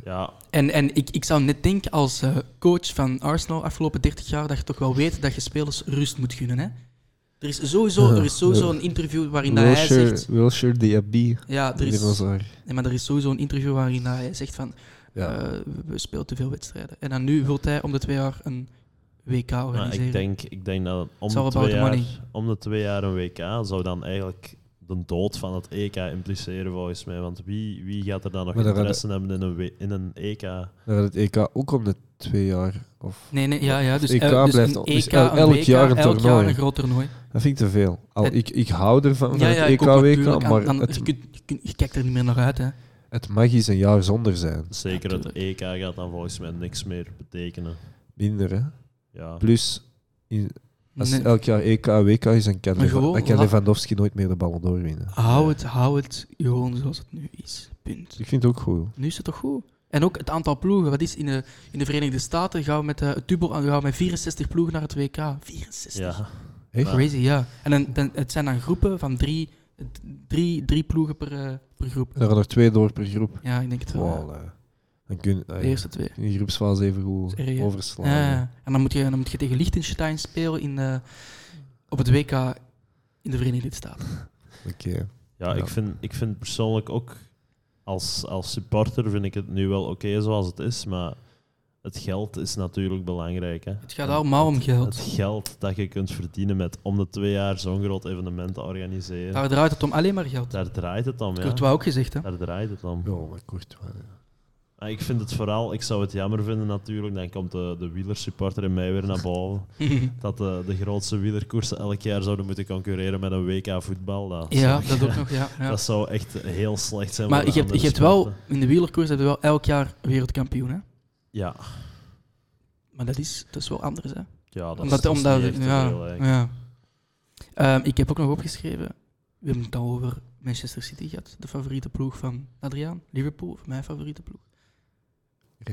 C: Ja,
A: En, en ik, ik zou net denken, als eh, coach van Arsenal afgelopen 30 jaar, dat je toch wel weet dat je spelers rust moet gunnen. Hè? Er is sowieso, er is sowieso een interview waarin dat hij
B: Wilshire,
A: zegt...
B: Wilshire Diaby.
A: Ja, er
B: die
A: is,
B: was daar.
A: nee, maar er is sowieso een interview waarin dat hij zegt van...
B: Ja.
A: eh, we- we spelen te veel wedstrijden. En dan nu wil hij om de twee jaar een WK
C: maar
A: organiseren.
C: Nou, ik denk, ik denk dat om
A: It's
C: de,
A: all
C: twee
A: about the
C: jaar,
A: money.
C: om de twee jaar een WK zou dan eigenlijk de dood van het EK impliceren, volgens mij. Want wie, wie gaat er dan nog
B: Maar dan
C: interesse hebben in een, W- in een EK?
B: Dan had het EK ook om de twee jaar. Of,
A: Nee, nee, ja, ja. Dus,
B: EK
A: el- dus
B: blijft
A: een
B: al-
A: EK,
B: dus el-
A: een
B: elk
A: WK,
B: jaar een
A: elk
B: toernooi.
A: jaar een groot toernooi.
B: dat vind ik te veel. Al,
A: Het-
B: ik, ik hou ervan van
A: Ja,
B: het E
A: ja, ik
B: EK,
A: ook natuurlijk.
B: WK,
A: Aan-
B: maar
A: aan-
B: het,
A: je, kunt, je, kunt- je kijkt er niet meer naar uit, hè.
B: het mag eens een jaar zonder zijn.
C: Zeker
A: Ja,
C: het EK gaat dan volgens mij niks meer betekenen.
B: Minder, hè?
C: Ja.
B: Plus, in, als
A: Nee.
B: elk jaar E EK, WK is, dan kan,
A: Maar
B: Leva-
A: gewoon
B: dan kan
A: laat-
B: Lewandowski nooit meer de ballen doorwinnen.
A: Hou het, hou het gewoon zoals het nu is. Punt.
B: Dus Ik vind het ook goed.
A: Nu is het toch goed? En ook het aantal ploegen. Wat is in de, in de Verenigde Staten? Gaan we met eh, het dubbel gaan we met 64 ploegen naar het WK? 64.
C: Ja.
B: Echt?
C: Maar-
A: Crazy, ja. En dan, dan- het zijn dan groepen van drie, d- drie, drie ploegen per, eh, per groep.
B: En er gaan er twee door per groep.
A: Ja, ik denk het wel. ja.
B: Wow, eh, dan kun
A: De
B: eh,
A: eerste twee.
B: kun je die groepsfase even
A: Dat
B: goed
A: is erg, hè?
B: overslaan.
A: Ja, ja. en dan moet, je, dan moet je tegen Liechtenstein spelen in, eh, op het WK in de Verenigde Staten.
B: Oké.
C: Ja,
B: Ja.
C: Ik, vind, ik vind persoonlijk ook als, als supporter vind ik het nu wel oké zoals het is, maar het geld is natuurlijk belangrijk. Hè.
A: Het gaat allemaal om
C: Het
A: geld.
C: geld dat je kunt verdienen met om de twee jaar zo'n groot evenement te organiseren,
A: Daar draait het om alleen maar geld.
C: daar draait het om. Ja.
A: Courtois ook gezegd, hè? [LAUGHS]
C: Daar draait het om.
B: Ja, maar kort.
C: Maar ik vind het vooral, ik zou het jammer vinden natuurlijk, dan komt de, de wielersupporter in mij weer naar boven, dat de, de grootste wielerkoersen elk jaar zouden moeten concurreren met een WK voetbal. Dat,
A: ja,
C: zou, [LAUGHS]
A: dat ook nog, ja. ja.
C: dat zou echt heel slecht zijn
A: Maar
C: voor de
A: je hebt, je
C: andere
A: hebt wel,
C: sporten.
A: in de wielerkoers hebben we wel elk jaar wereldkampioen, hè?
C: Ja,
A: Maar dat is, dat is wel anders, hè?
C: ja dat
A: Omdat,
C: is
A: omdat,
C: niet echt te
A: ja,
C: veel, hè.
A: ja. Ehm, ik heb ook nog opgeschreven, we hebben het al over Manchester City gehad, de favoriete ploeg van Adriaan, Liverpool, mijn favoriete ploeg.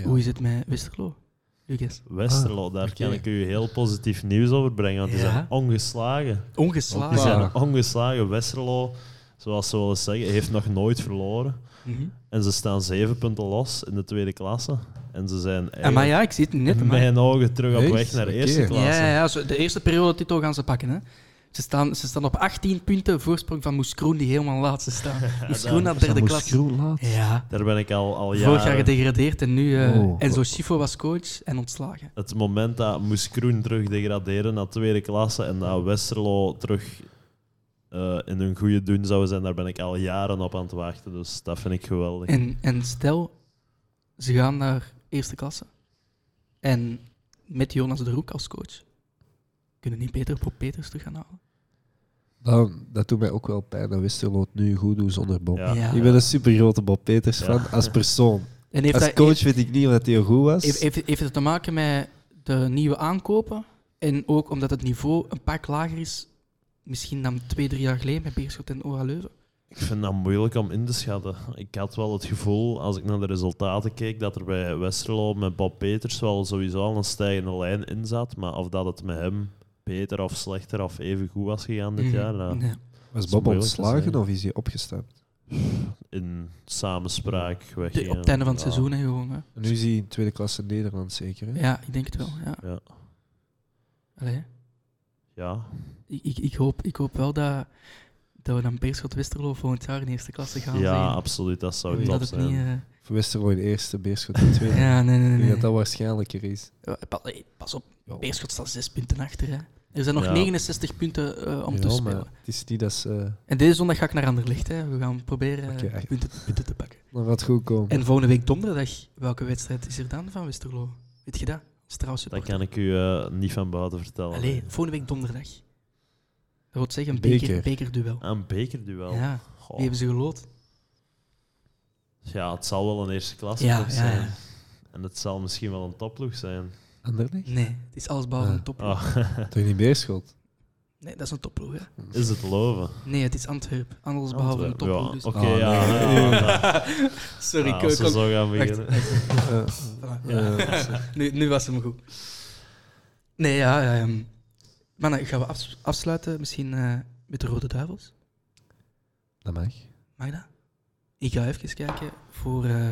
A: Hoe is het met Westerlo? Lucas?
C: Westerlo, daar
B: oké.
C: kan ik u heel positief nieuws over brengen, want die
A: Ah, Ja?
C: zijn ongeslagen.
A: Ongeslagen.
C: Die zijn
B: Ah.
C: ongeslagen. Westerlo, zoals ze willen zeggen, heeft nog nooit verloren.
A: Mhm.
C: En ze staan zeven punten los in de tweede klasse. En ze
A: Ah,
C: zijn
A: maar
C: eigenlijk
A: ja, ik zie het net.
C: in
A: Maar...
C: mijn ogen terug op
B: Echt?
C: weg naar
B: Oké.
C: eerste
A: Ja,
C: klasse.
A: ja, ja, zo de eerste periode titel gaan ze pakken. Hè. Ze staan, ze staan op 18 punten voorsprong van Moes Kroen, die helemaal laatste
C: [LAUGHS]
A: staat. Moes
C: daar-
A: Kroen naar derde klas. Ja.
C: Daar ben ik al, al
A: Vorig jaar
C: jaren-
A: gedegradeerd en nu eh
B: Oh.
A: Enzo Schifo was coach en ontslagen.
C: het moment dat moest Kroen terug degraderen naar tweede klasse en dat Westerlo terug eh, in hun goede doen zou zijn, daar ben ik al jaren op aan het wachten. Dus dat vind ik geweldig.
A: En, en stel, ze gaan naar eerste klasse. En met Jonas de Roek als coach. Kunnen niet beter Bob Peters terug gaan halen.
B: Dat, dat doet mij ook wel pijn dat Westerlo het nu goed doet zonder Bob.
C: Ja.
A: Ja.
B: Ik ben een supergrote Bob Peters fan
C: Ja.
B: als persoon.
A: En heeft,
B: als
A: dat,
B: coach weet ik niet of dat hij goed was.
A: heeft, heeft, heeft het te maken met de nieuwe aankopen? En ook omdat het niveau een pak lager is, misschien dan twee, drie jaar geleden met Beerschot en Ora Leuven.
C: Ik vind dat moeilijk om in te schatten. Ik had wel het gevoel, als ik naar de resultaten keek, dat er bij Westerlo met Bob Peters wel sowieso al een stijgende lijn in zat. Maar of dat het met hem beter of slechter of even goed was gegaan
A: Mhm.
B: Mhm.
C: dit jaar, dat-
A: Nee.
B: was
C: is moeilijk
B: Bob
C: te
B: ontslagen
C: zeggen.
B: of is hij opgestapt?
C: in samenspraak weg.
A: De- op het einde van het seizoen, hè, gewoon. Hè.
B: En nu is hij in tweede klasse Nederland zeker. Hè?
A: Ja, ik denk het wel. Ja.
C: Ja.
A: Allee,
C: Ja,
A: ik, ik, ik, hoop, ik hoop wel dat, dat we dan Beerschot-Westerlo volgend jaar in eerste klasse gaan
C: ja
A: zien.
C: absoluut. Dat zou
B: Oei.
C: top
A: Dat het
C: zijn.
A: niet... eh,
B: Voor Westerlo in de eerste, Beerschot in de tweede.
A: Ja, nee, nee,
B: Ik denk
A: nee.
B: dat dat waarschijnlijker is.
A: Ja, pa- hey, Pas op, Beerschot staat zes punten achter. Hè. Er zijn nog
C: Ja.
A: 69 punten eh, om
B: Ja,
A: te
B: maar
A: spelen.
B: het is niet dat ze... eh,
A: En deze zondag ga ik naar Anderlecht. Hè. We gaan proberen eh,
B: Oké.
A: punten, punten te pakken.
B: dan gaat het goed komen.
A: En volgende week donderdag, welke wedstrijd is er dan van Westerlo? Weet je dat? Als trouwens
C: Dat kan ik u eh, niet van buiten vertellen.
A: Allee, volgende week donderdag. Dat wil zeggen, een
B: Beker.
A: beker, bekerduel.
C: Een bekerduel. Ja.
A: Ja, die hebben ze gelood.
C: ja, het zal wel een eerste klasse
A: Ja,
C: ploeg
A: ja,
C: zijn.
A: ja.
C: En het zal misschien wel een topploeg zijn.
B: Anderlecht?
A: Nee, het is alles behalve
B: Ah.
A: een topploeg.
C: Oh,
A: [LAUGHS]
B: Toch niet Beerschot?
A: Nee, dat is een topploeg. Hè.
C: is het loven?
A: Nee, het is Antwerpen. Alles behalve een
C: Antwerpen,
A: topploeg.
C: ja.
A: Dus... [LAUGHS]
C: Oké,
B: Ah,
C: ja.
B: nee.
C: ja, ja. [LAUGHS]
A: Sorry,
C: Ja,
A: ik
C: als
A: ik
C: ze
A: ook-
C: zo gaan
A: Wacht,
C: beginnen.
B: Eh,
A: Voilà.
B: eh,
A: Nu, nu was hem goed. Nee, ja. ehm mannen, gaan we afs- afsluiten misschien eh, met de Rode Duivels?
B: dat mag.
A: Mag dat? Ik ga even kijken voor eh,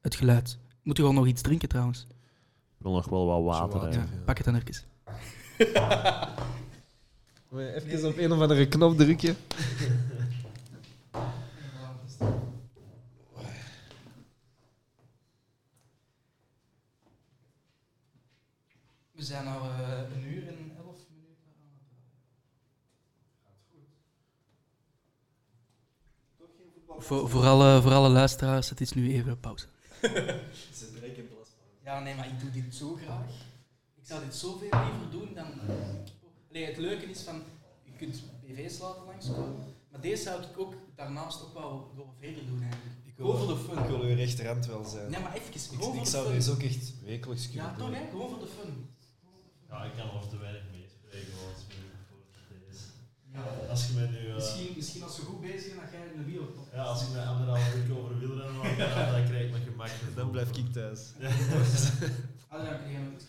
A: het geluid. Moet u wel nog iets drinken trouwens?
C: Ik wil nog wel wat water.
B: Zo
A: Ja,
B: water.
C: hè.
B: ja.
A: Pak het dan even.
B: Moet je Even op een of andere knop drukken.
A: We zijn al eh, een uur en elf minuten aan het Gaat goed. Voor, voor, alle, voor alle luisteraars, het is nu even
D: [LAUGHS]
A: pauze. Ja, nee, maar ik doe dit zo graag. Ik zou dit zoveel liever doen dan... Allee, het leuke is van, je kunt BV's laten langskomen, maar deze zou ik ook daarnaast ook wel willen verder doen eigenlijk.
D: Ik wil,
A: Over de
D: ik
A: fun.
D: wil uw rechterhand wel zijn.
A: Nee, maar even,
D: ik,
A: gewoon
D: ik
A: voor
D: zou
A: de
D: deze
A: fun.
D: ook echt wekelijks kunnen
A: Ja,
D: doen.
A: toch hè, gewoon voor de fun.
C: Ja, ik kan over te weinig meespreken als Als je mij nu... eh,
A: Misschien, misschien als we goed bezig zijn, dan ga je in de wiel op.
C: ja, als ik mij anderhalf uur over wielrennen laat praten, [LAUGHS] dan krijg ik mijn gemak.
D: Dan blijf ik thuis.
A: Adriaan, kun jij nog iets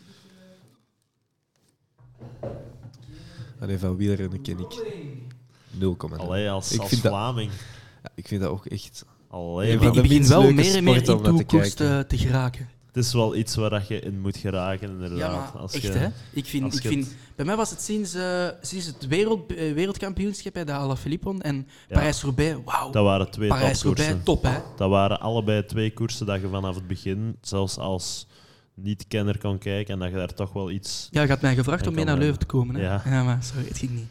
B: Allee, van wielrennen ken ik
A: Rolling.
B: 0,0.
C: Allee, als,
B: Ik
C: als
B: vind dat-
C: Vlaming.
B: Ja, ik vind dat ook echt...
C: Allee,
B: Ja,
C: maar
A: Ik,
B: de
A: begin
B: minst
A: wel
B: leuke
A: meer en meer
B: sport om
A: in
B: naar te
A: toekomst
B: kijken.
A: eh, te geraken.
C: het is wel iets waar je in moet geraken, inderdaad.
A: Ja, maar
C: als
A: echt
C: je,
A: hè. Ik vind,
C: als
A: ik
C: je het-
A: vind, bij mij was het sinds, eh, sinds het wereld, eh, wereldkampioenschap bij de Alaphilippe won en
C: Ja.
A: Parijs-Roubaix, wauw.
C: Dat waren twee
A: Parijs-Roubaix,
C: topkoersen.
A: top hè.
C: Dat waren allebei twee koersen dat je vanaf het begin, zelfs als niet-kenner, kon kijken. En dat je daar toch wel iets
A: Ja, je had mij gevraagd
C: Ik
A: om mee
C: kan
A: naar
C: wel.
A: Leuven te komen hè.
C: Ja.
A: Ja. maar sorry, het ging niet.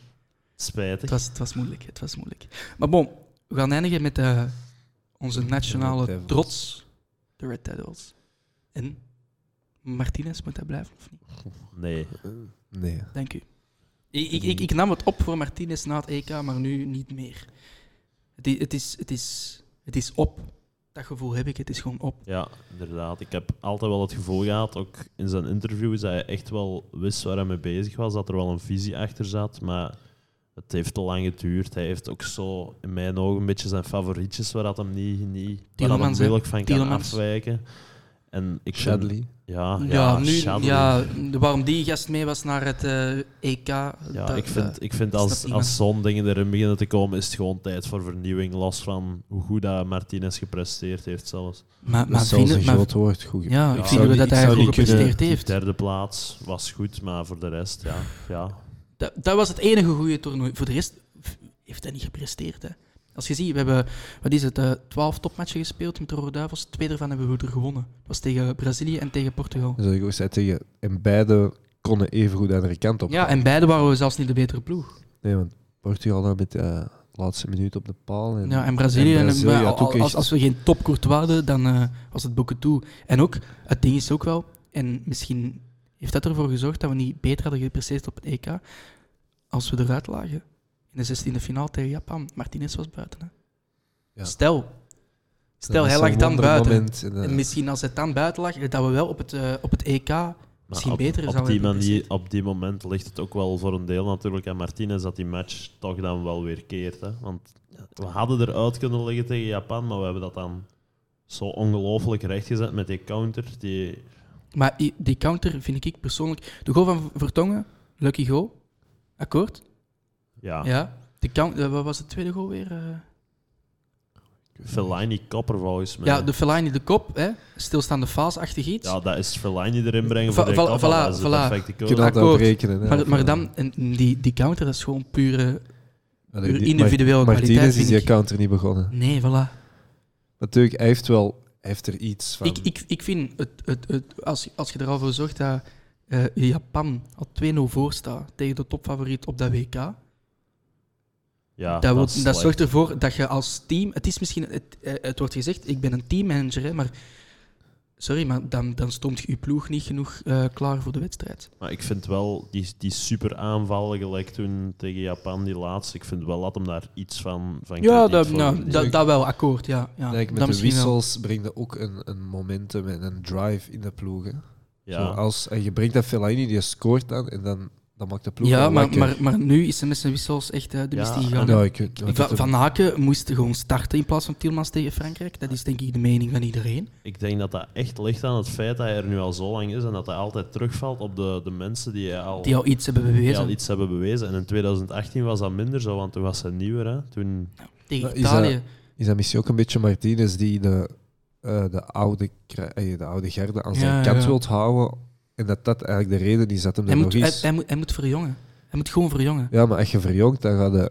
C: spijtig.
A: Het was, het was moeilijk, het was moeilijk. Maar bon, we gaan eindigen met eh, onze
B: De
A: nationale
B: Red Devils.
A: trots, de Red Devils. En Martinez, moet dat blijven of niet?
C: Nee.
B: eh, nee.
A: Dank u. Ik, ik, ik, ik nam het op voor Martinez na het EK, maar nu niet meer. Het i- het is, het is, het is op. Dat gevoel heb ik, het is gewoon op.
C: Ja, inderdaad. Ik heb altijd wel het gevoel gehad, ook in zijn interviews, dat hij echt wel wist waar hij mee bezig was, dat er wel een visie achter zat, maar het heeft te lang geduurd. Hij heeft ook zo, in mijn ogen, een beetje zijn favorietjes waar dat hem niet, niet waar dat hem
A: Tielemans, hè?
C: moeilijk van kan
A: Tielemans.
C: afwijken. En ik vind-
B: Shadley.
C: Ja, ja,
A: ja, nu,
C: Shadley.
A: ja, waarom die gast mee was naar het eh, EK.
C: Ja,
A: dat- eh,
C: ik
A: dat-
C: vind, ik vind
A: dat
C: als,
A: snapt niemand.
C: als zo'n dingen erin beginnen te komen, is het gewoon tijd voor vernieuwing. Los van hoe goed dat Martinez gepresteerd heeft, zelfs.
A: maar,
B: Dat
A: maar
B: is zelfs een
A: vinden, maar,
B: groot woord. Goed
A: ja, ik
C: Ja,
A: vind
C: zou
A: wel
B: die-
A: dat hij
B: zou
A: goed
B: die kunnen-
A: gepresteerd
C: Die
A: heeft.
C: derde plaats was goed, maar voor de rest, ja. ja.
A: Dat, dat was het enige goede toernooi. Voor de rest f- heeft hij niet gepresteerd. Hè. Als je ziet, we hebben wat is het, eh, 12 topmatchen gespeeld met de Rode Duivels. Twee daarvan hebben we er gewonnen. Dat was tegen Brazilië en tegen Portugal.
B: Dan zou ik ook zeggen tegen. En beide konden even goed de andere kant op.
A: Ja, en beide waren we zelfs niet de betere ploeg.
B: Nee, want Portugal daar met de eh, laatste minuut op de paal. En,
A: Ja, en Brazilië.
B: en
A: En
B: Brazilië
A: maar
B: had ook
A: al- als,
B: echt-
A: als we geen topkort hadden, dan eh, was het boeken toe. En ook, het ding is ook wel, en misschien heeft dat ervoor gezorgd dat we niet beter hadden gepresteerd op het EK, als we eruit lagen. In de 16e finale tegen Japan. Martinez was buiten. Hè.
B: Ja.
A: Stel, stel
B: was
A: hij
B: zo'n
A: lag dan buiten.
B: wondermoment en, eh,
A: En misschien als het dan buiten lag, dat we wel op het, eh, op het EK misschien
C: op,
A: beter
C: op
A: zouden
C: die
A: hebben
C: manier,
A: gepresteerd.
C: Op die moment ligt het ook wel voor een deel natuurlijk aan Martinez dat die match toch dan wel weer keert. Hè? Want we hadden eruit kunnen liggen tegen Japan, maar we hebben dat dan zo ongelooflijk rechtgezet met die counter. Die,
A: Maar i- die counter vind ik persoonlijk... De goal van Vertongen, lucky goal. Akkoord?
C: ja,
A: Ja. De count, eh, wat was de tweede goal weer? eh?
C: Fellaini kopper volgens mij.
A: Ja, de Fellaini de kop, hè? stilstaande fase-achtig iets.
C: Ja, dat is Fellaini erin brengen
A: Va-
C: voor de
A: va-
C: kopper.
A: voilà,
C: dat is de
A: voilà.
C: perfecte
B: je
C: goal.
B: kunt altijd
A: akkoord.
B: rekenen. hè,
A: maar,
B: of,
A: maar
B: eh,
A: dan, en die, die counter, dat is gewoon pure...
B: maar
A: uw
B: die-
A: individuele
B: Mar-
A: kwaliteit
B: Martinez is
A: vind
B: die
A: ik- Mm.
B: counter niet begonnen.
A: Nee, voilà.
B: Natuurlijk, hij heeft wel hij heeft er iets van.
A: Ik, ik, ik vind, het, het, het, als, je- als je er al voor zorgt dat eh, Japan al 2-0 voor staat tegen de topfavoriet op dat WK,
C: Ja,
A: dat, wil-
C: is
A: dat
C: slecht.
A: zorgt ervoor dat je als team... Het is misschien... Het, eh, het wordt gezegd, ik ben een teammanager, hè, maar... Sorry, maar dan, dan stond je je ploeg niet genoeg eh, klaar voor de wedstrijd.
C: Maar ik vind wel die, die super aanvallen gelijk toen tegen Japan, die laatste. Ik vind wel dat hem daar iets van,
A: Ja,
C: van krediet
A: dat,
C: voor
A: nou,
C: verdient.
A: dat, dat wel, akkoord, ja. ja.
B: Kijk,
A: dat
B: met de
A: misschien wel.
B: wissels brengt dat ook een, een momentum en een drive in de ploeg. hè. Zo,
C: ja.
B: als, en je brengt dat Fellaini, die scoort dan en dan, dan maakt de ploeg
A: Ja,
B: wel
A: maar,
B: wakker.
A: maar, maar nu is ze met zijn wissels echt eh, de
C: Ja,
A: mist
C: en
A: gegaan.
B: Ja, ik weet- wat
A: Va-
B: het-
A: Van Haken moest gewoon starten in plaats van Tilmans tegen Frankrijk. Dat is denk ik de mening van iedereen.
C: Ik denk dat dat echt ligt aan het feit dat hij er nu al zo lang is en dat hij altijd terugvalt op de, de mensen die hij
B: Oh.
C: al,
A: Die al iets hebben
C: die
A: bewezen
C: al iets hebben bewezen. En in 2018 was dat minder zo, want toen was hij nieuwer. Hè? Toen,
A: tegen
B: Maar is
A: Italië.
B: Is dat misschien ook een beetje Martinez die de, eh, de, oude, kra- eh, de oude garde aan zijn
A: Ja,
B: kant
A: ja.
B: wilt houden? En dat dat eigenlijk de reden is dat hem
A: Hij
B: er
A: moet,
B: nog
A: hij,
B: is.
A: hij moet, hij moet verjongen. Hij moet gewoon verjongen.
B: Ja, maar als je verjongt, dan gaat de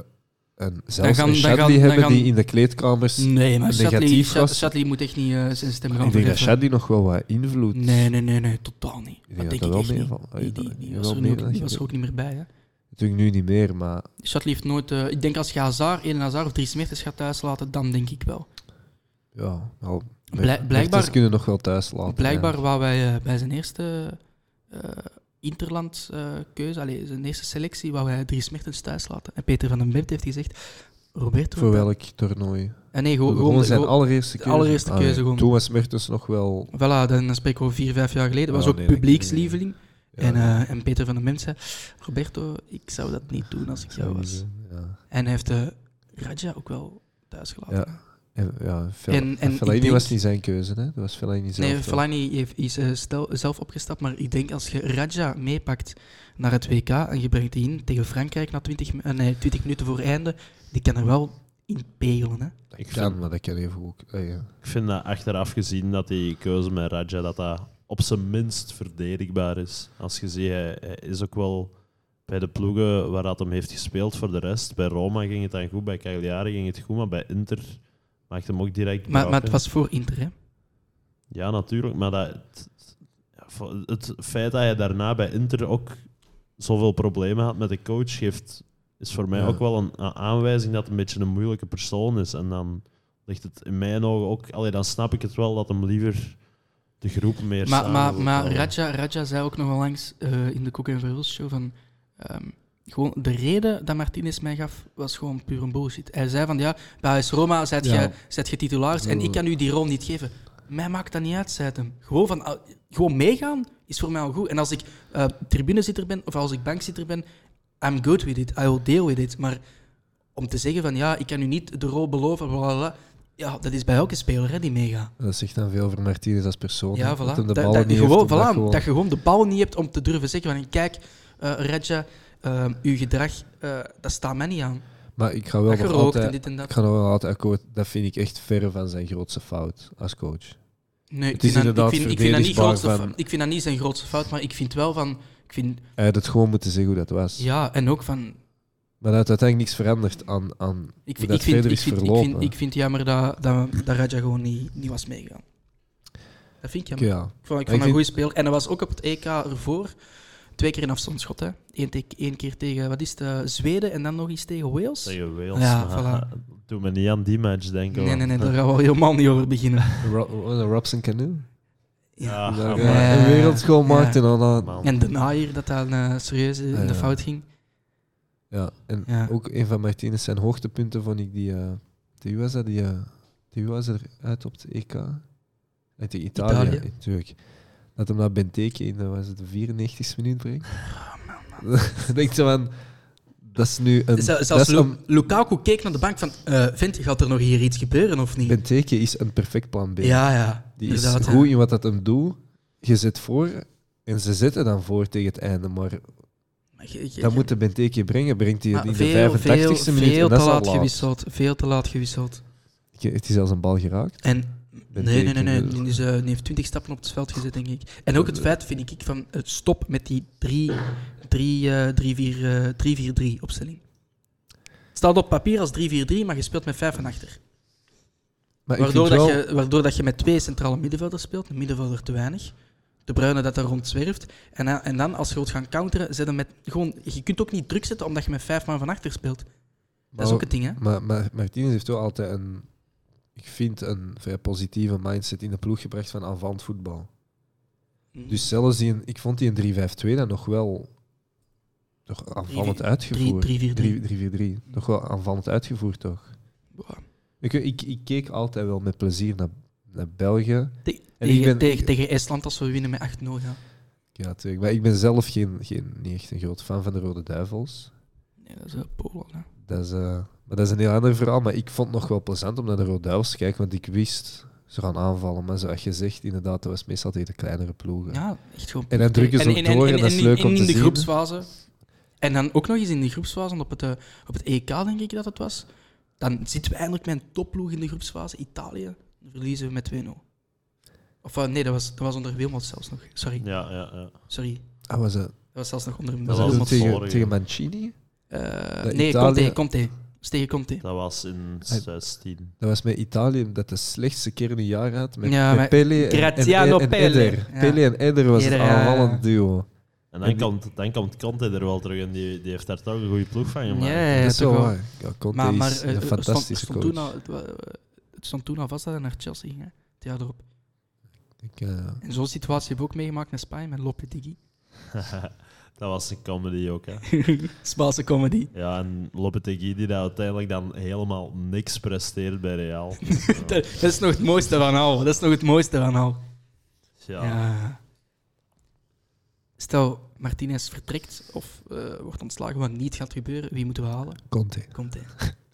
B: een, zelfs
A: gaan-
B: een
A: dan
B: Shadley
A: gaan- dan
B: hebben
A: gaan-
B: die in de kleedkamers...
A: Nee, maar
B: Een
A: Shatley,
B: negatief
A: Sha-
B: was-
A: Shatley moet echt niet eh, zijn stem gaan
B: ik denk dat
A: verheffen.
B: Shadley nog wel wat invloed...
A: Nee, nee, nee, nee, totaal niet.
B: Ik
A: dat
B: denk
A: denk
B: dat
A: ik
B: wel
A: echt niet.
B: meevalt.
A: Die,
B: Ik
A: die,
B: denk
A: die
B: dat
A: was
B: wel
A: er nu ook-
B: meevalt.
A: die was er ook niet meer bij. Hè.
B: Natuurlijk nu niet meer, maar...
A: Shatley heeft nooit... eh, ik denk als je Hazard, Eden Hazard of Dries Mertens gaat thuislaten, dan denk ik wel.
B: Ja, wel,
A: Blijk- blijkbaar-
B: Ze kunnen nog wel thuis laten.
A: Blijkbaar waar wij eh, bij zijn eerste eh Interland eh, keuze, allee, zijn eerste selectie, waar wij Dries Mertens thuis laten. En Peter van den Bent heeft gezegd, Roberto...
B: Voor welk toernooi?
A: Eh, nee, gewoon...
B: Gewoon,
A: gewoon,
B: zijn
A: gewoon-
B: allereerste keuze.
A: allereerste keuze
B: ja.
A: gewoon.
B: Toen was Mertens nog wel...
A: Voilà, dan dan spreken we vier, vijf jaar geleden. was
B: Oh,
A: ook
B: nee, dat ken ik niet.
A: publiekslieveling.
B: ja,
A: En, eh, en Peter van den Bent zei, Roberto, ik zou dat niet doen als ik jou
B: zou niet
A: was.
B: doen, Ja.
A: En hij heeft eh Raja ook wel thuis gelaten.
B: Ja. En, ja, Fel-
A: En- en
B: Fellaini
A: ik denk-
B: was niet zijn keuze, hè? Dat was Fellaini zelf.
A: Nee,
B: wel.
A: Fellaini heeft, is eh, stel- zelf opgestapt, maar ik denk als je Raja meepakt naar het WK en je brengt die in tegen Frankrijk na 20, mi- eh, nee, 20 minuten voor einde, die kan er wel in pegelen. Hè.
B: Dat
C: Ik
B: kan,
C: vind-
B: maar dat kan even ook... eh, ja.
C: ik vind dat achteraf gezien dat die keuze met Raja dat dat op zijn minst verdedigbaar is. Als je ziet, hij, hij is ook wel bij de ploegen waar dat hem heeft gespeeld voor de rest. Bij Roma ging het dan goed, bij Cagliari ging het goed, maar bij Inter maakte hem ook direct
A: Maar, maar
C: bakken.
A: het was voor Inter, hè?
C: Ja, natuurlijk. Maar dat, het, ja, vo- het feit dat hij daarna bij Inter ook zoveel problemen had met de coach, geeft, is voor mij
B: Ja.
C: ook wel een, a- aanwijzing dat het een beetje een moeilijke persoon is. En dan ligt het in mijn ogen ook... Allee, dan snap ik het wel dat hem liever de groep meer
A: Maar,
C: samen
A: maar,
C: wil
A: maar
C: houden.
A: Raja, Raja zei ook nog wel langs eh, in de Cook en Verhulst show van... ehm, gewoon de reden dat Martinez mij gaf, was gewoon puur een bullshit. Hij zei van, ja, bij AS Roma zijt je
B: Ja.
A: zijt je titularis en ik kan u die rol niet geven. Mij maakt dat niet uit, zei het hem. Gewoon, van, ah, gewoon meegaan is voor mij al goed. En als ik eh tribunezitter ben of als ik bankzitter ben, I'm good with it, I will deal with it. Maar om te zeggen van, ja, ik kan u niet de rol beloven, bla, bla, bla, ja, dat is bij elke speler hè, die meegaat.
B: Dat zegt dan veel over Martinez als persoon. hè.
A: Ja, voilà.
B: Dat hem de
A: Dat-
B: ballen
A: dat,
B: niet heeft,
A: gewoon,
B: omdat
A: voilà,
B: gewoon-
A: dat je gewoon de bal niet hebt om te durven zeggen van kijk, eh Raja, eh, uw gedrag, eh, dat staat mij niet aan.
B: Maar ik ga wel
A: Dat je
B: nog
A: rookt en
B: altijd...
A: dit en dat.
B: Ik ga nog wel altijd akkoord. Dat vind ik echt ver van zijn grootste fout als coach.
A: Nee,
B: Het
A: ik vind,
B: is
A: dat, ik,
B: inderdaad
A: vind, ik, vind dat niet
B: verdedigbaar
A: grootste
B: van-
A: fout, ik vind dat niet zijn grootste fout, maar ik vind wel van... Ik vind,
B: Hij had het gewoon moeten zeggen hoe dat was.
A: ja, en ook van...
B: Maar dat had uiteindelijk niks veranderd aan, aan
A: Ik,
B: hoe
A: vind-
B: dat
A: ik, vind,
B: verder
A: ik,
B: is
A: vind, ik,
B: verlopen.
A: vind, ik vind jammer dat, dat, dat Raja gewoon niet, niet was meegegaan. Dat vind ik jammer.
B: ja.
A: Ik vond, ik
B: Maar
A: vond
B: ik
A: een goede speler. En dat was ook op het EK ervoor. Twee keer in afstandsschot, hè. Eén, te- één keer tegen, wat is het, eh, Zweden en dan nog eens tegen Wales.
C: Tegen Wales.
A: Ja,
C: maar [LAUGHS] Doe me niet aan die match denken.
A: Nee,
C: want-
A: nee,
B: [LAUGHS]
A: nee,
C: [LAUGHS]
A: daar gaan we helemaal niet over beginnen.
B: Ro- Ro- Robson Canoe.
A: Ja.
C: Ah,
B: Ja,
C: maar-
B: een wereldschool maakte en dan...
C: man.
A: En daarna hier, dat dat eh, serieus in
B: Ah,
A: de
B: ja.
A: fout ging.
B: Ja, en
A: Ja.
B: ook een van Martinez zijn hoogtepunten vond ik die... eh die was dat, die... eh die was eruit op het EK. Uit de Italië,
A: Italië.
B: natuurlijk. Dat hem naar Benteke in, dat was het de 94 minuut brengt.
A: Ah,
B: [LAUGHS] Ik denk zo van... Dat is nu een...
A: Zelfs
B: Ehm, dat is
A: Lu-
B: een-
A: Lukaku keek naar de bank van... eh Vint, gaat er nog hier iets gebeuren of niet?
B: Benteke is een perfect plan B.
A: ja, ja.
B: Die is
A: inderdaad, ja.
B: goed in wat dat hem doet. Je zit voor en ze zitten dan voor tegen het einde. Maar
A: Maar je- je-
B: dat
A: je-
B: moet de Benteke brengen. Brengt hij
A: maar
B: het in
A: Ah, veel,
B: de 85 e
A: veel,
B: minuut?
A: Veel
B: en dat
A: te
B: is al
A: laat
B: laat.
A: gewisseld. Veel te laat gewisseld.
B: Ik- Heeft hij zelfs een bal geraakt?
A: En...
B: Ben
A: nee, nee,
B: teken,
A: nee, nee.
B: dus.
A: Die, is, eh, die heeft twintig stappen op het veld gezet, denk ik. En ook
B: Eh,
A: het feit, vind ik, van het stop met die eh, 3-4-3 opstelling. Het staat op papier als 3-4-3, maar je speelt met vijf van achter.
B: Maar ik
A: Waardoor,
B: vind
A: dat
B: wel-
A: je, waardoor dat je met twee centrale middenvelders speelt, een middenvelder te weinig. De Bruyne dat daar rondzwerft. En, dan- en dan, als je wilt gaan counteren, zet hem met, gewoon, je kunt ook niet druk zetten omdat je met vijf man van achter speelt. Dat is
B: Maar-
A: ook het ding, hè?
B: Maar, maar Martinez heeft wel altijd een... Ik vind een vrij positieve mindset in de ploeg gebracht van aanvallend voetbal.
A: Hm.
B: Dus zelfs die... een- Ik vond die een 3-5-2 dan nog wel... Toch aanvallend
A: drie-
B: uitgevoerd.
A: 3-4-3.
B: 3-4-3. Nog wel aanvallend uitgevoerd, toch? Ik, ik, ik keek altijd wel met plezier naar, naar België.
A: Te-
B: En
A: tegen,
B: ik ben-
A: tegen,
B: ik-
A: tegen Estland, als we winnen met 8-0 gaan.
B: Ja, natuurlijk. Maar ik ben zelf geen, geen, niet echt een groot fan van de Rode Duivels.
A: Nee, dat is eh, Polen. Hè.
B: Dat is, eh, maar dat is een heel ander verhaal. Maar ik vond het nog wel plezant om naar de Rode Duivels te kijken, want ik wist ze gaan aanvallen. Maar zoals je zegt, inderdaad, dat was meestal tegen de kleinere ploegen.
A: Ja, echt gewoon.
B: En dan drukken ze ook door en, dat is
A: in-
B: leuk
A: in,
B: om te
A: in de
B: zien.
A: groepsfase. En dan ook nog eens in de groepsfase, want op het, eh, op het EK denk ik dat het was. Dan zitten we eindelijk met een topploeg in de groepsfase, Italië. Dan verliezen we met 2-0. Of eh, nee, dat was, dat was onder Wilmot zelfs nog. Sorry,
C: Ja, ja, ja.
A: sorry.
B: Ah, was dat,
A: Dat was zelfs nog onder
B: was dat
C: was
B: toen
A: Wilmot.
C: het
B: tegen,
C: vorige.
B: tegen Mancini?
A: Eh,
B: dat
A: nee,
B: Italië-
A: Conte, Conte. Dat is tegen Conte.
C: Dat was in 16.
B: Dat was met Italië dat de slechtste keer in een jaar had. Met,
A: Ja,
B: met
A: maar-
B: Pele en, en,
A: Graziano
B: en
A: Pelle.
B: Eder.
A: Ja.
B: Pelle en Eder was
A: Eder,
B: het
A: ja.
B: aanvallend duo.
C: En
B: En
C: dan
B: die-
C: komt, dan komt Conte er wel terug en die, die heeft daar toch een goede ploeg van
A: Ja,
C: gemaakt.
A: ja, ja,
B: dat is
A: toch
B: wel
A: wel.
B: waar. Ja, Conte
A: Maar, maar
B: is
A: eh,
B: een
A: er stond, er
B: fantastische
A: stond
B: coach.
A: toen al, het, wa- het stond toen al vast dat hij naar Chelsea ging, hè, het jaar erop.
B: Ik, eh,
A: En zo'n situatie hebben we ook meegemaakt met Spanje, met Lopetegui.
C: [LAUGHS] dat was een comedy ook, hè.
A: [LAUGHS] Spaanse comedy.
C: Ja, en Lopetegui die dat uiteindelijk dan helemaal niks presteert bij Real.
A: Dat dat is nog het mooiste van al. Dat is nog het mooiste van al.
C: Ja,
A: Ja. Stel, Martinez vertrekt of eh, wordt ontslagen, wat niet gaat gebeuren. Wie moeten we halen?
B: Conte.
A: Komt hij.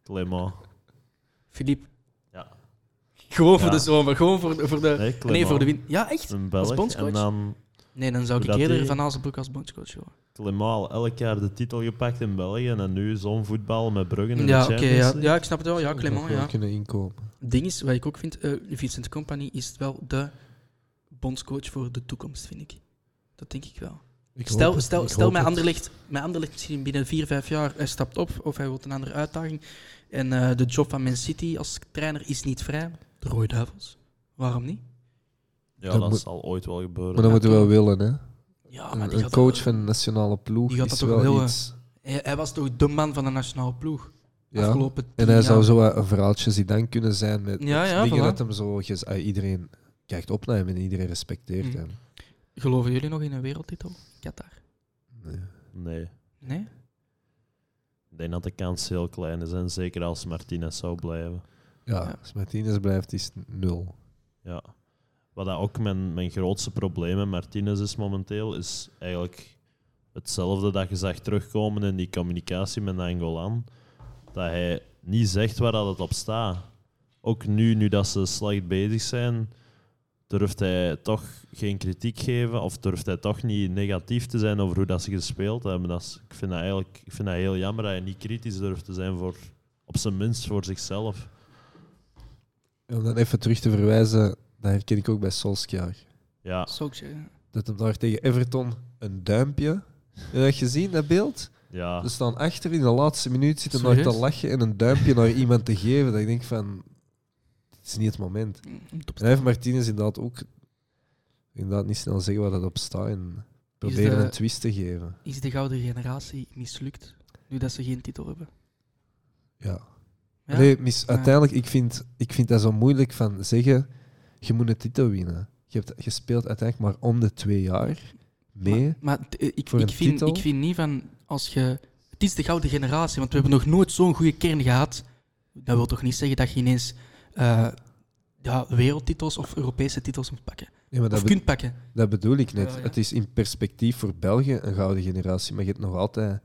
C: Clément.
A: Philippe.
C: Ja.
A: Gewoon voor
C: Ja.
A: de zomer, gewoon voor, de- voor de...
C: Nee,
A: Eh, Nee,
C: Clément.
A: voor de win. Ja, echt?
C: Een
A: Als
C: Belg.
A: bondscoach?
C: En dan
A: Nee, dan zou ik
C: Dat
A: eerder
C: die-
A: Van Azenbroek als bondscoach horen.
C: Clément al elk jaar de titel gepakt in België. En nu zo'n voetbal met Bruggen in
A: Ja,
C: de
A: oké.
C: Champions
A: ja.
C: League.
A: ja, ik snap het wel. Ja, Clement, ja.
B: kunnen inkopen.
A: ding is, wat ik ook vind, eh, Vincent Company is wel de bondscoach voor de toekomst, vind ik. Dat denk ik wel.
B: Ik hoop
A: Stel,
B: het.
A: stel,
B: Ik
A: stel
B: hoop
A: mijn,
B: het.
A: Anderlecht, mijn Anderlecht misschien binnen vier, vijf jaar hij stapt op of hij wil een andere uitdaging. En eh, de job van Man City als trainer is niet vrij. De Rode Duivels. Waarom niet?
C: Ja,
B: Dat
C: dat,
B: moet-
C: zal ooit wel
B: Maar
C: gebeuren.
B: dat moeten we wel willen, hè?
A: Ja, Ah, maar
B: Een,
A: die
B: een
A: gaat-
B: coach van de nationale ploeg
A: die gaat
B: is
A: dat toch
B: wel
A: willen?
B: iets.
A: Hij, hij was toch de man van de nationale ploeg?
B: Ja.
A: Afgelopen tien
B: En hij zou
A: jaar.
B: zo een een verhaaltje die dan kunnen zijn met
A: Ja,
B: met
A: ja,
B: dingen
A: voilà.
B: dat hem zo... gez- ah, Iedereen kijkt op naar hem en iedereen respecteert
A: Mhm.
B: hem.
A: Geloven jullie nog in een wereldtitel? Qatar.
B: Nee.
C: Nee.
A: Nee?
C: Ik denk dat de kans heel klein is. En zeker als Martinez zou blijven.
B: Ja,
A: Ja.
B: als Martinez blijft, is het nul.
C: Ja. Wat dat ook mijn, mijn grootste probleem met Martinez is momenteel, is eigenlijk hetzelfde dat je zag terugkomen in die communicatie met Angolan. Dat hij niet zegt waar dat het op staat. Ook nu, nu dat ze slecht bezig zijn, durft hij toch geen kritiek geven of durft hij toch niet negatief te zijn over hoe dat ze gespeeld hebben. Dat is- ik, vind dat eigenlijk, ik vind dat heel jammer dat hij niet kritisch durft te zijn, voor, op zijn minst voor zichzelf.
B: Om dan even terug te verwijzen Dat herken ik ook bij Solskjaer.
A: Ah.
C: Ja,
A: Solskjaer.
B: Dat hem daar tegen Everton een duimpje. Heb je dat gezien, dat beeld?
C: ja.
B: Ze staan achter in de laatste minuut, zitten daar te
A: Ah. Serieus?
B: lachen en een duimpje naar iemand te geven. Dat ik denk van, het is niet het moment.
A: Mm, top.
B: En hij heeft Martinez inderdaad ook inderdaad niet snel zeggen wat dat op staat en proberen
A: de-
B: een twist te geven.
A: Is de gouden generatie mislukt nu dat ze geen titel hebben?
B: Ja.
A: Ja?
B: Allee, mis,
A: Ja.
B: uiteindelijk, ik vind, ik vind dat zo moeilijk van zeggen, je moet een titel winnen. Je hebt gespeeld uiteindelijk maar om de twee jaar mee.
A: Maar, maar t- eh, ik,
B: Voor
A: ik,
B: een
A: vind,
B: titel?
A: ik vind niet van als je. Het is de gouden generatie, want we hebben nog nooit zo'n goede kern gehad. Dat wil toch niet zeggen dat je ineens eh, ja, wereldtitels of Europese titels moet pakken.
B: Ja, maar dat,
A: Of
B: be-
A: kunt pakken.
B: dat bedoel ik net.
A: Ja, ja.
B: Het is in perspectief voor België een gouden generatie, maar je hebt nog altijd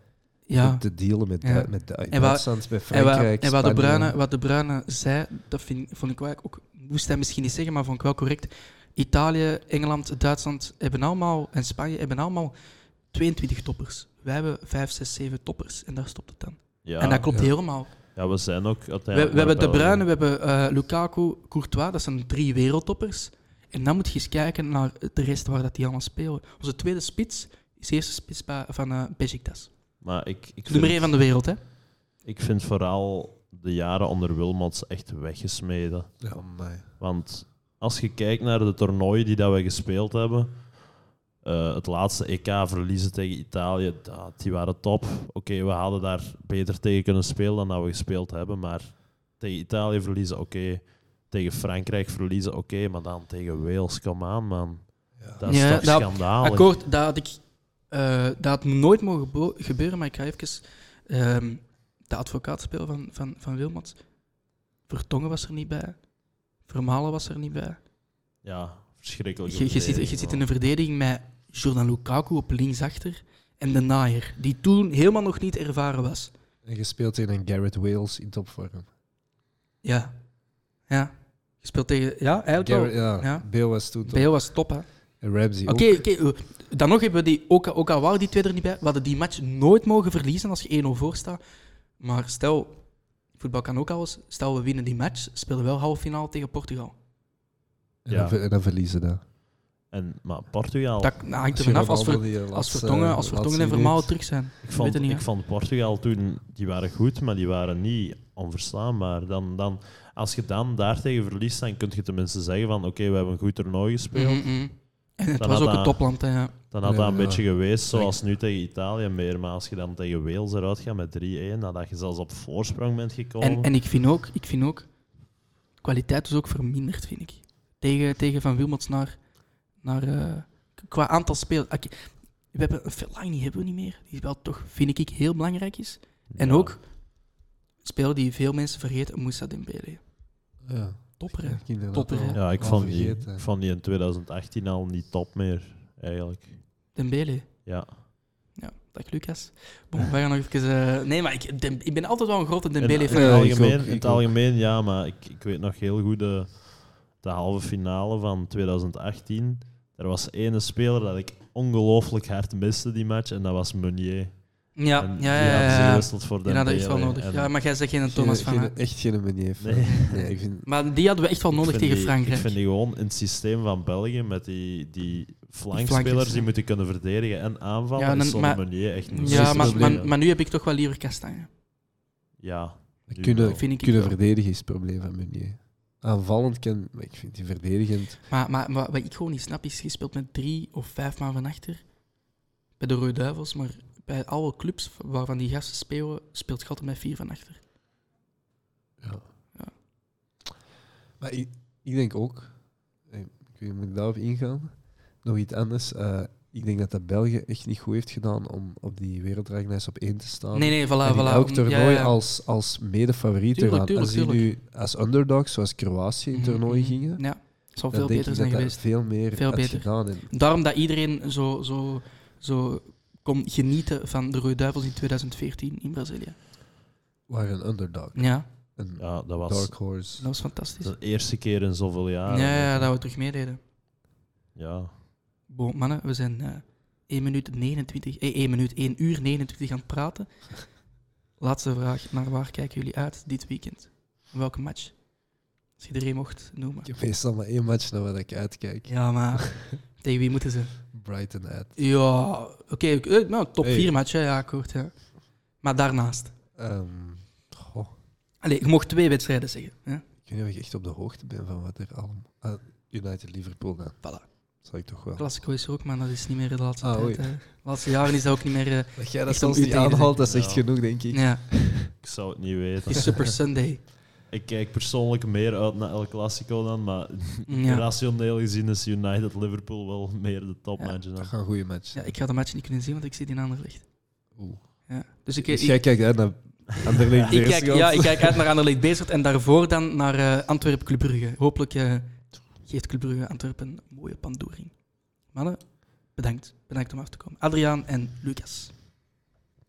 A: Ja.
B: te dealen met,
A: Ja.
B: Du- met Du-
A: wat-
B: Duitsland, met
A: En, wat,
B: Frankrijk,
A: en wat, de
B: Spanje.
A: Bruyne, wat de Bruyne zei, dat vind, vond ik wel ook, moest hij misschien niet zeggen, maar vond ik wel correct. Italië, Engeland, Duitsland hebben allemaal, en Spanje hebben allemaal 22 toppers. Wij hebben 5, 6, 7 toppers en daar stopt het dan.
C: Ja.
A: en dat klopt
B: Ja.
A: helemaal.
C: ja, we zijn ook
A: We,
C: uiteindelijk...
A: we hebben De
C: naar België.
A: Bruyne, we hebben eh, Lukaku, Courtois, dat zijn drie wereldtoppers. En dan moet je eens kijken naar de rest waar dat die allemaal spelen. Onze tweede spits is de eerste spits bij- van eh Besiktas.
C: Maar ik, ik,
A: Nummer
C: vind,
A: 1 van de wereld, hè?
C: ik vind vooral de jaren onder Wilmots echt weggesmeden.
B: Ja, amai.
C: Want als je kijkt naar de toernooien die dat we gespeeld hebben, eh, het laatste EK verliezen tegen Italië, dat- die waren top. Oké, we hadden daar beter tegen kunnen spelen dan dat we gespeeld hebben, maar tegen Italië verliezen, oké. Tegen Frankrijk verliezen, oké, maar dan tegen Wales, kom aan, man. Dat is
A: Ja,
C: toch
A: dat-
C: schandalig.
A: Akkoord, dat had, ik, eh, dat had nooit mogen gebo- gebeuren, maar ik ga even ehm, de advocaat spelen van, van, van Wilmots. Vertongen was er niet bij. Vermalen was er niet bij.
C: Ja, verschrikkelijk.
A: Je, je, zit, je zit in een verdediging met Jordan Lukaku op linksachter en de naaier, die toen helemaal nog niet ervaren was.
B: En je speelt in een Garrett Wales in topvorm.
A: Ja. Ja. Je speelt tegen... Ja, eigenlijk
B: Garrett-
A: wel.
B: ja,
A: Ja.
B: Bale was toen top.
A: Bale was top, hè.
B: En Ramsey
A: Oké,
B: ook.
A: oké, eh, dan nog hebben we die, ook, al- ook al waren die twee er niet bij, we hadden die match nooit mogen verliezen als je 1-0 voor staat. Maar stel, voetbal kan ook alles, stel we winnen die match, spelen we wel halve finale tegen Portugal.
B: En, dan,
C: Ja.
B: ver- en dan verliezen dat.
C: En, maar Portugal,
A: Dat nou, hangt er vanaf als, ver,
B: eh,
A: als Vertongen, als vertongen en Vermalen terug zijn.
C: ik,
A: weet
C: vond,
A: het niet, hè.
C: ik vond Portugal toen, die waren goed, maar die waren niet onverstaanbaar. Dan, dan, als je dan daartegen verliest, dan kun je tenminste zeggen van oké, we hebben een goed toernooi gespeeld.
A: Mhm, mhm. En het
C: Dan
A: was
C: had
A: ook een
C: dat-
A: topland, hè, ja.
C: Dan had
B: Ja,
C: dat een
B: ja.
C: beetje geweest zoals nu tegen Italië meer. Maar als je dan tegen Wales eruit gaat met 3-1, nadat je zelfs op voorsprong bent gekomen.
A: En, en ik vind ook, ik vind ook, kwaliteit is ook verminderd, vind ik. Tegen, tegen Van Wilmots naar, naar eh, k- qua aantal spelers. Oké, We hebben Verlang niet, hebben we niet meer. Die wel toch, vind ik, heel belangrijk is. En
C: Ja.
A: ook, speler die veel mensen vergeten, Moussa Dembele.
B: Ja.
A: Topper, hè?
B: inderdaad
A: Topper,
B: wel.
A: hè.
C: ja, ik
B: Al
C: vond, die,
B: vergeten.
C: ik vond die in 2018 al niet top meer, eigenlijk.
A: Dembele.
C: Ja.
A: Ja, dag Lucas. Bon, we gaan nog even... eh, nee, maar ik, Dem- ik ben altijd wel een grote Dembele
C: in,
A: fan.
C: in
B: Ja,
C: het
B: ik
C: algemeen,
B: ook,
C: in
B: ik
C: het
B: ook.
C: algemeen ja, maar ik, ik weet nog heel goed de, de halve finale van 2018. Er was ene speler dat ik ongelooflijk hard miste die match en dat was Meunier.
A: Ja,
C: En
A: ja,
C: Die
A: ja.
C: hadden ze
A: ja, ja.
C: gewisseld voor
A: Die hadden we echt wel
C: Dembele.
A: nodig.
C: En-
A: Ja, maar jij zegt geen Thomas van...
B: Geen-
A: hè.
B: Echt geen manier van.
C: Nee.
B: Nee, ik vind,
C: [LAUGHS]
A: Maar die hadden we echt wel
C: Ik
A: nodig
C: vind
A: tegen
C: die-
A: Frankrijk.
C: Ik vind die gewoon in het systeem van België met die, die flankspelers
A: flankjes,
C: die
A: ja.
C: moeten kunnen verdedigen en aanvallen.
A: Ja,
C: Ja,
A: dan-
C: zonder
A: maar-
C: Meunier echt niet.
A: Ja,
B: Precies,
A: maar,
B: dat
A: maar,
B: bedoel
A: maar nu heb ik toch wel liever Kastanje.
C: Ja, nu
B: kunnen
C: wel.
A: Vind ik
B: kunnen
A: wel.
B: verdedigen is het probleem van Meunier. Aanvallend kan, maar ik vind die verdedigend.
A: Maar, maar, maar wat ik gewoon niet snap is, je speelt met drie of vijf man van achter. Bij de Rode Duivels, maar bij alle clubs waarvan die gasten spelen, speelt je altijd met vier van achter.
B: Ja.
A: Ja.
B: Maar ik, ik denk ook, eh, ik weet, niet, moet ik daarop ingaan? Nog iets anders. eh, ik denk dat dat België echt niet goed heeft gedaan om op die wereldranglijst op één te staan.
A: Nee, nee, voilà,
B: Ah, En in
A: voilà.
B: elk
A: Ja,
B: toernooi
A: ja.
B: als, als mede-favoriet te
A: Tuurlijk,
B: gaan.
A: tuurlijk,
B: als die nu als underdogs, zoals Kroatië in toernooien
A: Mhm, mhm.
B: gingen,
A: Ja, het zou
B: dan
A: veel
B: denk
A: beter
B: ik
A: zijn
B: dat dat
A: geweest.
B: veel meer
A: Veel
B: had
A: beter.
B: gedaan. En
A: Daarom dat iedereen zo, zo, zo kon genieten van de Rode Duivels in 2014 in Brazilië.
B: waren een underdog.
A: Ja,
B: Een
C: Ja, dat was
B: dark horse.
A: dat was fantastisch.
C: de eerste keer in zoveel
A: Ja,
C: jaar.
A: ja, dat we terug meededen.
C: Ja.
A: Bon, mannen, we zijn eh 1 minuut 29, eh, 1 minuut 1 uur 29 aan het praten. Laatste vraag, naar waar kijken jullie uit dit weekend? Welke match? Als iedereen mocht noemen.
B: Ik heb meestal maar één match naar waar ik uitkijk.
A: Ja, maar [LAUGHS] tegen wie moeten ze?
B: Brighton uit.
A: Ja, oké. ik- eh, nou, top
B: Hey.
A: 4 match, hè, ja, akkoord. Ja. Maar daarnaast.
B: Ehm, goh,
A: Allee, je mocht twee wedstrijden zeggen. Hè?
B: ik weet niet of ik echt op de hoogte ben van wat er allemaal... Ah, United-Liverpool dan.
A: Voilà.
B: Zal ik toch wel.
A: Classico is er ook, maar dat is niet meer de laatste
B: Ah,
A: tijd.
B: oei.
A: hè. De laatste jaren is dat ook niet meer...
B: [LAUGHS]
A: eh,
B: Dat jij
A: dat Echt
B: dat
A: om
B: soms
A: soms u niet
B: niet
A: tegen te aanhaalt,
B: aanhaalt,
A: zeggen.
B: dat
C: is
B: is
C: echt
B: echt genoeg, denk ik.
A: ja,
C: Ik zou het niet weten.
A: die Super Sunday.
C: Ik kijk persoonlijk meer uit naar El Clasico dan, maar
A: Ja.
C: rationeel gezien is United Liverpool wel meer de topmatch.
B: Dat
C: dan.
B: gaan goede match.
A: ja, ik ga de match niet kunnen zien, want ik zit in Anderlecht.
B: Oeh.
A: Ja. Dus ik, ik,
B: jij kijkt uit naar
A: [LAUGHS]
B: Anderlecht
A: ik kijk,
B: Beerschot.
A: ja, ik kijk uit naar Anderlecht Beerschot en daarvoor dan naar eh Antwerpen Club Brugge. Hopelijk eh, geeft Club Brugge Antwerpen een mooie pandoering. Mannen, bedankt. Bedankt om af te komen. Adriaan en Lucas.